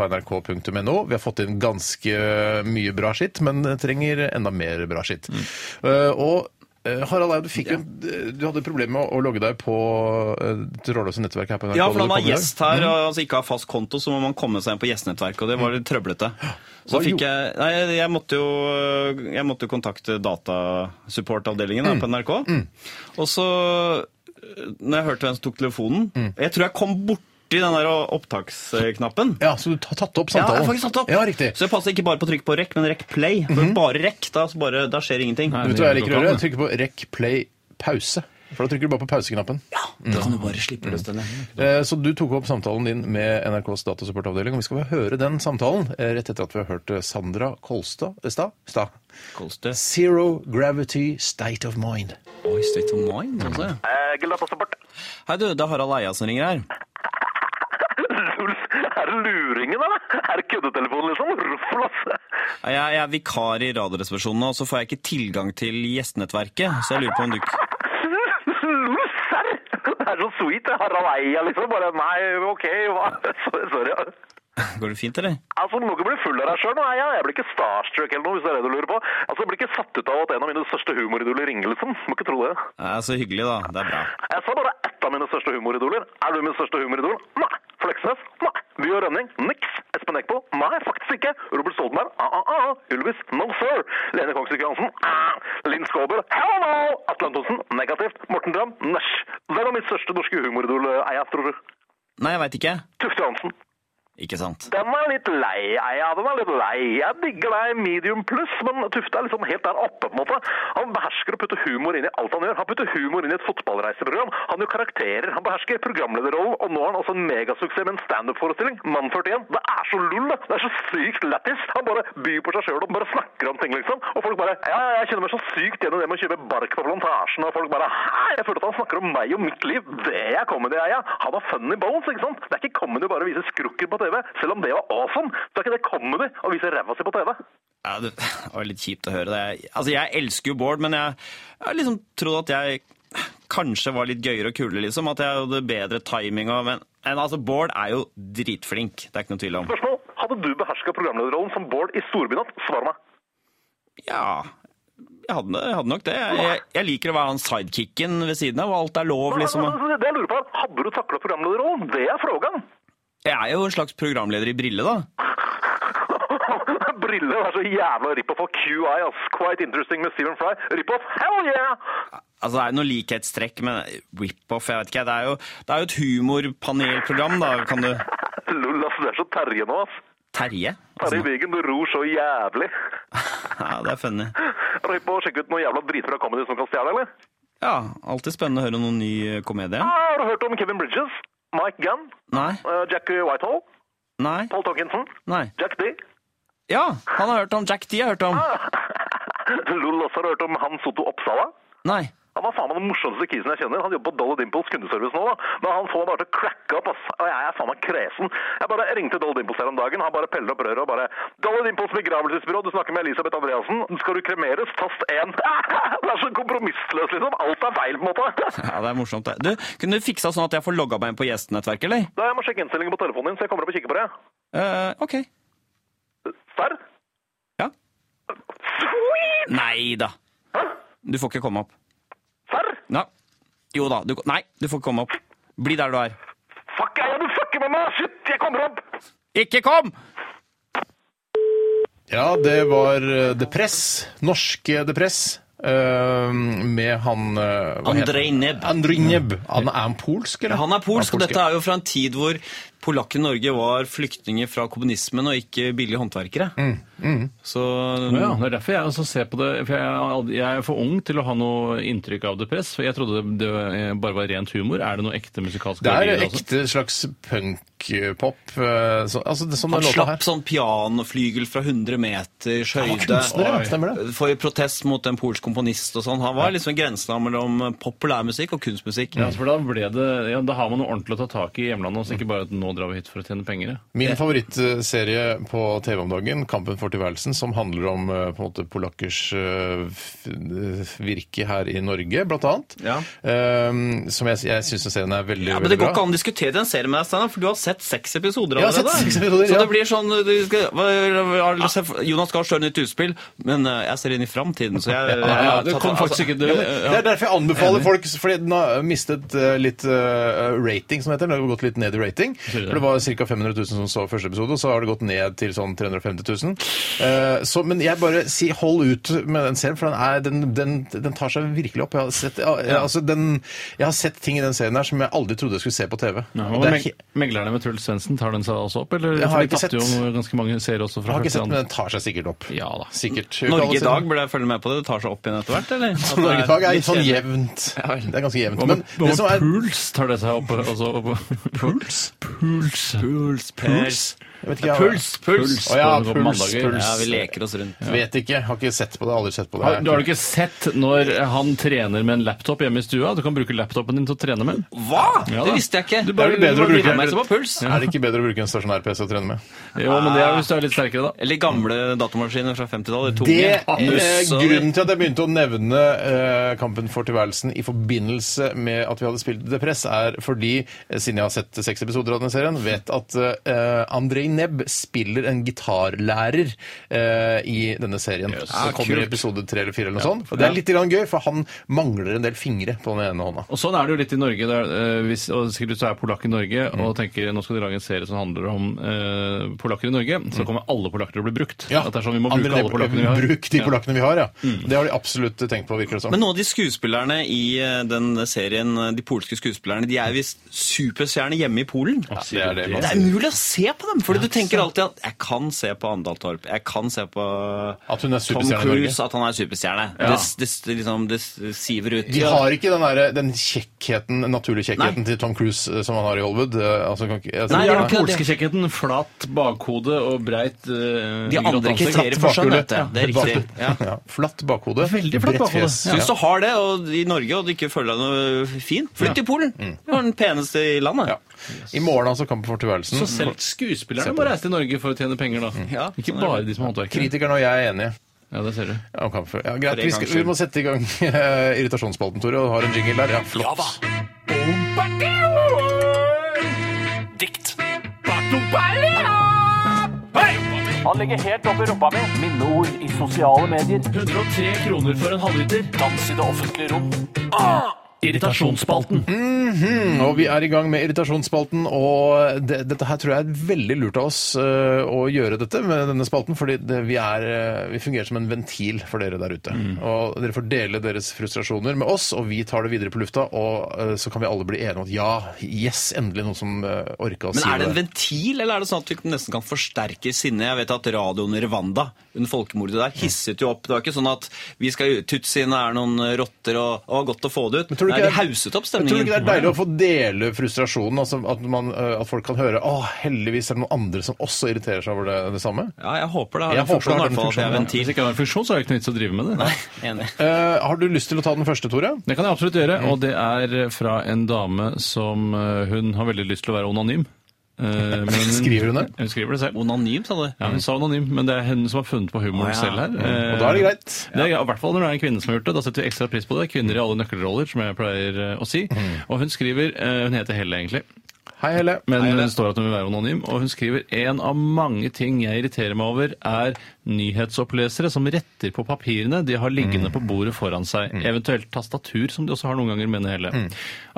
C: rrkrøllalfa.nrk.no. Vi har fått inn ganske eh, mye bra skitt, men trenger enda mer bra skitt.
H: Mm.
C: Eh, Og eh, Harald Eide, du, fikk jo en- du hadde problemer med å logge deg på eh, trådløse nettverk her på NRK.
H: Ja, for
C: da du
H: han var
C: kom i dag.
H: gjest her og altså ikke har fast konto, så må man komme seg inn på gjestnettverk, og det var litt trøblete. Så
C: Hva
H: fikk jeg Nei, jeg måtte jo jeg måtte jo kontakte datasupportavdelingen
C: Mm.
H: her på NRK. Og så, når jeg hørte hvem som tok telefonen
C: Mm.
H: Jeg tror jeg kom borti den der opptaksknappen.
C: Ja, Så du har tatt opp
H: Ja,
C: samtalen?
H: jeg har faktisk tatt opp.
C: Ja, riktig. Mhm.
H: Så jeg passer ikke bare på trykk på rekk, men rekk play. For bare rekk, da, så bare, da skjer ingenting.
C: Vet du hva jeg liker å gjøre? Jeg trykker på rekk, play, pause. For da trykker du bare på pauseknappen.
H: Da kan du bare slippe løs den. ja.
C: Eh, Så du tok opp samtalen din med NRKs datasupportavdeling, og vi skal bare høre den samtalen eh, rett etter at vi har hørt eh, Sandra Kolstad eh, Stad? Stad.
H: Kolstø.
C: Zero gravity state of mind.
H: Oi, state of mind, altså.
G: Eh, Gilda på support.
H: Hei, du, det er Harald Eia som ringer her.
G: Ulf, er det luringen, eller? Er det køddetelefonen, liksom? Ruffel, altså.
H: Ja, Jeg, jeg er vikar i Radioresepsjonen, nå, og så får jeg ikke tilgang til gjestenettverket. Så jeg lurer på om du ikke
G: Ulf, serr! Det er så sweet, det. Harald Eia, liksom. Bare nei, OK, hva? Sorry. sorry.
H: Går det fint, eller?
G: Altså, Du må ikke bli full av deg sjøl. Jeg blir ikke starstruck eller noe, hvis det er det du lurer på. Altså, Jeg blir ikke satt ut av at en av mine største humoridoler ringer, liksom. Må ikke tro det.
H: Ja, så hyggelig, da. Det er bra.
G: Jeg sa bare ett av mine største humoridoler. Er du min største humoridol? Nei. Fleksnes? Nei. By og Rønning? Niks. Espen Eckbo? Nei, faktisk ikke. Robert Stoltenberg? Ah, ah, ah. Ylvis? No, sir. Lene Kongsvik Johansen? Ah. Linn Skåber? Hello! no. Atle Antonsen? Negativt. Morten Dram? Næsj. Hvem er mitt største norske eh, humoridol, Eia, tror du?
H: Nei, jeg veit ikke.
G: Tufte Johansen.
H: Ikke sant.
G: Den er litt lei, Eia. Den er litt lei. Jeg digger deg medium pluss, men Tufte er liksom helt der oppe, på en måte. Han behersker å putte humor inn i alt han gjør. Han putter humor inn i et fotballreiseprogram. Han gjør karakterer. Han behersker programlederrollen, og nå har han altså en megasuksess med en standup-forestilling. Mann 41. Det er så lull, det. Det er så sykt lættis. Han bare byr på seg sjøl og bare snakker om ting, liksom. Og folk bare Ja, ja, jeg kjenner meg så sykt igjen i det med å kjøpe bark på plantasjen, og folk bare Hæ? Jeg føler at han snakker om meg og mitt liv. Det er comedy, jeg. ja. Han har funny bones, ikke sant? Det er ikke comedy å bare vise skrukker på TV, selv om det var awesome. Det er ikke det comedy å vise ræva si på TV.
H: Ja, det det var litt kjipt å høre det. Jeg- Altså, jeg elsker jo Bård, men jeg jeg har liksom trodd at jeg kanskje var litt gøyere og kulere, liksom. At jeg hadde bedre timing og Men, men altså, Bård er jo dritflink. Det er ikke noe tvil om.
G: Spørsmål. Hadde du beherska programlederrollen som Bård i Storbynatt? Svar meg.
H: Ja, jeg hadde, jeg hadde nok det. Jeg, jeg, jeg liker å være han sidekicken ved siden av, og alt er lov, liksom.
G: Det jeg lurer på, er hadde du takla programlederrollen? Det er frågan.
H: Jeg er jo en slags programleder i brille, da.
G: Briller er så jævla rip-off av QI, ass. Quite interesting med Stephen Fry. Rip-off, hell yeah!
H: Altså, Det er jo noe likhetstrekk, men rip-off, jeg vet ikke. Det er jo, det er jo et humorpanelprogram, da. Kan du
G: Lol, ass. Du er så Terje nå, ass.
H: Terje? Altså,
G: Terje Vigen, du ror så jævlig.
H: ja, det er funny.
G: Har du på å sjekke ut noe jævla dritbra comedy som kan stjele, eller?
H: Ja, alltid spennende å høre noen ny eh, komedie.
G: Ah, Har du hørt om Kevin Bridges, Mike Gunn,
H: Nei,
G: eh, Jack Whitehall,
H: nei,
G: Paul Tonkinson,
H: nei.
G: Jack D? Ah.
H: Ja, han har hørt om Jack D, har hørt om.
G: Lol, også har du hørt om han Soto Oppsala?
H: Nei.
G: Han var faen meg den morsomste kisen jeg kjenner. Han jobber på Dolly Dimples kundeservice nå, da. Men han får meg bare til å cracke opp, ass. Og jeg er faen meg kresen. Jeg bare ringte Dolly Dimples her om dagen. Han bare peller opp røret og bare Dolly Dimples begravelsesbyrå, du snakker med Elisabeth Andreassen. Skal du kremeres? Tast 1. Det er så kompromissløst, liksom. Alt er feil, på en måte.
H: Ja, det er morsomt. det. Du, Kunne du fiksa sånn at jeg får logga meg inn på gjestenettverket, eller?
G: Da jeg må sjekke innstillingen på telefonen din, så jeg kommer opp og kikker på det.
H: Eh, OK.
G: Serr?
H: Ja.
G: Sweet!
H: Nei da. Du får ikke komme opp.
G: Serr?
H: Ja. Jo da. Du, nei, du får ikke komme opp. Bli der du er.
G: Fuck, jeg, du fucker med meg! Shit, jeg kommer opp!
H: Ikke kom!
C: Ja, det var eh, The Press. Norske The Press. eh, med han eh, hva heter-
H: Andrej Neb.
C: Andrej Neb. Han er han polsk, eller?
H: Han er polsk, og
C: polsk,
H: dette er jo fra en tid hvor polakken i Norge var flyktninger fra kommunismen og ikke billige håndverkere.
C: Mm,
H: Så
G: Ja, det er derfor jeg også ser på det. For jeg, er aldri- jeg er for ung til å ha noe inntrykk av det press. For jeg trodde det, det eh, bare var rent humor. Er det noe ekte musikalsk
C: Det
G: verdi i
C: er
G: det også?
H: altså-
C: ekte slags punkpop. eh, så- Altså, det- sånn
H: han
C: den låta her.
H: slapp sånn pianoflygel fra 100 meters
C: var
H: høyde.
C: kunstner, ja, stemmer det.
H: For i protest mot en polsk komponist og sånn. Han var liksom grensen mellom populærmusikk og kunstmusikk.
G: Ja, altså, for da, ble det, ja, da har man noe ordentlig å ta tak i i hjemlandet, så ikke bare at nå drar vi hit for å tjene penger. ja.
C: Min favorittserie på TV om dagen, 'Kampen for tilværelsen', som handler om eh, på en måte polakkers eh, f- virke her i Norge, blant annet.
H: Ja.
C: Eh, Som jeg, jeg syns serien er veldig,
H: Ja, men Det
C: veldig
H: går ikke
C: bra.
H: an å diskutere en serie med deg, Steinar, for du har sett seks episoder
C: Jeg har
H: allerede.
C: sett seks episoder,
H: Så
C: ja.
H: det blir sånn du skal, hva- hva- se- Jonas Gahr Støre nytt utspill, men eh, jeg ser inn i framtiden, så jeg altså-
G: altså, Ja, det kom faktisk ikke det,
C: Det er derfor jeg anbefaler folk Fordi den har mistet eh, litt eh, rating, som heter. Den har gått litt ned i rating. For det var ca. 500 000 som så første episode, og så har det gått ned til sånn 350 000. Eh, så, men jeg bare sier hold ut med den serien, for den, er, den, den, den tar seg virkelig opp. Jeg har, sett, ja, jeg, altså, den, jeg har sett ting i den serien her som jeg aldri trodde jeg skulle se på TV.
G: Ja,
C: Og
G: og
C: det er
G: meg
C: ikke,
G: meglerne med Truls Svendsen, tar den seg også opp? Eller?
C: Jeg har
G: For de
C: ikke
G: tapte
C: sett-
G: jo ganske mange serier også
C: jeg
G: fra
C: har ikke
G: første
C: sett, men den tar seg sikkert opp.
G: Ja da.
C: Sikkert.
H: Norge i dag burde jeg følge med på det. Det tar seg opp igjen etter hvert, eller? At det
C: Norge i dag er
H: litt
C: sånn
H: kjedelig.
C: jevnt.
H: vel.
C: Det er ganske jevnt.
G: Hva med,
C: Men
G: hva
C: det
G: med
C: som er
G: puls tar det seg opp? Også, opp. Puls? Puls.
H: Puls,
G: Puls.
C: jeg vet ikke,
H: Ja,
C: jeg-
H: Puls, puls.
G: Puls.
C: Å ja,
G: på- på
C: puls,
G: mandager.
C: puls.
H: Ja, vi leker oss rundt.
C: Vet ikke. Har ikke sett på det. Aldri sett på det.
G: Har, du har du ikke sett når han trener med en laptop hjemme i stua? Du kan bruke laptopen din til å trene med. den.
H: Hva?!
G: Ja, da.
H: det visste jeg ikke.
C: bare- Det er vel bedre å
H: bare
C: bruke-
H: minnet meg som var puls.
C: Er det ikke bedre å bruke en stasjonær PC å trene med?
G: Jo, men det er hvis du er litt sterkere, da.
H: Eller gamle datamaskiner fra 50-tallet. tunge.
C: Det er
H: Anus og-
C: grunnen til at jeg begynte å nevne eh, Kampen for tilværelsen i forbindelse med at vi hadde spilt The Press, er fordi, eh, siden jeg har sett seks episoder av denne serien, vet at eh, Andrej Nebb spiller en gitarlærer eh, i denne serien.
H: Ah,
C: Det kommer i
H: kult.
C: episode tre eller fire eller noe sånt. Og det er litt grann gøy, for han mangler en del fingre på den ene hånda.
G: Og Sånn er det jo litt i Norge. Der, eh, hvis og sikkert du er polakk i Norge
H: Mm.
G: og tenker nå skal de lage en serie som handler om eh, polakker i Norge,
H: Mm.
G: så kommer alle polakker til å bli brukt. At det er sånn vi må bruke
C: Andrej Nebb,
G: alle polakkene vi har.
C: Bruk de polakkene vi har, ja. Det har de absolutt tenkt på, virker det som.
H: Mm. Men noen av de skuespillerne i eh, den serien, eh, de polske skuespillerne, de er visst superstjerner hjemme i Polen.
C: det er det altså. man
H: Det er umulig å se på dem, fordi du tenker alltid at jeg kan se på Andal Torp, jeg kan se på
C: At hun er
H: Tom
C: superstjerne i Norge.
H: Cruise, at han er superstjerne. Det, det, det, liksom, det siver ut.
C: De har ikke den, der, den kjekkheten, den naturlige kjekkheten
H: Nei.
C: til Tom Cruise eh, som han har i Hollywood. Eh, Altså, kan ikke, altså,
H: Nei,
G: Det
H: de
G: er
H: har
G: den
H: ikke
G: polske kjekkheten. Flat bakhode og breit eh,
H: De
G: grått
H: andre
G: ansikt.
H: kriterier for skjønn, vet du.
C: Ja,
H: Det er
C: bak-
H: riktig. Ja.
C: Ja, flatt bakhode.
G: Veldig flatt
C: bredt
G: bakhode.
C: fjes.
H: Så hvis du har det og i Norge og du ikke føler deg noe fin, flytt til Polen. Du er den peneste i
C: Mm.
H: landet.
C: Ja. I morgen altså Kampen for tilværelsen.
G: Så selv skuespillerne må reise til Norge for å tjene penger, da.
H: Ja,
G: ikke
H: sånn er
G: bare
H: det.
G: de som er håndverkere.
C: Kritikerne og jeg er enige.
G: Ja, det ser du.
C: om Kampen for- Ja, greit,
H: For
C: vi,
H: en gangs
C: skal, vi
H: skyld.
C: må sette i gang eh, irritasjonsspalten, Tore, og har en jingle der. Ja, flott.
J: Han ligger helt oppi rumpa mi. Minneord i sosiale medier.
G: 103 kroner for en halvliter.
J: Dans i det offentlige rom.
G: Irritasjonsspalten.
C: Mm, Og vi er i gang med irritasjonsspalten, og det, dette her tror jeg er veldig lurt av oss eh, å gjøre dette med denne spalten, fordi det, vi, er, eh, vi fungerer som en ventil for dere der ute. Og dere får dele deres frustrasjoner med oss, og vi tar det videre på lufta, og eh, så kan vi alle bli enige om at ja, yes, endelig noen som eh, orka å
H: Men
C: si
H: er det en ventil, eller er det sånn at vi nesten kan forsterke sinnet? Jeg vet at radioen i Rwanda under folkemordet
C: Mm.
H: der hisset jo opp. Det var ikke sånn at vi skal tutsiene er noen rotter og, og godt å få det ut.
C: tror du
H: Nei,
C: ikke-
H: de hauset opp
C: Jeg tror
H: stemningen.
C: ikke det er deilig å få dele frustrasjonen, altså at, man, eh, at folk kan høre å, heldigvis er det noen andre som også irriterer seg over det, det samme.
H: Ja, jeg håper det har
C: Jeg
H: en
C: håper
H: funksjon, i
C: det har
H: hvert fall, at det er
C: den
G: Hvis
H: ventil.
G: det ikke er en funksjon, så er det ikke noe vits å drive med det.
H: Nei, enig.
C: Eh, har du lyst til å ta den første, Tore?
G: Det kan jeg absolutt gjøre,
C: Mm.
G: og det er fra en dame som eh, hun har veldig lyst til å være anonym. Eh, men
C: Skriver hun det?
G: Hun skriver det selv.
H: Anonym, sa du?
G: Ja, hun sa anonym, men det er hun som har funnet på humoren
H: Å, ja.
G: selv her.
C: Mm.
G: Eh,
C: Og da er det greit.
G: Det er, I hvert fall når det er en kvinne som har gjort det. Da setter vi ekstra pris
C: Mm.
G: på det. Kvinner i alle nøkkelroller, som jeg pleier eh, å si. Og hun skriver eh, Hun heter Helle, egentlig.
C: Hei, Helle.
G: Men hun står at hun vil være anonym, og hun skriver en av mange ting jeg irriterer meg over, er nyhetsopplesere som retter på papirene de har liggende på bordet foran seg, eventuelt tastatur, som de også har noen ganger, mener Helle.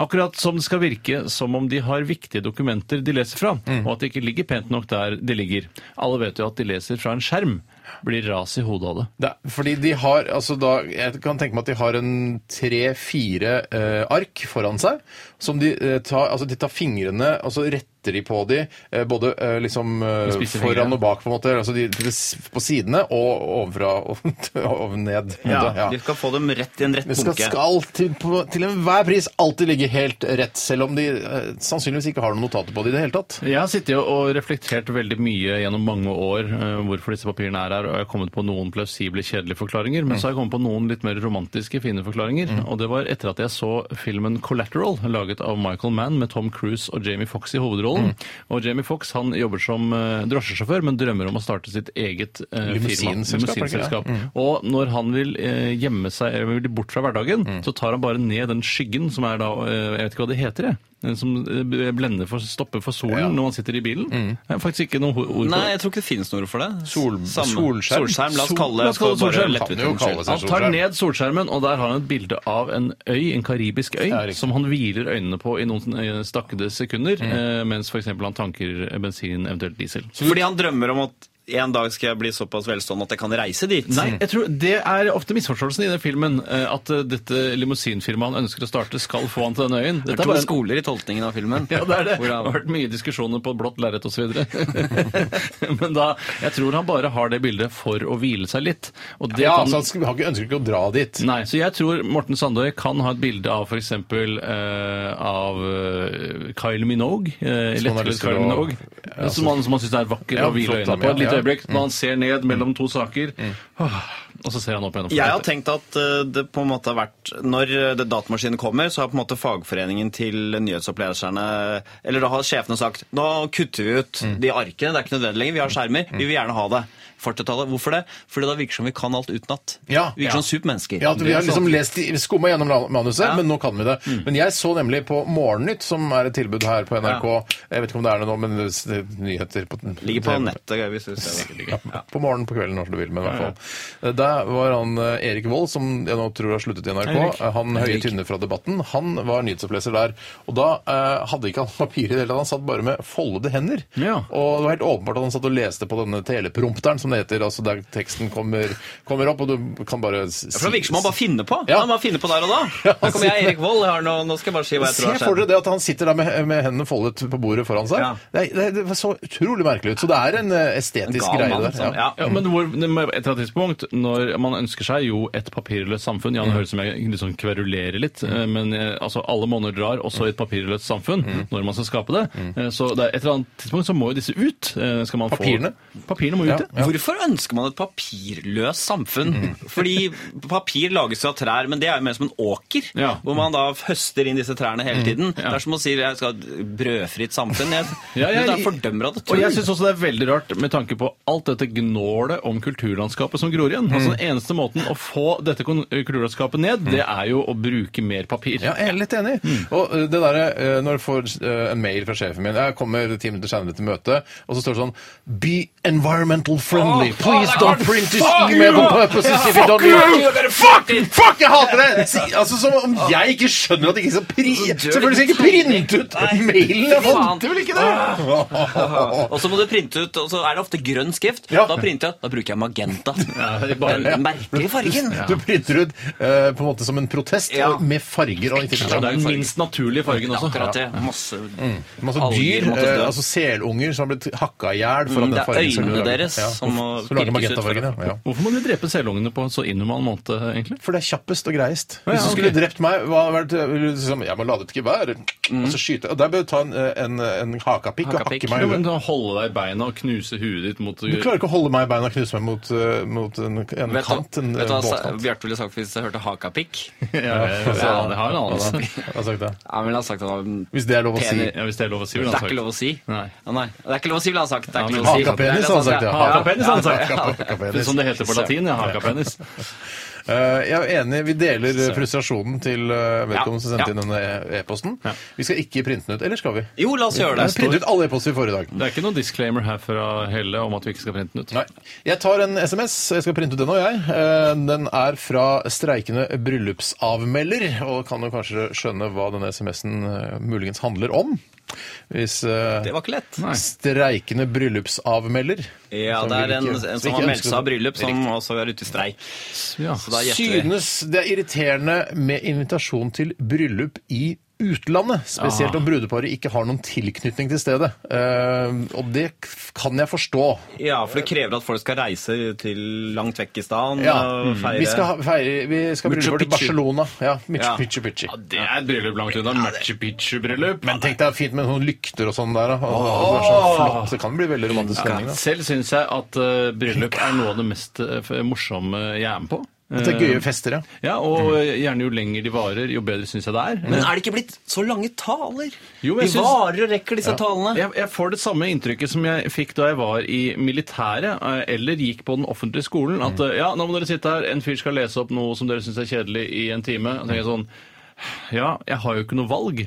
G: Akkurat som det skal virke som om de har viktige dokumenter de leser fra, og at det ikke ligger pent nok der de ligger. Alle vet jo at de leser fra en skjerm. Blir ras i hodet av det.
C: Det, er- fordi de har altså da, Jeg kan tenke meg at de har en tre-fire eh, ark foran seg. som De eh, tar altså de tar fingrene og så retter de på de, eh, både eh, liksom eh,
G: spisse
C: foran
G: fingre.
C: og bak, på en måte. altså de, de, s- På sidene og ovenfra og, og ned. på en
H: Ja,
C: måte, ja.
H: De skal få dem rett i en rett
C: Det skal,
H: bunke.
C: skal alltid, på, til enhver pris alltid ligge helt rett, selv om de eh, sannsynligvis ikke har noen notater på det i det hele tatt.
G: Jeg har sittet og reflektert veldig mye gjennom mange år eh, hvorfor disse papirene er her, og jeg har kommet på noen plausible, kjedelige forklaringer,
C: Mm.
G: men så har jeg kommet på noen litt mer romantiske, fine forklaringer. Og det var etter at jeg så filmen Collateral, laget av Michael Mann med Tom Cruise og Jamie Foxx i hovedrollen.
C: Mm.
G: Og Jamie Foxx han jobber som eh, drosjesjåfør, men drømmer om å starte sitt eget eh, firma.
C: Limousinselskap, er det ikke det?
G: Limousinselskap.
H: Mm.
G: Og når han vil eh, gjemme seg eller vil bort fra hverdagen,
H: Mm.
G: så tar han bare ned den skyggen som er da eh, Jeg vet ikke hva det heter, jeg. Den som eh, blender for, stopper for solen når man sitter i bilen. Det er faktisk ikke noe ho- ord
H: Mm. Nei,
G: for det.
H: jeg tror ikke det finnes noe ord for det.
C: Sol-
H: Samme.
C: solskjerm?
H: solskjerm. La oss
G: Sol-
H: kalle
G: la
H: det
G: oss kalle det
H: for bare
G: solskjerm.
H: lettvint
C: Kan jo
H: skyld.
C: kalle det
H: Ja.
G: Han tar
C: solskjerm.
G: ned solskjermen, og der har han et bilde av en øy, en karibisk øy,
C: Ja, riktig.
G: som han hviler øynene på i noen eh, stakkede sekunder,
H: Mm.
G: eh, mens f.eks. han tanker eh, bensin, eventuelt diesel.
H: Fordi han drømmer om at en dag skal jeg bli såpass velstående at jeg kan reise dit.
G: Nei, jeg tror Det er ofte misforståelsen i den filmen. eh, At eh, dette limousinfirmaet han ønsker å starte, skal få han til denne øyen.
H: Det
G: Dette
H: er to
G: bare en-
H: skoler i tolkningen av filmen.
G: Ja, det er det.
H: Hvor
G: Det har
H: han-
G: vært mye diskusjoner på blått lerret osv. Men da, jeg tror han bare har det bildet for å hvile seg litt. Og det
C: Ja,
G: kan,
C: altså, han sk- har ikke, ønsker ikke å dra dit.
G: Nei, så jeg tror Morten Sandøy kan ha et bilde av f.eks. Eh, av eh, Kyle Minogue. Eh,
C: Som han har
G: Lettvint
C: lyst til
G: Kyle
C: å-
G: Minogue.
C: Ja, altså-
G: som, han, som han syns er vakker
C: Ja,
G: å hvile
C: flott,
G: øynene på et
C: ja,
G: lite
C: ja. Mm.
G: øyeblikk. Når han ser ned mellom to saker, og så ser han opp igjen.
H: Jeg har tenkt at eh, det på en måte har vært Når eh, det datamaskinen kommer, så har på en måte fagforeningen til nyhetsoppleserne Eller da har sjefene sagt nå kutter vi ut de arkene, det er ikke nødvendig lenger, vi har skjermer, vi vil gjerne ha det. 40-tallet. Hvorfor det? Fordi da virker det som vi kan alt utenat.
C: Ja,
H: vi virker
C: ja.
H: som supermennesker.
C: Ja, at Vi har
H: Det er sånn-
C: liksom
H: sant.
C: lest, skumma gjennom manuset,
H: Ja. Mm.
C: men nå kan vi det. Men jeg så nemlig på Morgennytt, som er et tilbud her på NRK Jeg vet ikke om det er det nå, men det det er nyheter på
H: Ligger på nettet, hvis du ser det.
C: liksom- Ja, på morgenen, på kvelden, når du vil, men i hvert fall. Der var han eh, Erik Wold, som jeg nå tror har sluttet i NRK, eh, han høye tynne fra Debatten, han var nyhetsoppleser der. Og da eh, hadde ikke han papir i det hele tatt, han satt bare med foldede hender.
G: Ja.
C: Og det var helt åpenbart at han satt og leste på denne teleprompteren, som det heter, altså der teksten kommer, kommer opp, og du kan bare s-
H: For det virker som han bare finner på.
C: Ja.
H: Han bare finner på der og da. Nå kommer jeg, Erik Wold, jeg har noe, nå skal jeg bare si hva jeg
C: Se
H: tror har
C: for
H: skjedd.
C: dere det at han sitter der med, med hendene foldet på bordet foran seg.
H: Ja.
C: Det, det, det var så utrolig merkelig ut. Så det er en eh,
H: En
C: estetisk
H: gal
C: greie
H: mann,
C: der.
H: liksom. Ja.
G: Ja, men hvor, men på et eller annet tidspunkt, når man ønsker seg jo et papirløst samfunn Ja, det høres ut som jeg liksom kverulerer litt, eh, men eh, altså, alle måneder drar også i et papirløst samfunn
C: Mm.
G: når man skal skape det. Eh, Så det er et eller annet tidspunkt så må jo disse ut. eh, Skal man
C: Papirene?
G: Få, papirene må ut,
C: Ja, Mm.
G: ja.
H: Hvorfor ønsker man et papirløst samfunn? Fordi papir lages jo av trær, men det er jo mer som en åker,
G: Ja.
H: hvor man da høster inn disse trærne
C: Mm.
H: hele tiden. Det er som å si jeg skal ha et brødfritt samfunn. Jeg,
G: Ja, jeg-
H: det er fordømmer av det
G: Og
H: tull.
G: jeg syns også det er veldig rart med tanke på alt dette gnålet om kulturlandskapet som gror igjen.
C: Mm.
G: Altså Den eneste måten å få dette kon- eh, kulturlandskapet ned, det er jo å bruke mer papir.
C: Mm. Ja, jeg er litt enig.
H: Mm.
C: Og eh, det derre eh, når du får eh, en mail fra sjefen min Jeg kommer ti minutter senere til møte, og så står det sånn Be environmental friendly. Please don't print this email on purpose. if you don't need it." Fuck you! Fuck, jeg hater det! Si- Altså, Som om jeg ikke skjønner at jeg ikke skal printe Selvfølgelig skal jeg ikke sånn. printe ut mailen! Jeg
H: Faen. Ah.
C: vant jo vel ikke det!
H: Og så må du printe ut, og så er det ofte grønn skrift.
C: Ja.
H: Da printer jeg, da bruker jeg magenta.
C: det er bare-
H: Den merkelige fargen.
C: Du printer ut eh, på en måte som en protest
H: Ja.
C: og med farger og
G: Og
C: identitet.
G: det er den minst naturlige fargen også. Mm.
H: Akkurat det. Masse
C: Masse
H: Alger
C: dyr,
H: måtte dø.
C: eh, altså selunger som har blitt hakka i hjel
H: Mm,
C: foran
H: det
C: den
H: er
C: fargen. som
H: øynene
C: du lager.
H: deres
C: ja.
H: som må
C: Så lager
H: pirkes ut for-
C: magentafargen, ja. ja.
G: Hvorfor må de drepe selungene på en så inhuman måte, egentlig?
C: For det er kjappest og greiest.
G: ja,
C: Hvis du skulle
G: ok.
C: drept meg, hva hadde vært ville du liksom, Jeg må lade et gevær, og så Altså, skyte Og der bør du ta en, eh, en, en hakapikk og
H: Mm. Hakapikk.
C: hakke
G: Ja,
C: meg i
G: men
C: huet.
G: da Holde deg i beina og knuse huet ditt mot
C: Du klarer ikke å holde meg i beina og knuse meg mot, eh, mot en, en
H: Vet
C: kant.
H: du
C: En
H: vet du hva sa-
C: båtkant.
H: Bjarte ville sagt hvis jeg hørte hakapikk?
G: ja, ja, ja, det har altså. en anelse.
C: Jeg har sagt det.
H: Ja, men han sagt at han
C: Hvis det er lov å si.
H: Penis.
G: Ja, hvis det er lov å si,
H: Det
G: vil
H: er
G: han
H: ikke lov å si.
G: Nei.
H: Nei. Det er ikke lov å si, ville han sagt. Det er
G: Ja,
H: ikke
G: men
H: lov å si.
C: hakapenis, penis, hadde han sagt. Ja.
G: Hakapenis, hadde
C: Ja,
G: han sagt.
C: hakapenis.
G: Det er Som det heter på latin. ja, Hakapenis.
C: Eh, Jeg er enig, vi deler eh, frustrasjonen til eh, vedkommende som sendte
H: Ja.
C: inn denne e- e-posten. Vi skal ikke printe den ut, eller skal vi?
H: Jo, la oss gjøre
C: Jeg
H: det.
C: printet ut alle e-poster vi får i dag.
G: Det er ikke noen disclaimer her fra Helle om at vi ikke skal printe den ut.
C: Nei. Jeg tar en SMS. Jeg skal printe ut den òg, jeg. Eh, Den er fra streikende bryllupsavmelder, og kan jo kanskje skjønne hva denne SMS-en eh, muligens handler om. Hvis eh,
H: Det var ikke lett.
C: Streikende bryllupsavmelder
H: Ja,
C: som
H: det
C: Sånn
H: er
C: vil
H: en,
C: ikke-
H: en
C: ikke
H: som har meldt
C: ønsker-
H: seg av bryllup, som også er ute i streik.
G: Ja.
H: Så da gjetter vi.
C: Synes det er irriterende med invitasjon til bryllup i utlandet, spesielt
G: Ah.
C: om brudeparet ikke har noen tilknytning til stedet. Eh, og det k- kan jeg forstå.
H: Ja, for det krever at folk skal reise til langt vekk i staden
C: Ja,
H: og
G: Mm.
H: feire.
C: Vi skal, ha- feire, vi skal ha
G: Machu
C: bryllup til
G: Picchu.
C: Barcelona. Ja, Machu
H: Ja.
C: Picchu Picchu.
G: Ja, det er et bryllup langt unna. Machu Picchu-bryllup.
C: Men tenk deg fint med noen lykter og sånn der. da. Og det, er sånn flott. det kan bli veldig romantisk stemning.
G: Ja,
C: da.
G: selv syns jeg at eh, bryllup er noe av det mest eh, f- morsomme jeg er med på.
C: Det er gøye fester, ja.
G: Ja, og eh, gjerne jo lenger de varer, jo bedre syns jeg det er.
H: Men er det ikke blitt så lange taler?
G: Jo, men jeg
H: De
G: synes-
H: varer og rekker disse talene.
G: Jeg, jeg får det samme inntrykket som jeg fikk da jeg var i militæret eh, eller gikk på den offentlige skolen. At eh, ja, nå må dere sitte her, en fyr skal lese opp noe som dere syns er kjedelig i en time. Og tenker jeg sånn Ja, jeg har jo ikke noe valg.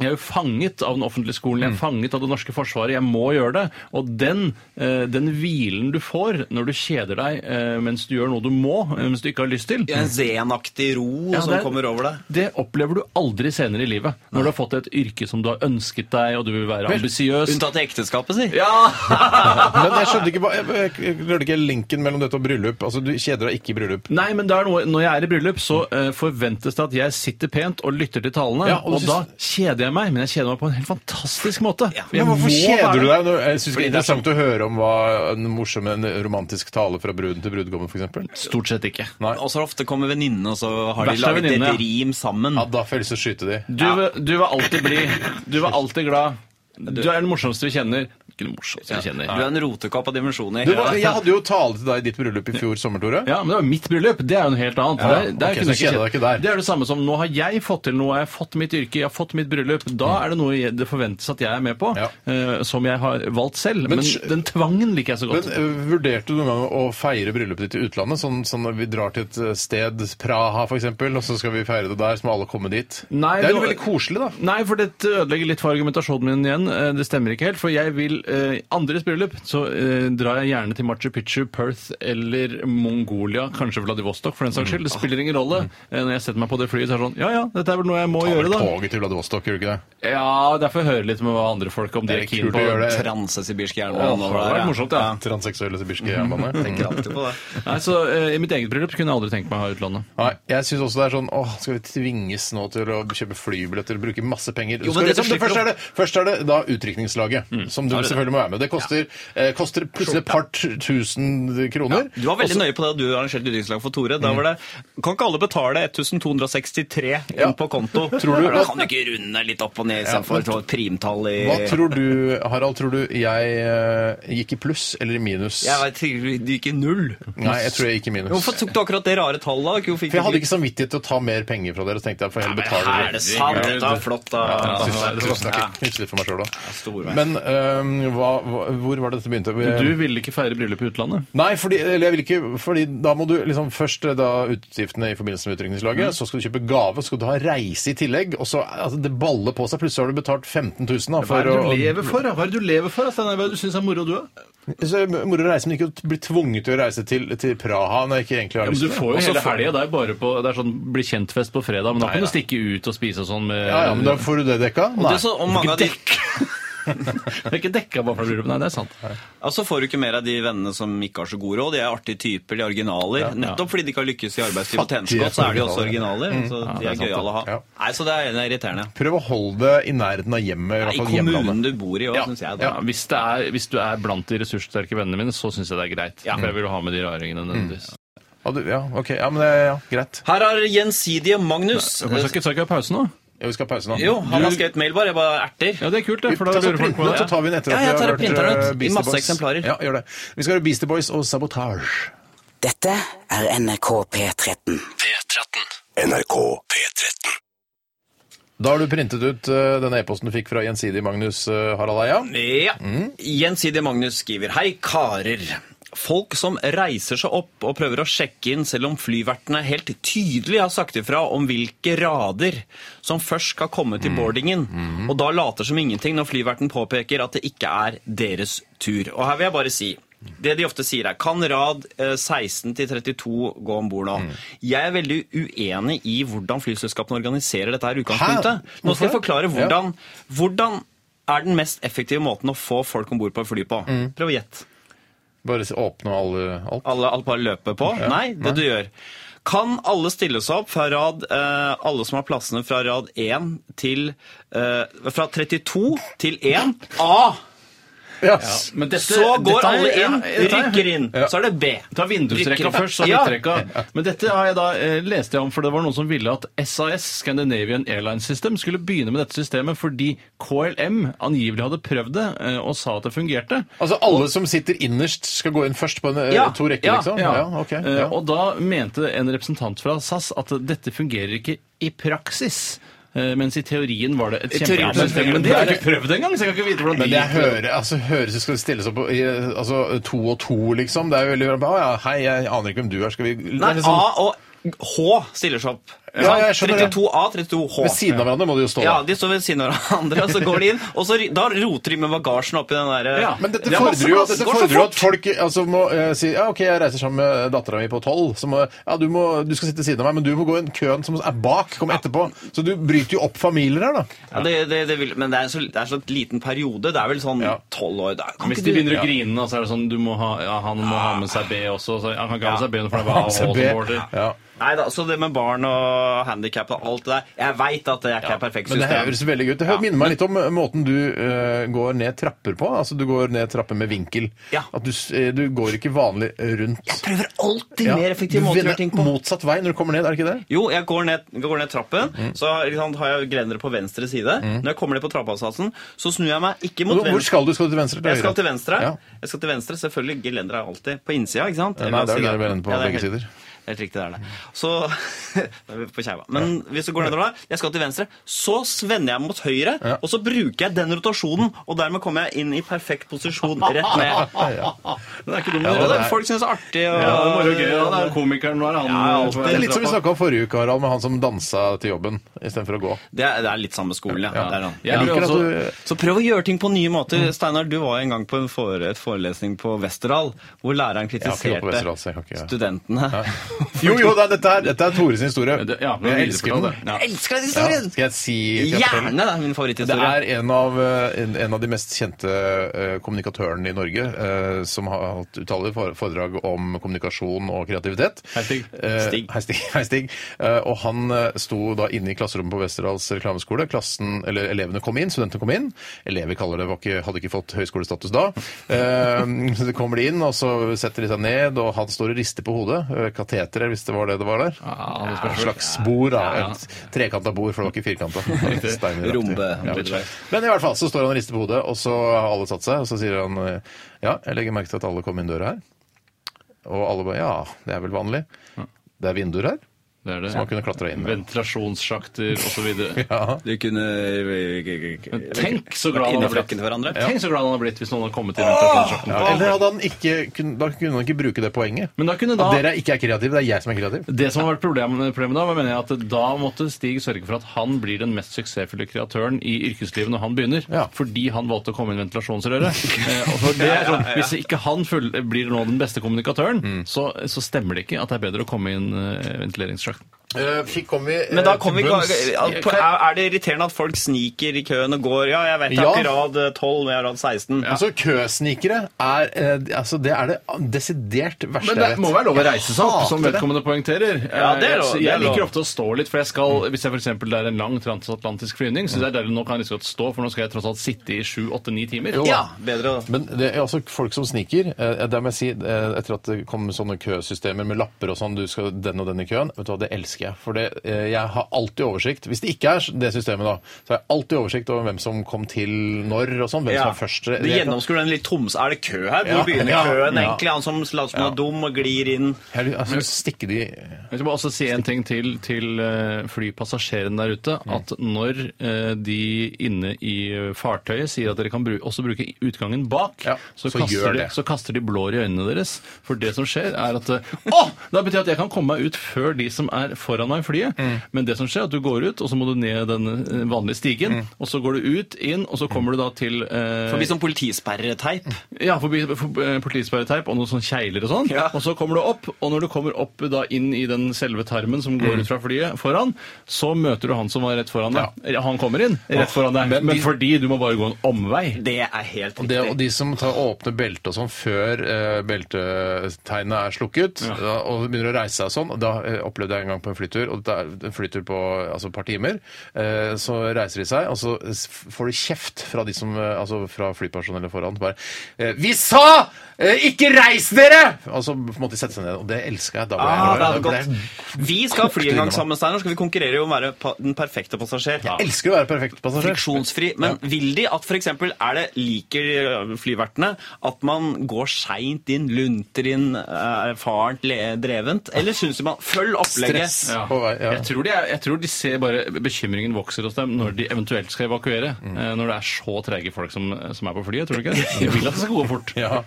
G: Jeg er jo fanget av den offentlige skolen, jeg er fanget av det norske forsvaret. Jeg må gjøre det. Og den, eh, den hvilen du får når du kjeder deg eh, mens du gjør noe du må, eh, mens du ikke har lyst til
C: Mm.
H: En zenaktig ro
G: Ja,
H: som
G: det er-
H: kommer over deg.
G: det opplever du aldri senere i livet. Når du har fått et yrke som du har ønsket deg, og du vil være ambisiøs.
H: Unntatt i ekteskapet, si.
C: Men jeg skjønte ikke, hva- jeg, jeg, jeg klarte ikke linken mellom dette og bryllup. Altså, Du kjeder deg ikke i bryllup.
G: Nei, men det er noe, når jeg er i bryllup, så eh, forventes det at jeg sitter pent og lytter til talene.
C: Ja,
G: og
C: og du
G: da kjeder jeg meg, men jeg kjeder meg på en helt fantastisk måte.
H: Ja,
G: Jeg
C: Men hvorfor
G: må
C: kjeder
G: være-
C: du deg? når- Jeg synes det
G: Fordi
C: er
G: det er sånn-
C: interessant å høre om hva en morsom en romantisk tale fra bruden til brudgommen, f.eks.
G: Stort sett ikke.
C: Nei.
H: Og så ofte kommer venninnene, og så har de
G: Verst er
H: laget
G: venninnene, ja.
H: et rim sammen.
C: Ja, da får jeg lyst til å skyte de.
G: Du, vil- du vil alltid bli Du vil alltid glad. Du er den morsomste vi kjenner. Ikke den morsomste vi
H: Du
G: kjenner.
H: er en rotekopp av dimensjoner.
C: Du, hva- jeg hadde jo tale til deg i ditt bryllup i fjor sommer, Tore.
G: Ja, men det var mitt bryllup. Det er jo noe helt annet.
C: Ja,
G: Det er- det er
C: ok, så
G: jo ikke noe
C: kjeder
G: jeg
C: deg ikke der.
G: Det er det samme som nå har jeg fått til noe, jeg har fått mitt yrke, jeg har fått mitt bryllup. Da er det noe jeg- det forventes at jeg er med på,
C: Ja.
G: eh, som jeg har valgt selv. Men,
C: Men sj-
G: den tvangen liker jeg så
C: Men
G: godt.
C: øh, Vurderte du noen gang å feire bryllupet ditt i utlandet? Sånn, sånn at vi drar til et øh, sted, Praha f.eks., og så skal vi feire det der, så må alle komme dit.
G: Nei,
C: det er jo
G: det var-
C: veldig koselig, da.
G: Nei, for dette ødelegger litt for argumentasjonen min igjen. Eh, Det stemmer ikke helt, for jeg vil eh, andres bryllup, så eh, drar jeg gjerne til Machu Picchu, Perth eller Mongolia, kanskje Vladivostok for den saks skyld. Det spiller ingen rolle. Eh, Når jeg setter meg på det flyet, så er det sånn Ja ja, dette er vel noe jeg må
C: Ta vel
G: gjøre, da.
C: toget til Vladivostok, gjør du ikke det?
G: Ja, derfor hører jeg litt med hva andre folk om de
C: Det
G: er
C: er
G: keen
C: kult
G: på.
C: å gjøre det.
H: Transesibirsk
G: Åh,
H: jernbane.
G: det
H: over
G: hadde
H: der,
G: vært
H: ja.
G: morsomt, ja.
C: Transseksuelle sibirske jernbane.
H: Tenker alltid på det.
G: Nei, så eh, I mitt eget bryllup kunne jeg aldri tenkt meg å ha utlandet.
C: Nei, jeg synes også det er sånn Åh, skal vi tvinges nå til å kjøpe flybilletter og bruke masse penger?
H: Jo,
C: Skal
H: men
C: vi-
H: det Mm. du
C: det,
H: slipper
C: først, er det, først er det da utrykningslaget, som du selvfølgelig må være med. Det koster, eh, koster plutselig et par t- tusen kroner.
H: Du var veldig nøye på det du arrangerte utviklingslag for Tore.
C: Mm.
H: Da var det Kan ikke alle betale 1263 inn
C: Ja.
H: på konto?
C: Tror du-
H: Da kan du ikke runde litt opp og ned istedenfor ja, primtall i
C: Hva tror du, Harald, tror du jeg eh, gikk i pluss eller i minus?
H: Jeg vet ikke, du gikk i null.
C: Nei, jeg tror jeg gikk i minus.
H: Hvorfor tok du akkurat det rare tallet? da? Hvorfor gikk
C: For jeg
H: du
C: hadde ikke samvittighet til å ta mer penger fra dere, så tenkte jeg for heller betale
H: Her Er det sant? Dette er flott, da.
C: Ja, tusen takk.
H: Ja.
C: Knipse litt for meg selv da.
H: Stor vei.
C: Men eh, hva, hva, hvor var det dette begynte?
G: Du ville ikke feire bryllup i utlandet?
C: Nei, fordi, eller jeg vil ikke, fordi da må du liksom først eh, da utgiftene i forbindelse med
H: Mm.
C: utrykningslaget, så skal du kjøpe gave, så skal du ha reise i tillegg, og så altså, det baller på seg. Plutselig har du betalt 15 000 da, for å...
G: for? da? Hva er det du lever for? da, Steinar? Hva er det du syns er moro, du, da?
C: Så er det moro å reise, men ikke å bli tvunget til å reise til, til Praha når jeg ikke egentlig har
G: Ja, men
C: lyst
G: du
C: til det.
G: får jo
C: Og så
G: hele
C: får-
G: helga. Det er bare på Det er sånn bli kjent-fest på fredag, men da kan
C: Nei,
G: du stikke ut og spise og sånn med
C: Ja, ja, men da får du det dekka. Nei.
H: Det er så, om mange av de,
G: Det er ikke dekka bare for bryllup. Nei, det er sant.
H: altså får du ikke mer av de vennene som ikke har så god råd. De er artige typer, de er originaler. Nettopp fordi de ikke har lykkes i arbeidslivet og tjent så
C: Fattige
H: godt, så er de også
C: originaler.
H: originaler. Så
G: det
H: de
G: er
H: er
G: sant,
H: gøyale å ha.
C: ja.
H: Nei, så det er det er irriterende.
C: Prøv å holde det i nærheten av hjemmet, i
H: I
C: hvert fall hjemlandet.
H: kommunen du bor i òg,
C: Ja,
H: syns jeg.
G: Ja,
H: Da.
G: hvis, det er, hvis du er blant de ressurssterke vennene mine, så syns jeg det er greit. For jeg vil ha med de raringene nødvendigvis.
C: Ja, du, ja, ok. Ja, men det ja, greit.
H: Her er gjensidige Magnus.
G: Men Skal ikke, skal ikke ha pause nå?
C: Ja, Vi skal ha pause nå.
H: Jo, han har skrevet mail, bare. Jeg bare erter.
G: Ja, det er kult, det.
C: Vi
G: For da
C: tar så
G: lurer folk
C: printen
G: på
C: ut, så
G: det.
C: tar vi den etter
H: Ja,
C: at
H: jeg
C: vi
H: tar
C: har
H: og printer den ut,
C: hørt
H: i
C: eh, Beastie
H: masse
C: Boys.
H: eksemplarer.
C: Ja, gjør det. Vi skal høre Beastie Boys og Sabotage.
B: Dette er NRK P13.
A: NRK P13.
C: Da har du printet ut eh, denne e-posten du fikk fra Gjensidig Magnus eh, Harald Eia.
H: Ja. Gjensidig Magnus skriver Hei, karer. Folk som reiser seg opp og prøver å sjekke inn selv om flyvertene helt tydelig har sagt ifra om hvilke rader som først skal komme
C: Mm.
H: til boardingen, og da later som ingenting når flyverten påpeker at det ikke er deres tur. Og her vil jeg bare si det de ofte sier er, kan rad eh, 16 til 32 gå om bord nå?
C: Mm.
H: Jeg er veldig uenig i hvordan flyselskapene organiserer dette her i utgangspunktet.
C: Hæ?
H: Nå skal jeg
C: Hvorfor?
H: forklare
C: Ja.
H: hvordan hvordan er den mest effektive måten å få folk om bord på et fly på?
G: Mm.
H: Prøv å gjette.
C: Bare s- åpne alle alt.
H: Alle, alle bare løper på? nei, det du gjør. Kan alle stille seg opp fra rad eh, Alle som har plassene fra rad 1 til eh, Fra 32 til 1 A!
C: Yes.
G: Men dette-
H: så går
G: dette er-
H: alle inn,
G: ja, dette er-
H: rykker inn.
C: Ja.
H: Så er det B.
G: Ta vindusrekka
H: Rykker-
G: først, så
H: Ja.
G: midtrekka. Men dette har jeg da, eh, leste jeg om, for det var noen som ville at SAS, Scandinavian Airlines System, skulle begynne med dette systemet fordi KLM angivelig hadde prøvd det eh, og sa at det fungerte.
C: Altså alle som sitter innerst, skal gå inn først på en, eh, to rekker, liksom? ok.
G: Eh,
C: Ja.
G: Og da mente en representant fra SAS at dette fungerer ikke i praksis. eh, Mens i teorien var det et
H: teorien-
G: kjempegodt system. Men det har jeg ikke prøvd engang, så jeg kan ikke vite hvordan
C: Men
G: det
C: jeg
G: gikk.
C: hører, altså, høres ut som det stilles opp på, i, altså, to og to, liksom. Det er jo veldig bra. Å ja, hei, jeg aner ikke hvem du er. Skal vi Det
H: Nei,
C: er litt
H: A
C: sånn-
H: og H stiller seg opp.
C: Ja, jeg skjønner det.
H: 32 A, 32 H.
C: Ved siden av hverandre må du jo stå.
H: Ja,
C: da.
H: de står ved siden av hverandre, og så går de inn, og så, ry- da roter de med bagasjen oppi den der eh,
G: Ja,
C: Men dette
H: Det er masse
C: fordrer jo,
H: plass,
C: dette
H: går så
C: fordrer jo
H: fort.
C: at folk altså, må eh, si ja, OK, jeg reiser sammen med dattera mi på tolv. Så må, ja, du, må, du skal sitte ved siden av meg, men du må gå i en køen som er bak. Kom etterpå. Så du bryter jo opp familier her, da.
H: Ja, det, det, det vil, men det er så, det er så liten periode. Det er vel sånn
C: Ja.
H: tolv år. Da. Kan
G: Hvis de
H: ikke du-
G: begynner å grine, da, så er det sånn du må ha, ja, han må ha med seg B også. Så han kan ikke ha med seg B, for det var A og H som
C: B.
G: border.
C: Ja.
H: Nei da, så det med barn og handikap og alt det der Jeg veit at det er ikke er perfekt
C: Men det
H: system.
C: høres veldig ut. Det hø- minner meg litt om eh, måten du eh, går ned trapper på. Altså du går ned trapper med vinkel.
H: Ja.
C: At du, s- eh, du går ikke vanlig rundt.
H: Jeg prøver alltid
C: Ja.
H: mer effektive
C: Du
H: måter å
C: vender
H: gjøre ting på.
C: Motsatt vei når du kommer ned, er det ikke det?
H: Jo, jeg går ned, går ned trappen,
C: Mm.
H: så liksom, har jeg grendere på venstre side. Når jeg kommer ned på trappeavsatsen, så snur jeg meg ikke mot
C: Hvor hvor
H: venstre.
C: skal du? Skal du til venstre? eller
H: Jeg skal
C: høyre?
H: til venstre.
C: Ja.
H: Jeg skal til venstre, Selvfølgelig. Gelenderet er alltid på innsida, ikke sant?
C: Nei, det er jo
H: Siden.
C: gelenderen på
H: det er
C: begge
H: helt-
C: sider.
H: Helt riktig, det er det. Så Da er vi på kjeva. Men hvis du går nedover der, jeg skal til venstre, så svender jeg mot høyre,
C: Ja.
H: og så bruker jeg den rotasjonen, og dermed kommer jeg inn i perfekt posisjon rett ned.
G: Det er ikke dumt.
H: Og
G: det
H: det, folk syns det er artig. Og,
G: Ja, det var jo gøy. Han er komikeren vår. Han,
H: Ja, alltid.
C: Det er litt som vi snakka om forrige uke, Harald, med han som dansa til jobben istedenfor å gå.
H: det, er, det er litt samme skolen, ja. Det er sånn.
G: Jeg liker at du
H: Så prøv å gjøre ting på nye måter.
C: Mm.
H: Steinar, du var en gang på en fore, et forelesning på Westerdal, hvor læreren
C: har ikke gått på
H: kritiserte
C: Westerdal, så jeg kan ikke-
H: studentene.
C: Jo, jo, det er, dette, er, dette er Tores historie.
G: Men det- ja, men
C: jeg
G: vi
C: elsker
G: videreforteller
C: den.
G: det. Ja.
H: Jeg elsker den
C: Ja.
H: historien!
C: Skal jeg si skal jeg fortelle?
H: Gjerne! Det er min
C: Det
H: favoritthistorie.
C: er en av, eh, en, en av de mest kjente eh, kommunikatørene i Norge eh, som har hatt utallige for- foredrag om kommunikasjon og kreativitet.
G: Hei, Stig.
C: Eh,
H: Stig.
C: Hei, Stig. Hei, Stig. Eh, og han eh, sto da inne i klasserommet på Westerdals reklameskole. Klassen, eller elevene kom inn, studentene kom inn. Elever kaller det, var ikke, hadde ikke fått høyskolestatus da. Eh, så de kommer de inn, og så setter de seg ned, og han står og rister på hodet. Eh, Kateter, hvis det var det det var der.
G: det
C: Et slags bord, da. Et trekanta bord, for det var ikke firkanta. Steineraktig.
H: Rombe.
C: Ja. Men i hvert fall så står han og rister på hodet, og så har alle satt seg, og så sier han ja, jeg legger merke til at alle kom inn døra her. Og alle bare ja, det er vel vanlig. Det er vinduer her.
G: Det er det.
C: Så man kunne klatre inn.
G: Ventilasjonssjakter osv.
H: Du kunne
G: Tenk så glad han
H: Inni
G: har blitt.
H: flakken til hverandre.
G: Tenk så glad han har blitt hvis noen hadde
C: Ah!
G: kommet til ventilasjonssjakten.
C: Ja, eller hadde han ikke, kun- da kunne han ikke bruke det poenget.
G: Men da kunne
C: At
G: da
C: dere ikke er kreative, det er jeg som er kreativ.
G: det som har vært problemet, problemet da, var, mener jeg at da måtte Stig sørge for at han blir den mest suksessfulle kreatøren i yrkeslivet når han begynner,
C: Ja.
G: fordi han valgte å komme inn i ventilasjonsrøret. Eh, og for det er sånn, Hvis ikke han full, blir nå den beste kommunikatøren,
H: Mm.
G: så, så stemmer det ikke at det er bedre å komme inn eh, ventileringssjakten.
H: Men da Eh, kom vi ikke Er er det irriterende at folk sniker i køen og går Ja, jeg vet jeg
C: Ja.
H: er ikke rad eh, 12, men jeg er rad 16.
C: Altså, køsnikere er, eh, altså, det, er det desidert verste
G: Men det
C: jeg vet.
G: må være lov å reise seg opp,
C: Jeg hater
G: sånn som
C: det.
G: vedkommende poengterer. Eh,
H: Ja, det er lov,
G: jeg
H: det er
G: jeg liker
H: lov. Mm.
G: ofte å stå litt, for jeg skal, hvis jeg for eksempel, det er en lang transatlantisk flyvning, så det er deilig nå kan jeg liksom godt stå, for nå skal jeg tross alt sitte i sju, åtte, ni timer.
C: Jo da.
H: Ja, bedre å
C: Men det er også folk som sniker. Eh, der må jeg si, eh, etter at det kom sånne køsystemer med lapper og sånn, du skal den og den i køen, vet du hva, det elsker elsker jeg. For det, eh, jeg har alltid oversikt. Hvis det ikke er det systemet, da, så har jeg alltid oversikt over hvem som kom til når og sånn. Hvem som var først.
H: Du gjennomskuer den litt toms... Er det kø her? Hvor
C: Ja.
H: begynner
C: Ja.
H: køen
C: Ja.
H: egentlig? Han som later som han er dum og glir inn.
C: Jeg, altså, stikke de
G: Jeg skal bare også si en ting til til eh, flypassasjerene der ute.
C: Mm.
G: At når eh, de inne i eh, fartøyet sier at dere kan bru også bruke utgangen bak,
C: Ja,
G: så,
C: så gjør
G: kaster de,
C: det.
G: så kaster de blår i øynene deres. For det som skjer, er at eh, Å! Da betyr det at jeg kan komme meg ut før de som er foran meg i flyet.
C: Mm.
G: Men det som skjer, er at du går ut, og så må du ned den eh,
C: Mm.
G: vanlige stigen. Og så går du ut, inn, og så kommer du da til eh,
H: Forbi sånn politisperreteip.
G: ja, forbi for, eh, politisperreteip og noen sånne kjegler og sånn.
H: Ja.
G: Og så kommer du opp, og når du kommer opp da inn i den selve tarmen
C: Mm.
G: som går ut fra flyet foran, så møter du han som var rett foran deg. Han kommer inn rett foran deg, men, fordi du må bare gå en omvei.
H: Det er helt
C: Og det, og
H: riktig.
C: de som tar åpne belte og sånn før eh, beltetegnet er slukket, da, og begynner å reise seg og sånn og Da eh, opplevde jeg en gang på en flytur, og det er en flytur på altså, et par timer. Eh, så reiser de seg, og så s- får de kjeft fra de som eh, Altså fra flypersonellet foran. Bare eh, 'Vi sa eh, ikke reis dere!' Altså, Og så måtte de sette seg ned. Og det elska jeg. Da ble
H: Ah,
C: jeg
H: det hadde
C: da ble jeg-
H: gått. Vi skal fly en gang sammen, Steinar. Skal vi konkurrere om å være pa- den perfekte passasjer?
C: Jeg elsker å være perfekt passasjer.
H: Friksjonsfri. Men vil de at f.eks. er det liker øh, flyvertene at man går seint inn, lunter inn, er erfarent, le- drevent? Eller syns de man Følg opplegget.
C: Stress på vei. Ja.
G: Jeg, tror de, er- jeg tror de ser bare bekymringen vokser hos dem når de eventuelt skal evakuere.
C: Mm.
G: eh, Når det er så treige folk som, som er på flyet, tror du ikke? det? De vil at det skal gå fort.
C: Ja.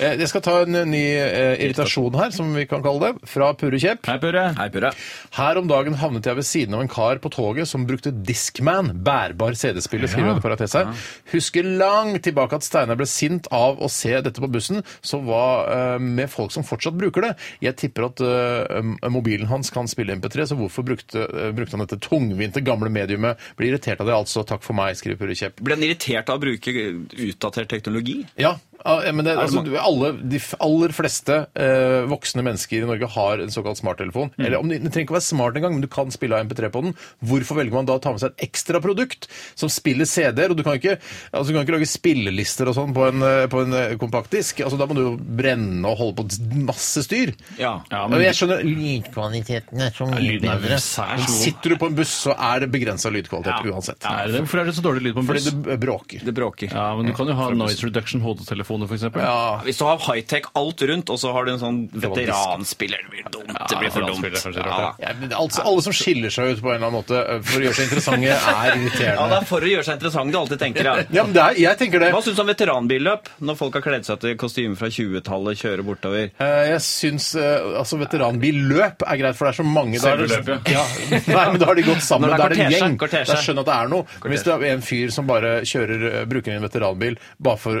C: Eh, Jeg skal ta en eh, ny eh, irritasjon her, som vi kan kalle det, fra Purre Kjepp.
G: Hei, Pøre.
H: Hei, Purre.
C: Her om dagen havnet jeg ved siden av en kar på toget som brukte Discman, bærbar CD-spiller, skriver han i parentes her. Husker langt tilbake at Steinar ble sint av å se dette på bussen, så var eh, med folk som fortsatt bruker det. Jeg tipper at eh, m- mobilen hans kan spille MP3, så hvorfor brukte, eh, brukte han dette tungvinte gamle mediumet? Blir irritert av det, altså. Takk for meg, skriver Purre Kjepp.
H: Blir han irritert av å bruke utdatert teknologi?
C: Ja, ja, men det,
H: det
C: altså,
H: mange-
C: du- alle, de f- aller fleste eh, voksne mennesker i Norge har en såkalt smarttelefon.
H: Mm.
C: Eller om de, den trenger ikke å være smart engang, men du kan spille av MP3 på den. Hvorfor velger man da å ta med seg et ekstra produkt som spiller CD-er? Og du kan ikke, altså, du kan ikke lage spillelister og sånn på en, eh, på en eh, kompaktdisk. Altså, da må du jo brenne og holde på d- masse styr.
H: Ja.
C: men jeg skjønner Lydkvaliteten er så mye
G: lyden er
C: bedre.
G: særs
C: Men
G: god.
C: Sitter du på en buss, så er det begrensa lydkvalitet
H: Ja.
C: uansett.
G: Er det, hvorfor er det så dårlig lyd på en
C: Fordi
G: buss?
C: det b- bråker.
H: Det bråker.
G: Ja, men du kan jo ha noise reduction hodetelefoner, f.eks.
C: Ja.
H: Hvis du har high-tech alt rundt, og så har du en sånn veteranspiller Det blir dumt. Det blir for
G: veteranspiller
H: dumt.
G: kanskje, rart,
H: Ja.
C: Ja, men altså, alle som skiller seg ut på en eller annen måte øh, for å gjøre seg interessante, er
H: ja, det
C: irriterende.
H: er for å gjøre seg interessant, du alltid tenker. ja.
C: Ja, men det er, jeg tenker det.
H: Hva syns du om veteranbilløp, når folk har kledd seg til kostyme fra 20-tallet, kjører bortover?
C: Eh, Jeg syns øh, altså veteranbilløp er greit, for det er så mange da er det-
G: Selve løpet,
C: ja. Nei, men da har de gått sammen.
H: Når det
C: Da er
H: er
C: det en
H: kortesje,
C: gjeng.
H: kortesje.
C: Da skjønner jeg at det er noe. Men hvis det er en fyr som bare kjører, øh, bruker en veteranbil bare for,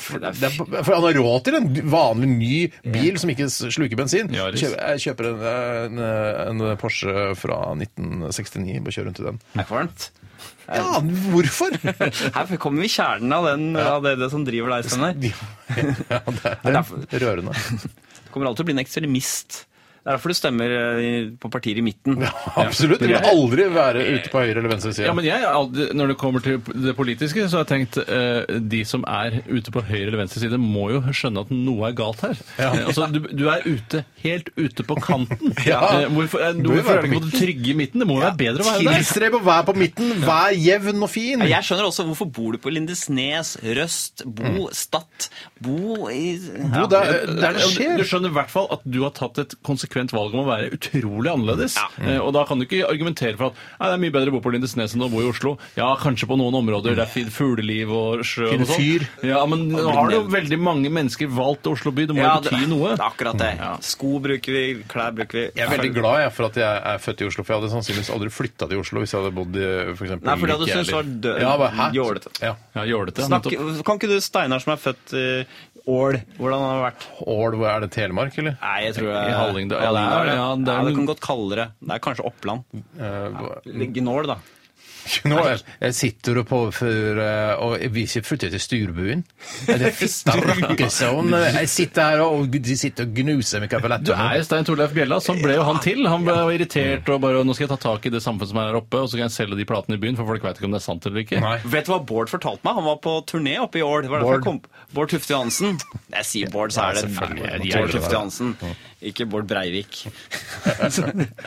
C: for, det er, for han har råd til en vanlig ny bil som ikke sluker bensin
G: Yaris.
C: Kjøper, Jeg kjøper en, en, en Porsche fra 1969 og kjører rundt i den.
H: Er det varmt?
C: Ja, hvorfor?
H: Her kommer vi i kjernen av, den, av det, det som driver deg, Steinar.
C: Ja, det er, det er rørende.
H: Du kommer alltid til å bli en ekstremist. Det er derfor du stemmer eh, på partier i midten.
C: Absolutt. Det vil aldri være ute på høyre eller venstre side.
G: Ja, men jeg, har aldri- Når det kommer til det politiske, så har jeg tenkt eh, de som er ute på høyre eller venstre side, må jo skjønne at noe er galt her. Eh, altså, du, du er ute, helt ute på kanten.
C: Ja.
G: Eh, hvorfor eh,
C: Bør jo
G: hvorfor
C: være
G: er det
C: på
G: ikke på det trygge i midten? Det må jo være bedre å være der.
C: Tilstreb å være på midten, vær jevn og fin.
H: Jeg skjønner også hvorfor bor du på Lindesnes, Røst, Bo, Stad, Bo i
C: Jo, det er det er det
G: Du
C: skjer.
G: skjønner i hvert fall at du har tatt et konsekvent valg om å være utrolig annerledes.
C: Mm.
G: Eh, Og da kan du ikke argumentere for at Nei, det er mye bedre å bo på Lindesnes enn å bo i Oslo. Ja, kanskje på noen områder. Det er fint fugleliv og sjø og
C: Fine
G: sånn.
C: fyr.
G: Ja, men nå har jo veldig mange mennesker valgt Oslo by. Det må jo
H: Ja,
G: bety noe.
H: Det er akkurat det. Sko bruker vi, klær bruker vi.
C: Jeg er veldig glad jeg, for at jeg er født i Oslo, for jeg hadde sannsynligvis aldri flytta til Oslo hvis jeg hadde bodd i for eksempel,
H: Nei, for det hadde
C: Lykke
H: du syntes
C: eller-
H: var dø-
C: Ja, bare, hæ?
H: jålete.
C: Ja.
G: Ja, jålete.
H: Snakk,
G: nettopp.
H: kan ikke du, Steinar, som er født i Ål, hvordan har det vært?
C: Ål, hvor er det? Telemark, eller?
H: Nei, jeg tror
G: I Halling, det-
H: Halling,
G: ja, det er-
H: det.
G: ja, det er-
H: ja, det kan godt kallere. Det er kanskje Oppland.
C: Eh, hva-
H: Gnål, da.
C: Nå er, jeg Eh, sitter og påfører eh, og jeg vil ikke flytte til Sturbuen. Er det Stakkesson. Jeg sitter her og de sitter og gnuser med
G: Du er
C: kaffelettene.
G: jo Stein Torleif Bjella. Sånn ble jo han til. Han ble jo irritert og bare Nå skal jeg ta tak i det samfunnet som er her oppe, og så kan jeg selge de platene i byen, for folk veit ikke om det er sant eller ikke.
C: Nei.
H: Vet du hva Bård fortalte meg? Han var på turné oppe i Ål. Det var derfor jeg kom- Bård Tufte Johansen. Jeg sier Bård, så er det
G: selvfølgelig.
H: Nei, Bård Tufte Johansen. Ikke Bård Breivik.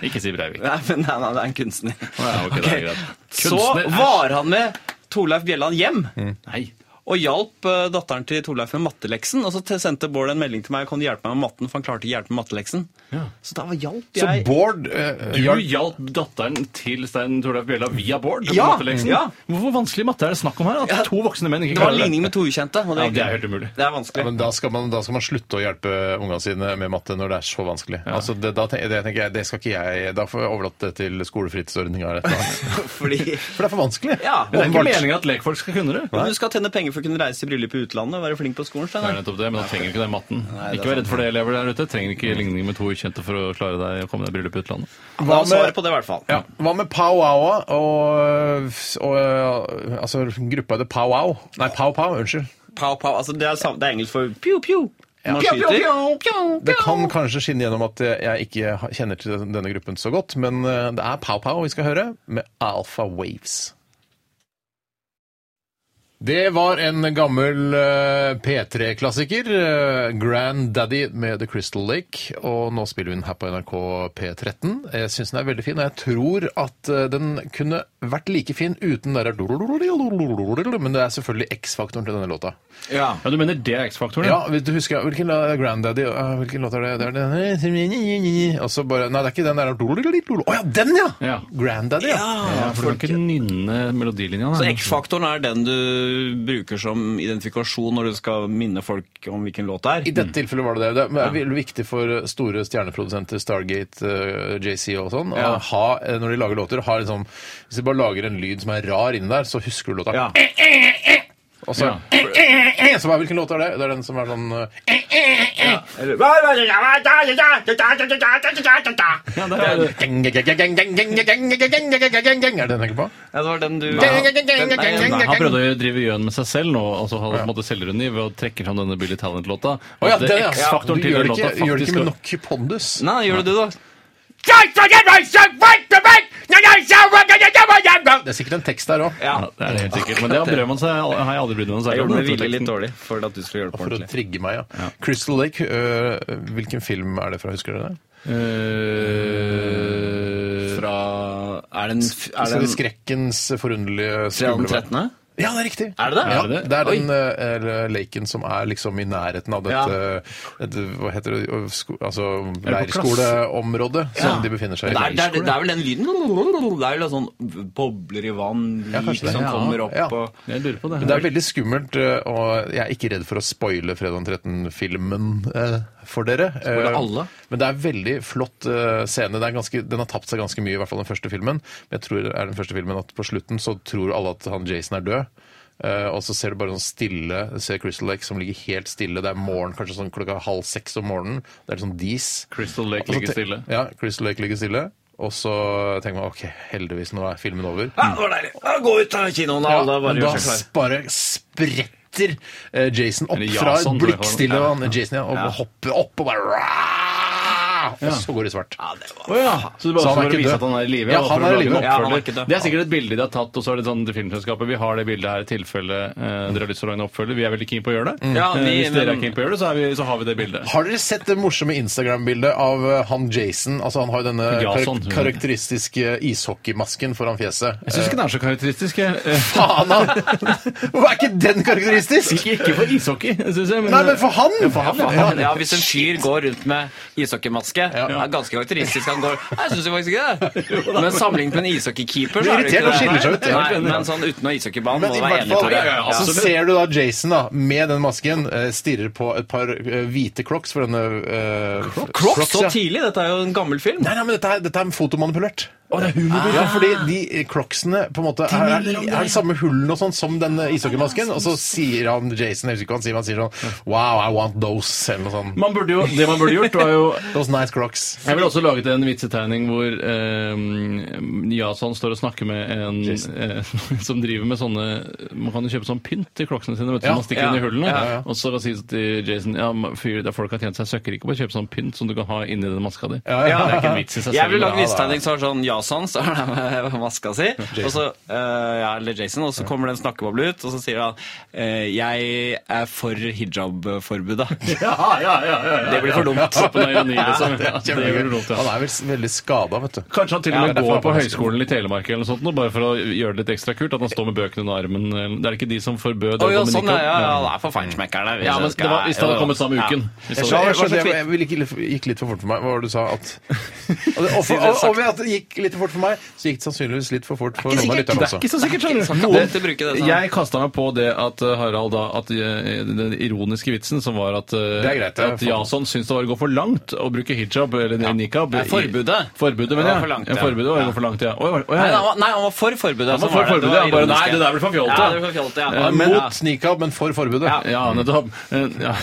G: Ikke si Breivik.
H: Nei, men nei, nei, det er en kunstner.
G: ja, ok, det er greit.
H: Så
G: Kunstner, æsj.
H: var han med Torleif Bjelland hjem.
G: Nei.
H: Og hjalp eh, datteren til Torleif med matteleksen. Og så te- sendte Bård en melding til meg kan du hjelpe meg med matten, for han klarte ikke hjelpe med matteleksen.
G: Ja.
H: Så da var hjalp
C: Så
H: jeg.
C: Bård eh,
G: Du
C: hjalp-
G: hjalp datteren til Stein Torleif Bjella via Bård? på
H: Ja,
G: matteleksen.
H: ja.
G: Hvor vanskelig matte er det snakk om her? At
H: Ja.
G: to voksne menn ikke
H: Det var en
G: klarer
H: ligning med to ukjente. og
G: Ja, det er helt umulig.
H: Det
C: Ja,
H: er vanskelig.
C: men da skal, man, da skal man slutte å hjelpe ungene sine med matte når det er så vanskelig. Altså, det, da, ten- det, tenker jeg, det skal ikke jeg, Da får jeg overlate det til skolefritidsordninga. eller et eller annet.
H: Fordi
C: For det er for vanskelig.
H: Ja,
G: Det er ikke
C: Åpenbart.
G: meningen at lekfolk skal kunne det.
H: Men du skal tjene penger for å kunne reise i bryllup i utlandet og være flink på skolen.
G: Det er
H: Steinar.
G: nettopp det, men da trenger du ikke den matten. ikke vær redd for det, elever der ute. Trenger ikke ligning med to ukjente for å klare deg å komme deg i bryllup i utlandet.
H: Da
C: Hva
H: er
C: med,
H: svaret på det, i hvert fall.
C: ja, hva med Pow Wow og, og eh, Altså gruppa heter Pow Wow. Nei, Pow Pow, unnskyld.
H: Pow, pow. Altså, det, er, sam- det er engelsk for pew, pew. Man
C: Pew,
H: skyter.
C: Det kan kanskje skinne gjennom at jeg ikke ha- kjenner til denne gruppen så godt, men eh, det er Pow Pow vi skal høre, med Alpha Waves. Det var en gammel eh, P3-klassiker, eh, Grand Daddy med The Crystal Lake, og nå spiller vi den her på NRK P13. Jeg syns den er veldig fin, og jeg tror at eh, den kunne vært like fin uten det der Men det er selvfølgelig X-faktoren til denne låta.
G: Ja, Du mener det er X-faktoren?
C: Ja, vet du husker jeg, hvilken la- Granddaddy øh, Hvilken låt er det? det er den. Og så bare Nei, det er ikke den der Å ja, den, ja!
G: Ja.
C: Granddaddy, ja.
G: Ja, for du kan ikke nynne melodilinja.
H: Så
G: nei.
H: X-faktoren er den du bruker som identifikasjon når du skal minne folk om hvilken låt det
C: I
H: er?
C: dette tilfellet var det det. Det er veldig viktig for eh, store stjerneprodusenter, Stargate, eh, JC og sånn, å ha, eh, når de lager låter, ha liksom Hvis de bare lager en lyd som er rar inni der, så husker du låta.
H: Ja.
C: Og så
G: Ja.
C: Så bare, Hvilken låt er det? Det er den som er sånn eh,
G: Ja, det er det.
C: Er det den jeg tenker på?
H: Ja, det var den du
G: Nei, han prøvde å drive gjøn med seg selv nå, altså han på en måte selvrundig ved å trekke fram denne Billy Talent-låta.
C: Å ja,
G: At det
C: den, ja.
G: X-faktoren
C: Du
G: til
C: gjør
G: den
C: det
G: låta
C: ikke, gjør det
G: faktisk
C: ikke med nok pondus.
H: Nei, gjør det du, da.
C: Det er sikkert en tekst der Ah, òg.
H: Ja.
G: Ja, det er det helt sikkert. Men det brød man seg, har jeg aldri brydd meg noe
H: Jeg
G: særlig om.
H: gjorde meg villig
G: denne
H: litt
G: teksten.
H: dårlig for at du skulle gjøre det på
C: For å
H: ordentlig.
C: trigge meg, ja. Crystal Lake, øh, hvilken film er det fra? Husker dere det?
G: Eh,
H: Fra Er den, f- er
C: Så det
H: den,
C: er Skrekkens forunderlige
H: fra den
C: skumle verden.
H: 13.?
C: Ja, det er riktig!
H: Er det det?
C: Ja,
G: Er det det?
C: det er den øh, laken som er liksom i nærheten av dette dette, Hva heter det øh, sko, Altså leirskoleområdet som de befinner seg i.
H: Det er, det, er, det er vel den lyden Det er vel sånn bobler i vann,
C: Ja,
H: lik
C: kanskje det.
H: som
C: Ja,
H: kommer opp
C: ja.
H: og
G: Jeg lurer på det.
C: Men det er veldig skummelt, øh, og jeg er ikke redd for å spoile Fredag den 13-filmen øh, for dere.
H: Spoile
C: Eh,
H: alle?
C: Men det er veldig flott øh, scene. Det er ganske, den har tapt seg ganske mye, i hvert fall den første filmen. Men jeg tror det er den første filmen at på slutten så tror alle at han Jason er død. Eh, og så ser du bare sånn stille ser Crystal Lake som ligger helt stille. Det er morgen, kanskje sånn klokka halv seks om morgenen. Det er sånn dis.
G: Crystal Lake
C: Og så
G: ligger
C: Altså, te-
G: stille.
C: Ja, Crystal Lake ligger stille. Og så tenker man ok, heldigvis, nå er filmen over.
H: Ja, det var deilig! Ja, Gå ut av kinoen,
C: Ja,
H: alle bare
C: men da
H: gjør seg klare.
C: bare spretter eh, Jason opp
G: Eller
C: fra
G: Jason, tror jeg
C: blikkstille
G: han-
C: vann, Jason, ja, og hopper opp og bare rah! Og så går det svart.
H: Ja, det var
G: Å ja. Så det
C: Så han er
G: bare for å
C: ikke
G: vise
C: død.
G: at han er i live?
C: Ja,
G: og
C: han
G: for å
C: er i
G: lage en
C: live.
H: Ja, han er
G: oppfølger.
H: ikke død.
G: det er sikkert et bilde de har tatt, og så er det sånn til filmselskapet Vi har det bildet her i tilfelle eh, dere har lyst til å lage en oppfølger. Vi er veldig keen på å gjøre
C: Mm.
G: det.
H: Ja,
G: Eh,
H: vi-
G: Hvis dere
H: men-
G: er keen på å gjøre det, så, er vi, så har vi det bildet.
C: Har dere sett det morsomme Instagram-bildet av eh, han Jason? Altså Han har jo denne
G: Jason,
C: karak-
G: tror jeg.
C: karakteristiske ishockeymasken foran fjeset. Eh,
G: Jeg syns ikke den er så karakteristisk.
C: Faen, han! Hvorfor er ikke den karakteristisk?
G: Ikke, ikke for ishockey, syns jeg.
C: Nei, men for han!
H: Faen, ja, hvis en fyr går rundt med ishockeymaske,
C: Ja.
H: det er ganske karakteristisk. Han går Nei, Jeg syns faktisk ikke det. Men sammenlignet med en ishockeykeeper,
C: Blir
H: så er det
C: irritert
H: ikke
C: og skiller seg ut, ja.
H: Nei, men sånn utenom ishockeybanen
C: Men
H: må
C: i
H: du være
C: hvert
H: enig,
C: fall,
H: Tore.
G: ja, ja,
C: så
G: absolutt.
C: ser du da Jason da, med den masken, eh, stirrer på et par eh, hvite crocs for denne eh,
H: Crocs så
C: ja.
H: tidlig? Dette er jo en gammel film.
C: Nei, nei, men dette er, dette er fotomanipulert. Å, det er humorbilder! Ja, fordi de crocsene på en måte er, er, er det samme hullen og sånn som den ishockeymasken, og så sier han Jason, jeg husker ikke hva han sier, men han sier sånn Wow, I want those, eller noe sånt.
G: eh, Man burde jo, det man burde gjort, var jo
C: Those nice crocs.
G: Jeg ville også laget en vitsetegning hvor eh, Jason står og snakker med en eh, som driver med sånne Man kan jo kjøpe sånn pynt til klokkene sine, vet du,
C: Ja,
G: som man stikker
H: ja,
G: inn i hullene.
H: ja,
C: ja.
G: Og så sier det til Jason ja, men fyr, det er folk har tjent seg søkkrike på å kjøpe sånn pynt som du kan ha inni den maska di.
C: Ja, ja.
G: Det er ikke en vits i seg
H: Jeg ville
G: selv.
H: lagd vitsetegning som var sånn ja-sann, så er det med maska si. Og så, eh, ja, eller Jason, og så kommer det en snakkeboble ut, og så sier han eh, 'Jeg er for hijab-forbudet'.
G: Ja, ja, ja, ja, ja.
H: Det blir for dumt.
G: Toppen av ironi,
H: Ja,
G: liksom.
C: Det
G: Ja,
C: er
G: det blir
C: kjempegøy.
G: dumt, ja.
C: Han er vel s- veldig skada, vet du.
G: Kanskje han til og
C: Ja,
G: med
C: derfor
G: går
C: har
G: på
C: han maske.
G: høyskolen i Telemark eller noe sånt, nå, bare for å gjøre det litt ekstra kult. At han står med bøkene under armen. eller- Det er ikke de som forbød det.
H: Å ja, sånn,
G: Dominic-
H: ja, ja, ja, det er for feinschmeckerne.
G: Ja, men det var, hvis det hadde kommet samme uken. Hvis
C: Jeg,
G: det hadde-
C: skjønner,
H: hva
C: jeg, skjønner,
H: slags
C: jeg,
H: vi-
C: jeg ville ikke, gikk litt for fort for meg. Hva var det du sa? At, og, det- og,
H: Siden
C: for,
H: jeg
C: og,
H: sagt-
C: og ved at det gikk litt for fort for meg, så gikk det sannsynligvis litt for fort for noen
H: Ikke
C: av
H: sikkert. sånn.
C: lytterne
G: Det er
C: også.
G: ikke så sikkert, skjønner
H: Ikke så
G: Noen-
H: alltid bruke det sånn.
G: Jeg kasta meg på det at eh, Harald da At eh, den ironiske vitsen som var at, eh,
C: Det er greit, det er
G: at
C: for-
G: Jason syntes det var å gå for langt å bruke hijab eller nikab.
H: Nei, forbudet.
G: Forbudet,
H: Det
G: mener
H: var
G: jeg.
H: for langt,
G: ja.
H: ja.
G: Forbudet var å gå for langt, ja. Oi, oi, oi,
H: Nei, han
G: ja.
H: var, nei, han var for forbudet.
G: Han var
H: som
G: for
H: det. Det
G: forbudet, ja. Bare,
H: ironisk,
G: nei, det der blir for fjolte.
H: Ja, det blir for fjolte, ja.
G: Ja,
H: men, ja.
C: Mot nikab, men for forbudet.
H: Ja.
G: Ja, nettopp. Eh, Ja.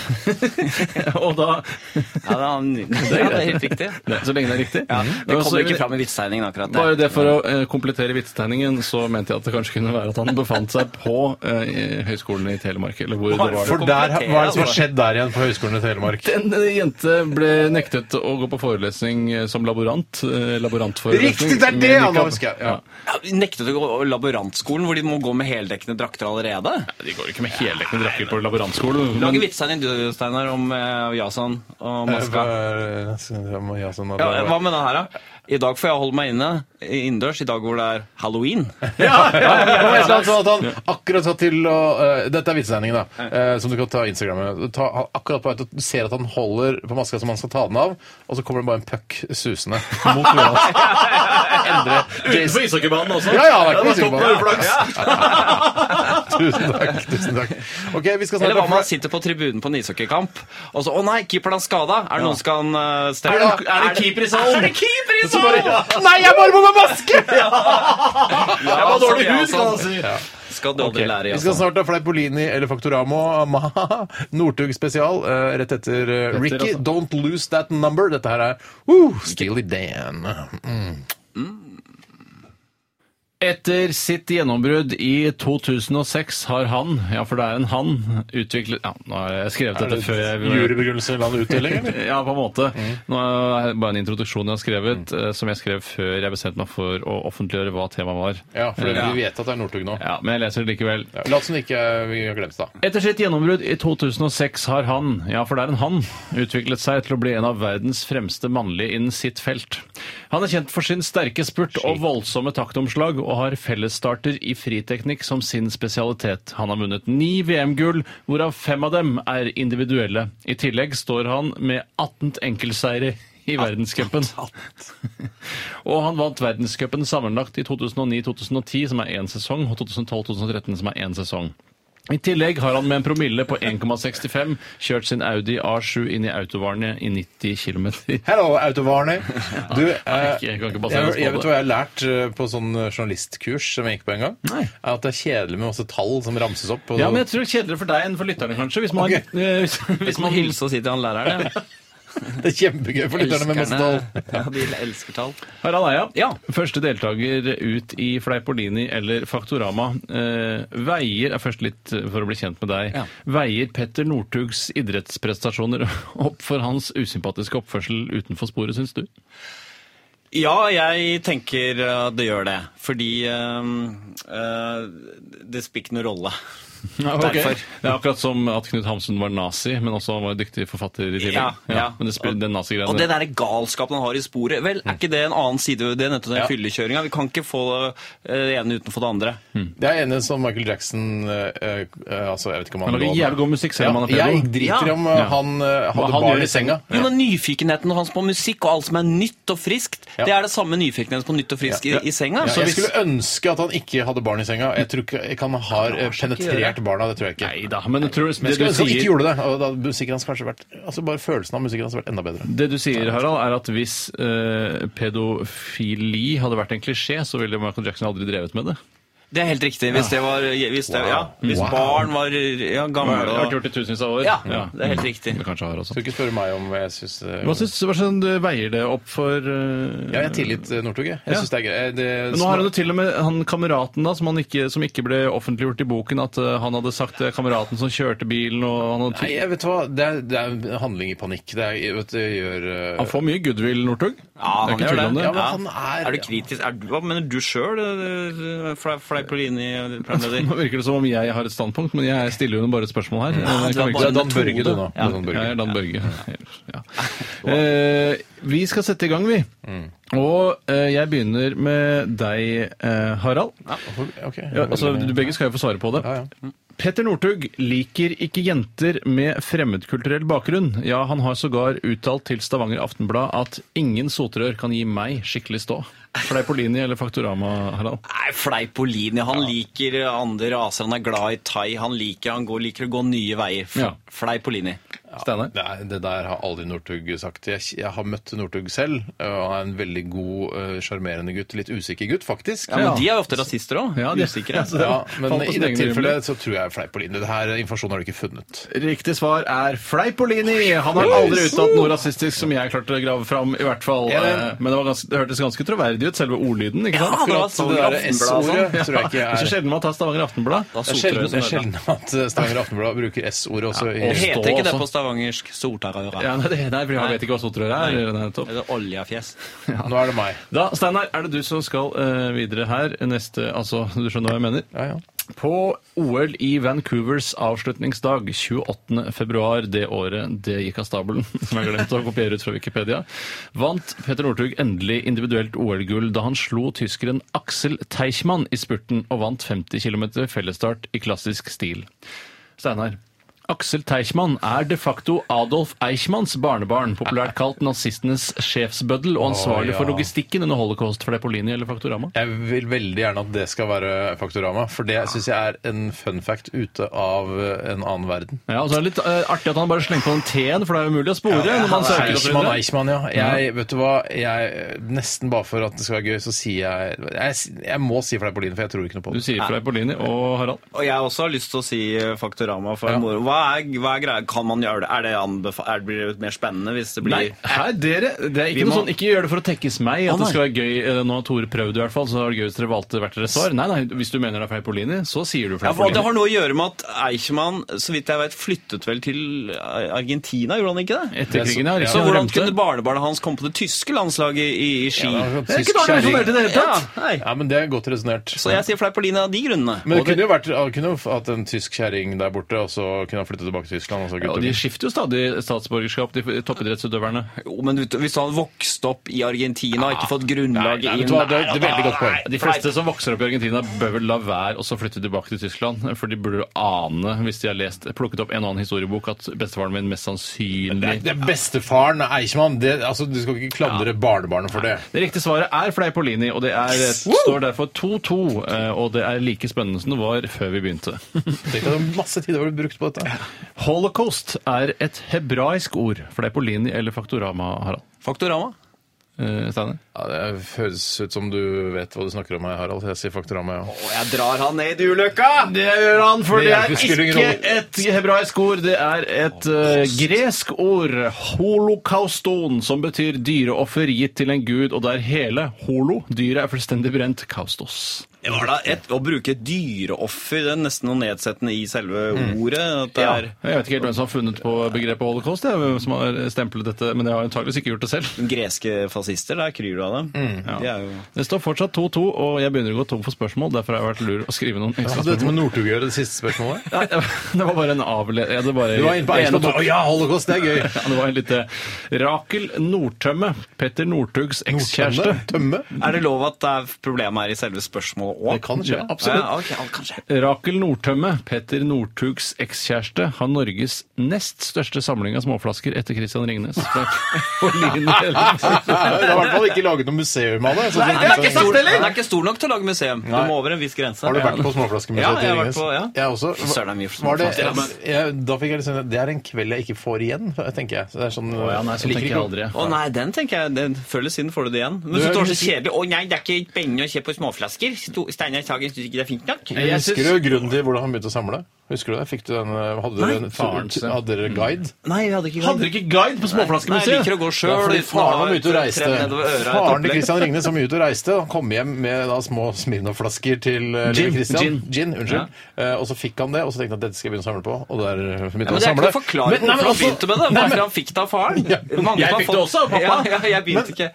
G: Og da
H: Ja, det er han- ja, det er helt riktig.
G: Det- Så lenge det er riktig.
H: Det
G: Og så-
H: kommer ikke fram i vitsetegningen akkurat.
G: Bare det for å eh, komplettere vitsetegningen, så mente jeg at det kanskje kunne være at han befant seg på eh, Høgskolen i Telemark. Eller hvor det var.
C: For der,
H: Komplettere,
C: hva er det som har
H: altså.
C: skjedd der igjen på Høgskolen i Telemark?
G: En eh, jente ble nektet å gå på forelesning eh, som laborant. eh, Laborantforelesning.
C: Riktig, det er
G: med
C: det han
G: niqab.
C: husker jeg, ja.
H: Ja, nektet å gå laborantskolen, hvor de må gå med heldekkende drakter allerede?
G: Ja, De går ikke med heldekkende drakker på laborantskolen.
H: Lag en
G: men-
H: vitsetegning du, Steinar, om eh, Jason og maska.
C: Ja, sånn,
H: Ja, hva med det her, da? I dag får jeg holde meg inne innendørs, i dag hvor det er halloween.
C: Ja, ja, ja, ja, ja. Sånn at han akkurat satt til å eh, Dette er vitsetegningen, da. eh, som du kan ta Instagram med. Ta, han akkurat på vei til å- Du ser at han holder på maska som han skal ta den av, og så kommer det bare en puck susende mot hodet hans. Endre Jason.
G: ishockeybanen også.
C: Ja, ja, det er ikke
G: det
C: noe sikker på.
G: stopper uflaks.
C: Tusen takk. tusen takk Ok, vi skal snakke
H: Eller hva om
C: om
H: han sitter på tribunen på en ishockeykamp, og så 'Å nei, keeperen er skada'. Er det noen som kan eh, stemme?
G: Er det- er det keeper i salen?
H: Er det keeper i
C: Så
H: salen?
C: bare, Nei, jeg bare må med maske!
H: Ja,
G: Det var
H: sånn,
G: dårlig
H: ja,
G: hud, kan
H: sånn.
G: man si.
H: Skal du aldri lære,
C: Vi skal
H: Jason.
C: snart ha Fleipolini eller Faktoramo. Maha, Northug spesial eh, rett etter eh, Ricky.
G: altså.
C: Don't lose that number. Dette her er uh, Steely Dan. Mm.
G: Etter sitt gjennombrudd i 2006 har han, ja for det er en han, utviklet Ja, nå har jeg skrevet dette før jeg
C: Jurybegrunnelse eller annen utdeling, eller? Mm.
G: Ja, på en måte. Nå er det bare en introduksjon jeg har skrevet, eh, som jeg skrev før jeg bestemte meg for å offentliggjøre hva temaet var.
C: Ja, for
G: Eh,
C: vi vet at det er Northug nå.
G: ja, men jeg leser det likevel.
C: Ja. La oss som ikke eh, vi har glemt det, da.
G: Etter sitt gjennombrudd i 2006 har han, ja for det er en han, utviklet seg til å bli en av verdens fremste mannlige innen sitt felt. Han er kjent for sin sterke spurt og voldsomme taktomslag, og har fellesstarter i friteknikk som sin spesialitet. Han har vunnet ni VM-gull, hvorav fem av dem er individuelle. I tillegg står han med 18 enkeltseire i verdenscupen. Og han vant verdenscupen sammenlagt i 2009-2010, som er én sesong, og 2012-2013, som er én sesong. I tillegg har han med en promille på 1,65 kjørt sin Audi A7 inn i autovernet i 90 km.
C: Hello, Autovarny. Du, eh,
G: ikke- Altså,
C: jeg,
G: jeg kan ikke basere oss på
C: jeg vet
G: det.
C: hva jeg har lært eh, på sånn journalistkurs som jeg gikk på en gang?
G: Nei.
C: Er At det er kjedelig med masse tall som ramses opp. og-
G: Ja, men jeg tror det er kjedeligere for deg enn for lytterne, kanskje. Hvis man,
C: Ok.
G: eh, hvis, hvis
H: Hvis man
G: man
H: hilser og sier til han læreren ja.
C: Det er kjempegøy for lytterne med masse tall.
H: Elskerne. Ja, de elsker tall.
G: Harald Eia,
H: Ja.
G: første deltaker ut i Fleipolini eller Faktorama. Eh, veier er først litt eh, for å bli kjent med deg.
H: Ja.
G: Veier Petter Northugs idrettsprestasjoner opp for hans usympatiske oppførsel utenfor sporet, syns du?
H: Ja, jeg tenker eh, det gjør det. Fordi eh, eh, det spiller ikke noen rolle. ok.
G: Derfor. Det er akkurat som at Knut Hamsun var nazi, men også han var en dyktig forfatter i tillegg.
H: Ja, ja.
G: Men det spiller den
H: Og
G: nazigreiene
H: det der galskapen han har i sporet, vel, er ikke det en annen side? Det er nettopp den
C: Ja.
H: fyllekjøringa. Vi kan ikke få eh, det ene utenfor det andre.
C: Det er enig som Michael Jackson eh, eh, altså, jeg vet ikke om
G: Han
C: han
G: lager
C: lå-
G: jævlig god musikk, selv
C: ja,
G: om han er
C: Jeg
G: pedo.
C: driter i
H: Ja.
C: om eh,
G: Ja.
C: han eh,
G: Hva
C: hadde
G: han gjør
C: barn
G: i
C: i senga.
H: Jo, men Nyfikenheten hans på musikk og alt som er nytt og friskt,
C: Ja.
H: det er det samme nyfikenheten på nytt og friskt i, i senga.
C: Ja,
H: Så
C: jeg
H: hvis-
C: skulle ønske at han ikke hadde barn i senga. Jeg tror ikke ikke han har eh,
H: ikke
C: penetrert irritert barna, det tror jeg ikke.
G: Nei da, men jeg tror
C: Men
G: det
C: jeg skulle
G: du
C: ønske han ikke
G: sier
C: gjorde det. og da hadde musikken hans kanskje vært, altså Bare følelsen av musikken hans vært enda bedre.
G: det du sier, Harald, er at hvis eh, pedofili hadde vært en klisjé, så ville Michael Jackson aldri drevet med det.
H: Det er helt riktig. Hvis, det var, hvis, det, ja, hvis
C: Wow.
H: barn var ja,
G: Det
H: gamle
G: har vært
H: og
G: gjort i tusenvis av år.
H: Ja, det er helt riktig.
G: Men kanskje har også.
C: Skal ikke spørre meg om jeg syns eh,
G: Hva syns hva sånn, du veier det opp for eh,
C: Ja, jeg har tillit eh, Northug, jeg. Jeg syns det er greit. Det,
G: Men Nå har han jo til og med han kameraten da, som, han ikke, som ikke ble offentliggjort i boken, at eh, han hadde sagt det er kameraten som kjørte bilen og han, hadde
C: Nei, jeg vet hva, det er, det er handling i panikk. Det er, jeg vet, det gjør eh,
G: han får mye goodwill, Northug.
H: Ja,
G: Det er
H: han
G: ikke tvil
H: gjør det.
G: om det.
C: Ja, men han er-
H: er du kritisk? Er, du- hva mener du sjøl, Fleipolini, eh,
G: Nå
H: programleder?
G: virker det som om jeg har et standpunkt, men jeg stiller jo bare et spørsmål her. Eh, det
H: det var
G: kan
H: bare
G: virke-
H: en
C: Dan Børge, du nå.
H: Ja.
C: Dan
G: Ja, jeg
C: Børge.
G: er Dan Børge. Ja. Eh, vi skal sette i gang, vi. Og eh, jeg begynner med deg, eh, Harald.
C: Ok.
G: Ja, altså, du- Begge skal jo få svare på det.
C: Ja,
G: Petter Northug liker ikke jenter med fremmedkulturell bakgrunn. Ja, han har sågar uttalt til Stavanger Aftenblad at ingen sotrør kan gi meg skikkelig stå. Fleipolini eller Faktorama, Harald?
H: Nei, Fleipolini. Han liker andre raser. Han er glad i thai. Han liker, han går, liker å gå nye veier. F-
G: Ja.
H: Fleipolini.
G: Steinar?
C: Det, er, det der har aldri Northug sagt. Jeg, jeg har møtt Northug selv. eh, og Han er en veldig god, eh, sjarmerende gutt. Litt usikker gutt, faktisk.
H: Ja, men de er jo ofte rasister òg.
G: Ja, de-
H: Usikre.
G: Ja, så-
C: Ja, men
G: Falt på
C: i
G: sin
C: dette
G: egen
C: tilfellet
G: urimelighet.
C: så tror jeg Fleipolini. Det her informasjonen har du ikke funnet.
G: Riktig svar er Fleipolini! Han har aldri uttalt noe rasistisk som jeg klarte å grave fram, i hvert fall.
C: Ja,
G: Eh, Men det, var ganske, det hørtes ganske troverdig ut, selve ordlyden. ikke sant?
H: Ja, det var
G: Akkurat som
H: Stavanger
G: det
C: sånn. Tror
G: der S-ordet.
H: Aftenblad og
C: jeg ikke
G: Det er så
C: er-
G: sjelden man tar Stavanger Aftenblad.
H: Da
C: Det er
H: sotrør
C: sjelden, det
H: som
C: er
H: er der.
C: sjelden at Stavanger Aftenblad bruker S-ordet også.
H: Det
C: i-
H: heter ikke det
G: også.
H: på stavangersk. Sortarøra.
G: Ja, nei, det, nei, for jeg vet ikke hva sotrør er.
H: Nei.
G: nettopp.
H: Eller oljefjes.
C: Nå er det meg.
G: Da, Steinar, er det du som skal eh, videre her? Neste, altså, Du skjønner hva jeg mener?
C: Ja, ja.
G: På OL i Vancouvers avslutningsdag 28. februar det året det gikk av stabelen, som jeg glemte å kopiere ut fra Wikipedia, vant Petter Northug endelig individuelt OL-gull da han slo tyskeren Aksel Teichmann i spurten og vant 50 km fellesstart i klassisk stil. Steinar. Aksel Teichmann er de facto Adolf Eichmanns barnebarn, populært kalt nazistenes sjefsbøddel og
C: Å,
G: ansvarlig
C: ja.
G: for logistikken under holocaust for Lepolini eller Faktorama.
C: Jeg vil veldig gjerne at det skal være Faktorama, for det syns jeg er en fun fact ute av en annen verden.
G: Ja, og så er det litt eh, artig at han bare slenger på den T-en, for det er jo mulig å spore når man søker og så
C: Eichmann,
G: videre.
C: Eichmann, ja. Jeg, vet du hva, jeg, nesten bare for at det skal være gøy, så sier jeg Jeg, jeg må si Fleipolini, for jeg tror ikke noe på
G: Du
C: det.
G: sier Fleipolini og Harald.
H: Og jeg også har lyst til å si eh, Faktorama for moro. Hva er, hva er greia? Kan man gjøre det? Er det anbefa er det blir det mer spennende hvis det blir
G: Nei, her, dere, det er
H: Vi
G: ikke noe
H: må-
G: sånn, ikke gjør det for å tekkes meg, at det skal være gøy. Eh, Nå har Tore prøvd i hvert fall, så har det gøy hvis dere valgte hvert deres svar. Nei, nei, hvis du mener det er Fleipolini, så sier du
H: Ja, for Det
G: Fleipolini.
H: har noe å gjøre med at Eichmann så vidt jeg vet, flyttet vel til eh, Argentina, gjorde han ikke det?
G: Etter krigen, ja.
C: Ja,
G: riktig,
H: Så
G: han
H: hvordan
G: rømte.
H: kunne barnebarnet hans komme på det tyske landslaget i, i ski?
C: Ja, det var
H: det er ikke
C: tysk
H: rart han
C: kjerring.
H: informerte i det hele tatt!
C: Ja,
H: Nei.
C: ja, men det er godt resonnert.
H: Så jeg sier Fleipolini av de grunnene.
C: Men det kunne jo vært det kunne jo hatt en tysk kjerring der borte, og så kunne han flytte tilbake til Tyskland. Og så
G: Ja,
C: gutter.
G: de skifter jo stadig statsborgerskap, de f- toppidrettsutøverne.
H: Jo, men vet du, Hvis han vokste opp i Argentina og ikke fått
C: Nei,
H: grunnlaget
C: nei, vet
H: inn
C: du hva, det er et veldig godt poeng.
G: De fleste som vokser opp i Argentina, bør vel la være og så flytte tilbake til Tyskland. For de burde jo ane, hvis de har lest, plukket opp en og annen historiebok, at bestefaren min mest
C: Det,
G: sannsynlig
C: det er bestefaren Eichmann. Det, altså, du skal ikke klandre barnebarnet for det.
G: det riktige svaret er Fleipolini, og det er, eh, står derfor 2-2. eh, Og det er like spennende som det var før vi begynte.
C: Tenk at det er masse tid har du brukt på dette.
G: Holocaust er et hebraisk ord. Fleipolini eller Faktorama, Harald?
H: Faktorama.
G: Eh, Steinar?
C: Ja, det høres ut som du vet hva du snakker om her, Harald. Jeg sier Faktorama, ja.
H: Og jeg drar han ned i ulykka!
G: Det gjør han, for det
C: Det
G: er
C: hjelper, spiller ingen
G: ikke et hebraisk ord, det er et eh, gresk ord, holokauston, som betyr dyreoffer gitt til en gud, og der hele holo, dyret, er fullstendig brent, kaustos.
H: Det var da et, å bruke dyreoffer, det er nesten noe nedsettende i selve ordet. At det er
G: Jeg vet ikke helt hvem som har funnet på begrepet holocaust, jeg, hvem som har stemplet dette, men jeg har antageligvis ikke gjort det selv.
H: greske fascister, der kryr du av dem. De er jo...
G: Det står fortsatt 2-2, og jeg begynner å gå tom for spørsmål, derfor har jeg vært lur å skrive noen
C: Hva
G: ekstra
C: hadde dette
G: spørsmål.
C: med Northug å gjøre, det siste spørsmålet?
G: Nei, Det var bare en avle... Ja, det bare...
C: Du var inne på
G: en og
C: Eichmann.
G: to-
C: Å ja, holocaust, det er gøy.
G: Ja, det var en lite Rakel Nordtømme, Petter Northugs ekskjæreste.
C: Tømme?
H: Er det lov at det er problemet her i selve spørsmålet
G: 80-tallet òg.
C: Det kan skje.
G: absolutt.
H: Ja, ok, ja, kanskje.
G: Rakel Nordtømme, Petter Northugs ekskjæreste, har Norges nest største samling av småflasker etter Christian Ringnes. Fra Pauline Helvesen.
C: Det er i hvert fall ikke laget noe museum av det. sånn som-
H: Nei, den er ikke stor- den er ikke stor nok til å lage museum. Du
C: Nei.
H: må over en viss grense.
C: Har du vært på småflaskemuseet
H: Ja, jeg
C: til
H: har vært
C: Ringnes?
H: på- ja.
C: Jeg også.
H: Fy søren, det er mye for
C: Var det,
H: småflasker, ass.
C: jeg, da fikk jeg liksom, det er en kveld jeg ikke får igjen, tenker jeg. Så det er sånn,
G: Ja, nei, sånn
C: liker
G: tenker jeg
C: ikke å-
G: aldri.
H: Å nei, den tenker jeg, den, Før eller siden får du det igjen. Men
C: Du,
H: så
C: jeg
H: står det
C: vil
H: så kjedelig. Å nei, det er ikke spennende å se på småflasker. Sto- Steinar Sagen syns ikke det er fint nok.
C: Jeg
G: Jeg
C: husker
G: syns-
C: du grunnen til hvordan han begynte å samle? Husker du det? Fikk du den, eh, hadde, dere, en-
G: faren sin.
C: hadde dere guide?
H: Nei, vi hadde ikke
G: Hadde dere ikke guide på
H: Nei, jeg
G: småflaskemuseet?
H: liker å gå
C: Ja,
H: sjøl.
C: fordi faren var mye ute og reiste. Faren til Christian Ringnes var mye ute og reiste. Han kom hjem med eh, da, små Smirnoff-flasker til eh,
G: Gin,
C: lille Christian. Gin.
G: gin.
C: unnskyld. Eh, og så fikk han det, og så tenkte han at dette skal jeg begynne å samle på. Og der eh, begynte han å
H: Men det er ikke
C: samle.
H: noe forklaring
C: Men- nei, men
H: hvorfor han
C: altså-
H: begynte med
C: Nei,
H: det.
C: men-
H: Hvorfor han fikk det av faren. Mange
G: Jeg
H: har
G: fikk
H: fått-
G: det også av pappa.
H: Ja, ja, jeg begynte ikke.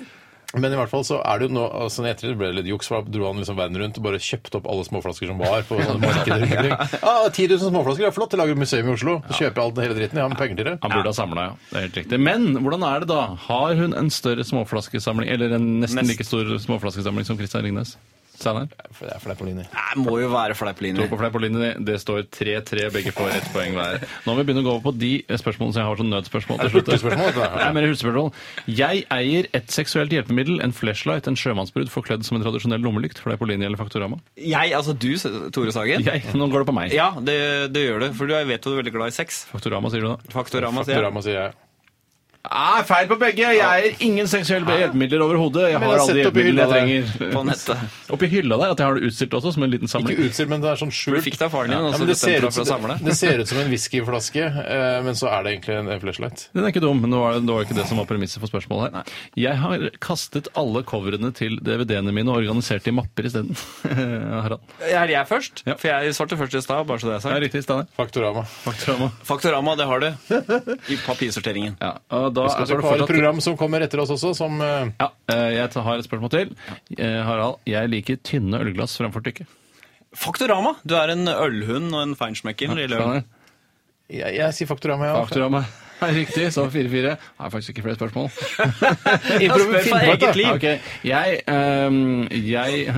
C: Men i hvert fall så er det jo nå altså, i ettertid ble det litt juks, for da dro han liksom verden rundt og bare kjøpte opp alle småflasker som var på sånne markeder rundt omkring. Ah, 10 000 småflasker, ja, flott, jeg lager et museum i Oslo. Så kjøper jeg alt hele dritten, jeg har penger til det.
G: Han burde ha samla, ja. Det er helt riktig. Men hvordan er det da? Har hun en større småflaskesamling, eller en nesten
H: Nest-
G: like stor småflaskesamling som Christian Ringnes? Steinar?
C: For det er fleip og linje.
H: Nei, må jo være
G: To
H: fleipliner.
G: på Fleipolini, det står 3-3, begge får ett poeng hver. Nå må vi begynne å gå over på de spørsmålene som jeg har som nødspørsmål til slutt.
C: hurtigspørsmål, dette her?
G: Nei, mer hurtigspørsmål. Jeg eier et seksuelt hjelpemiddel, en flashlight, en sjømannsbrud forkledd som en tradisjonell lommelykt, Fleipolini eller Faktorama.
H: Jeg, altså du, Tore Sagen.
G: Jeg, nå går det på meg.
H: Ja, det, det gjør du. For du- jeg vet jo du er veldig glad i sex.
G: Faktorama, sier du da?
H: Faktorama, sier jeg.
C: Faktorama, sier jeg.
G: Nei, Ah, feil på begge! Jeg eier ingen seksuelle hjelpemidler overhodet. Jeg
C: Men
G: har
C: jeg
G: alle de
C: setter opp i hylla
G: hjelpemidlene jeg
H: På
G: trenger.
H: nettet.
G: Oppi hylla der, at jeg har det utstilt også, som en liten samling.
C: Ikke utstilt, men det er sånn
H: Du
C: skjult.
H: fikk det av faren din, og
C: Ja, men
H: så
C: det,
H: bestemte
C: ser
H: du
C: ut,
H: deg for å samle.
C: det, det ser ut som en whiskyflaske, eh, men så er det egentlig en, en flashlight.
G: Den er ikke dum, men det var, det var ikke det som var premisset for spørsmålet her. Jeg har kastet alle coverene til DVD-ene mine og organisert i mapper isteden. Harald.
H: Er jeg først?
G: Ja.
H: For jeg svarte først i stad, bare så det
G: Ja,
H: er sagt.
G: riktig, Steinar.
C: Faktorama.
G: Faktorama.
H: Faktorama, det har du. I papirsorteringen.
G: Ja, og da
C: Skal
G: altså, er
C: vi
G: det
C: få et
G: fortsatt...
C: program som kommer etter oss også, som eh,
G: Ja, eh, jeg tar- har et spørsmål til. Eh, Harald, jeg liker tynne ølglass framfor tykke.
H: Faktorama! Du er en ølhund og en feinschmecker. når det gjelder øl.
G: Steinar.
C: jeg, jeg sier Faktorama, ja.
G: Faktorama er riktig, så 4-4. Jeg har faktisk ikke flere spørsmål.
H: Spør for eget liv.
G: Ok, Jeg, ehm, jeg,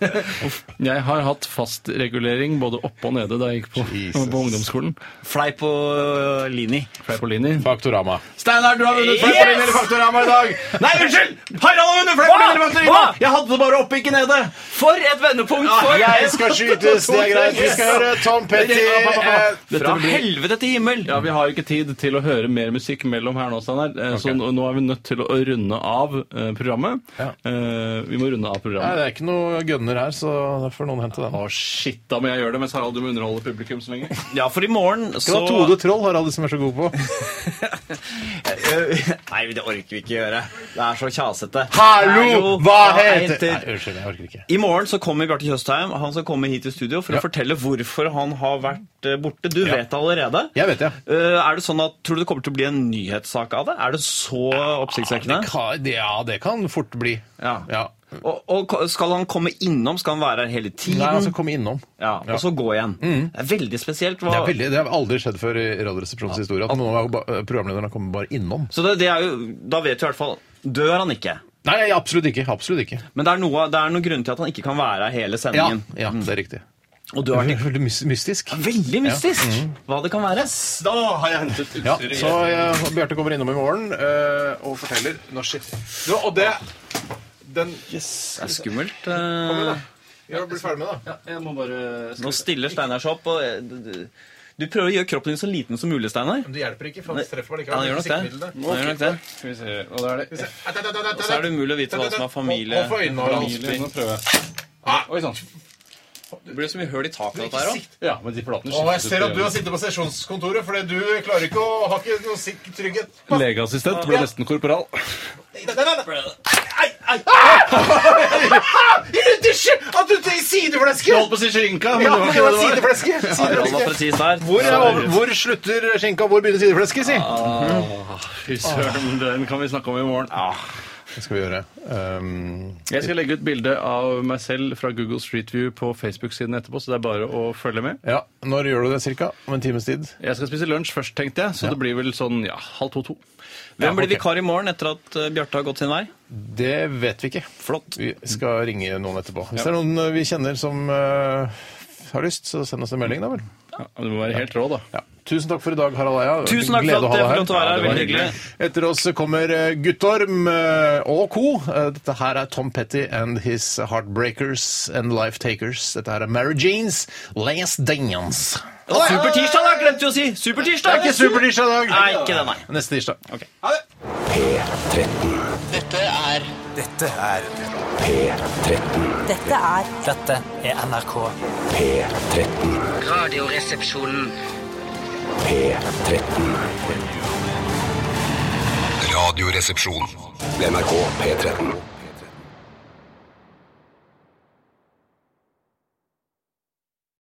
G: jeg har hatt fastregulering både oppe og nede da jeg gikk på,
C: Jesus.
G: på ungdomsskolen.
H: Fleip og øh, Lini.
G: Fleipolini.
C: Faktorama.
G: Steinar, du har vunnet
H: Yes! Fleipolini eller
G: Faktorama i dag! Nei, unnskyld! Harald har vunnet
H: Fleipolini eller Faktorama! Hva?
G: Jeg hadde det bare oppe, ikke nede!
H: For et vendepunkt! For
C: Jeg skal skytes, det er greit. Vi skal høre Tom Petty. eh,
G: Dette
H: Fra
G: blir...
H: helvete til himmel!
G: Ja, Vi har ikke tid til å høre mer musikk mellom her nå, Steinar. Eh, Så nå nå er vi nødt til å runde av eh, programmet.
C: Ja.
G: Eh, vi må runde av
C: Nei,
G: programmet.
C: det er ikke noe gønner her, så da får noen hente den.
G: Å, shit, da må jeg gjøre det, mens Harald, du må underholde publikum så lenge.
H: Ja, for i morgen
C: Det
H: så
C: var Tode Troll, Harald, som er så god på.
H: Nei, det orker vi ikke gjøre. Det er så kjasete.
C: Hallo, hva heter Nei,
H: Nei,
C: Unnskyld, jeg orker ikke.
H: I morgen så kommer Bjarte Tjøstheim. Han skal komme hit i studio for å fortelle hvorfor han har vært eh, borte. Du vet det allerede.
C: Jeg vet det.
H: Eh, er det sånn at, Tror du det kommer til å bli en nyhetssak av det? Er det så oppsiktsvekkende?
C: Ka- det- Ja, det kan fort bli.
H: Ja.
C: Ja.
H: Og, og ko- skal han komme innom? Skal han være her hele tiden?
C: Nei, altså, kom innom.
H: ja, og så gå igjen. Det er veldig spesielt. Hva...
C: Det, er veldig, det har aldri skjedd før i Radioresepsjonens historie at noen av ba- programlederne kommer bare innom.
H: Så det, det er jo, da vet du i hvert fall Dør han ikke?
C: Nei, nei, absolutt ikke. Absolutt ikke.
H: Men det er, noe, det er noen grunn til at han ikke kan være her hele
C: Ja,
H: sendingen.
C: ja Mm, det er riktig.
H: Og du har vært
C: Veldig mys- mystisk.
H: Veldig mystisk hva det kan være.
G: Da har jeg hentet
C: Mm. Ja, så eh, Bjarte kommer innom i morgen eh, og forteller Nå, shit. Nå, og det Den
H: Det er skummelt. eh,
C: Ja, bli ferdig med det.
G: Jeg må bare
H: Nå stiller Steinar seg opp. Og, eh, du- du- du prøver å gjøre kroppen din så liten som mulig, Steinar.
C: Det hjelper ikke, for
H: han treffer meg likevel. Ja, han gjør nok det. Siktmiddelet. Han gjør nok det.
G: Skal vi se. Og da er det
H: Og så er det umulig å vite hva som er familie.
G: familie. Nå prøver jeg. Oi sann.
H: Det blir så mye høl i taket av dette her òg.
G: Ja, men de platene
K: Og jeg ser at du har sittet på sesjonskontoret, fordi du klarer ikke å ha ikke noe sikker trygghet.
G: Legeassistent ble nesten korporal.
K: Nei, nei, nei. I rutisje! At du til sidefleske!
G: på å si skinka,
K: Ja, det var sidefleske.
H: Harald var
K: sidefleske.
H: presis der.
C: Hvor, er, over- hvor slutter skinka, og hvor begynner sideflesket, si?
G: Fy søren, den kan vi snakke om i morgen.
C: Det skal vi gjøre. Um,
G: Jeg skal legge ut bilde av meg selv fra Google Street View på Facebook-siden etterpå, så det er bare å følge med.
C: ja, Når gjør du det cirka? Om en times tid?
G: Jeg skal spise lunsj først, tenkte jeg, så det blir vel sånn ja, halv to-to.
H: Hvem blir
C: ok.
H: vikar i morgen etter at eh, Bjarte har gått sin vei?
C: Det vet vi ikke.
H: Flott.
C: Vi skal ringe noen etterpå. Hvis det er noen eh, vi kjenner som eh, har lyst, så send oss en melding, da vel.
G: Ja, du må være helt rå, da.
C: Ja. Tusen takk for i dag, Harald Eia.
H: Tusen takk for
C: Glede å ha
H: at jeg
C: deg
H: fikk lov til å være
G: Ja, det
H: her.
G: var
H: Veldig hyggelig.
C: Etter oss kommer eh, Guttorm eh, og co. Eh, Dette her er Tom Petty and his Heartbreakers and Life Takers. Dette her er Mary Jeans, Last Dance.
H: Det var supertirsdag, da! Glemte vi å si! Supertirsdag!
C: Ikke supertirsdag i dag!
H: Nei, ikke det, nei.
C: Neste tirsdag.
A: P13.
B: Dette er
A: P13.
L: Dette er
B: Dette er NRK.
A: P13.
L: Radioresepsjonen.
A: P13.
F: Radioresepsjon.
A: NRK P13.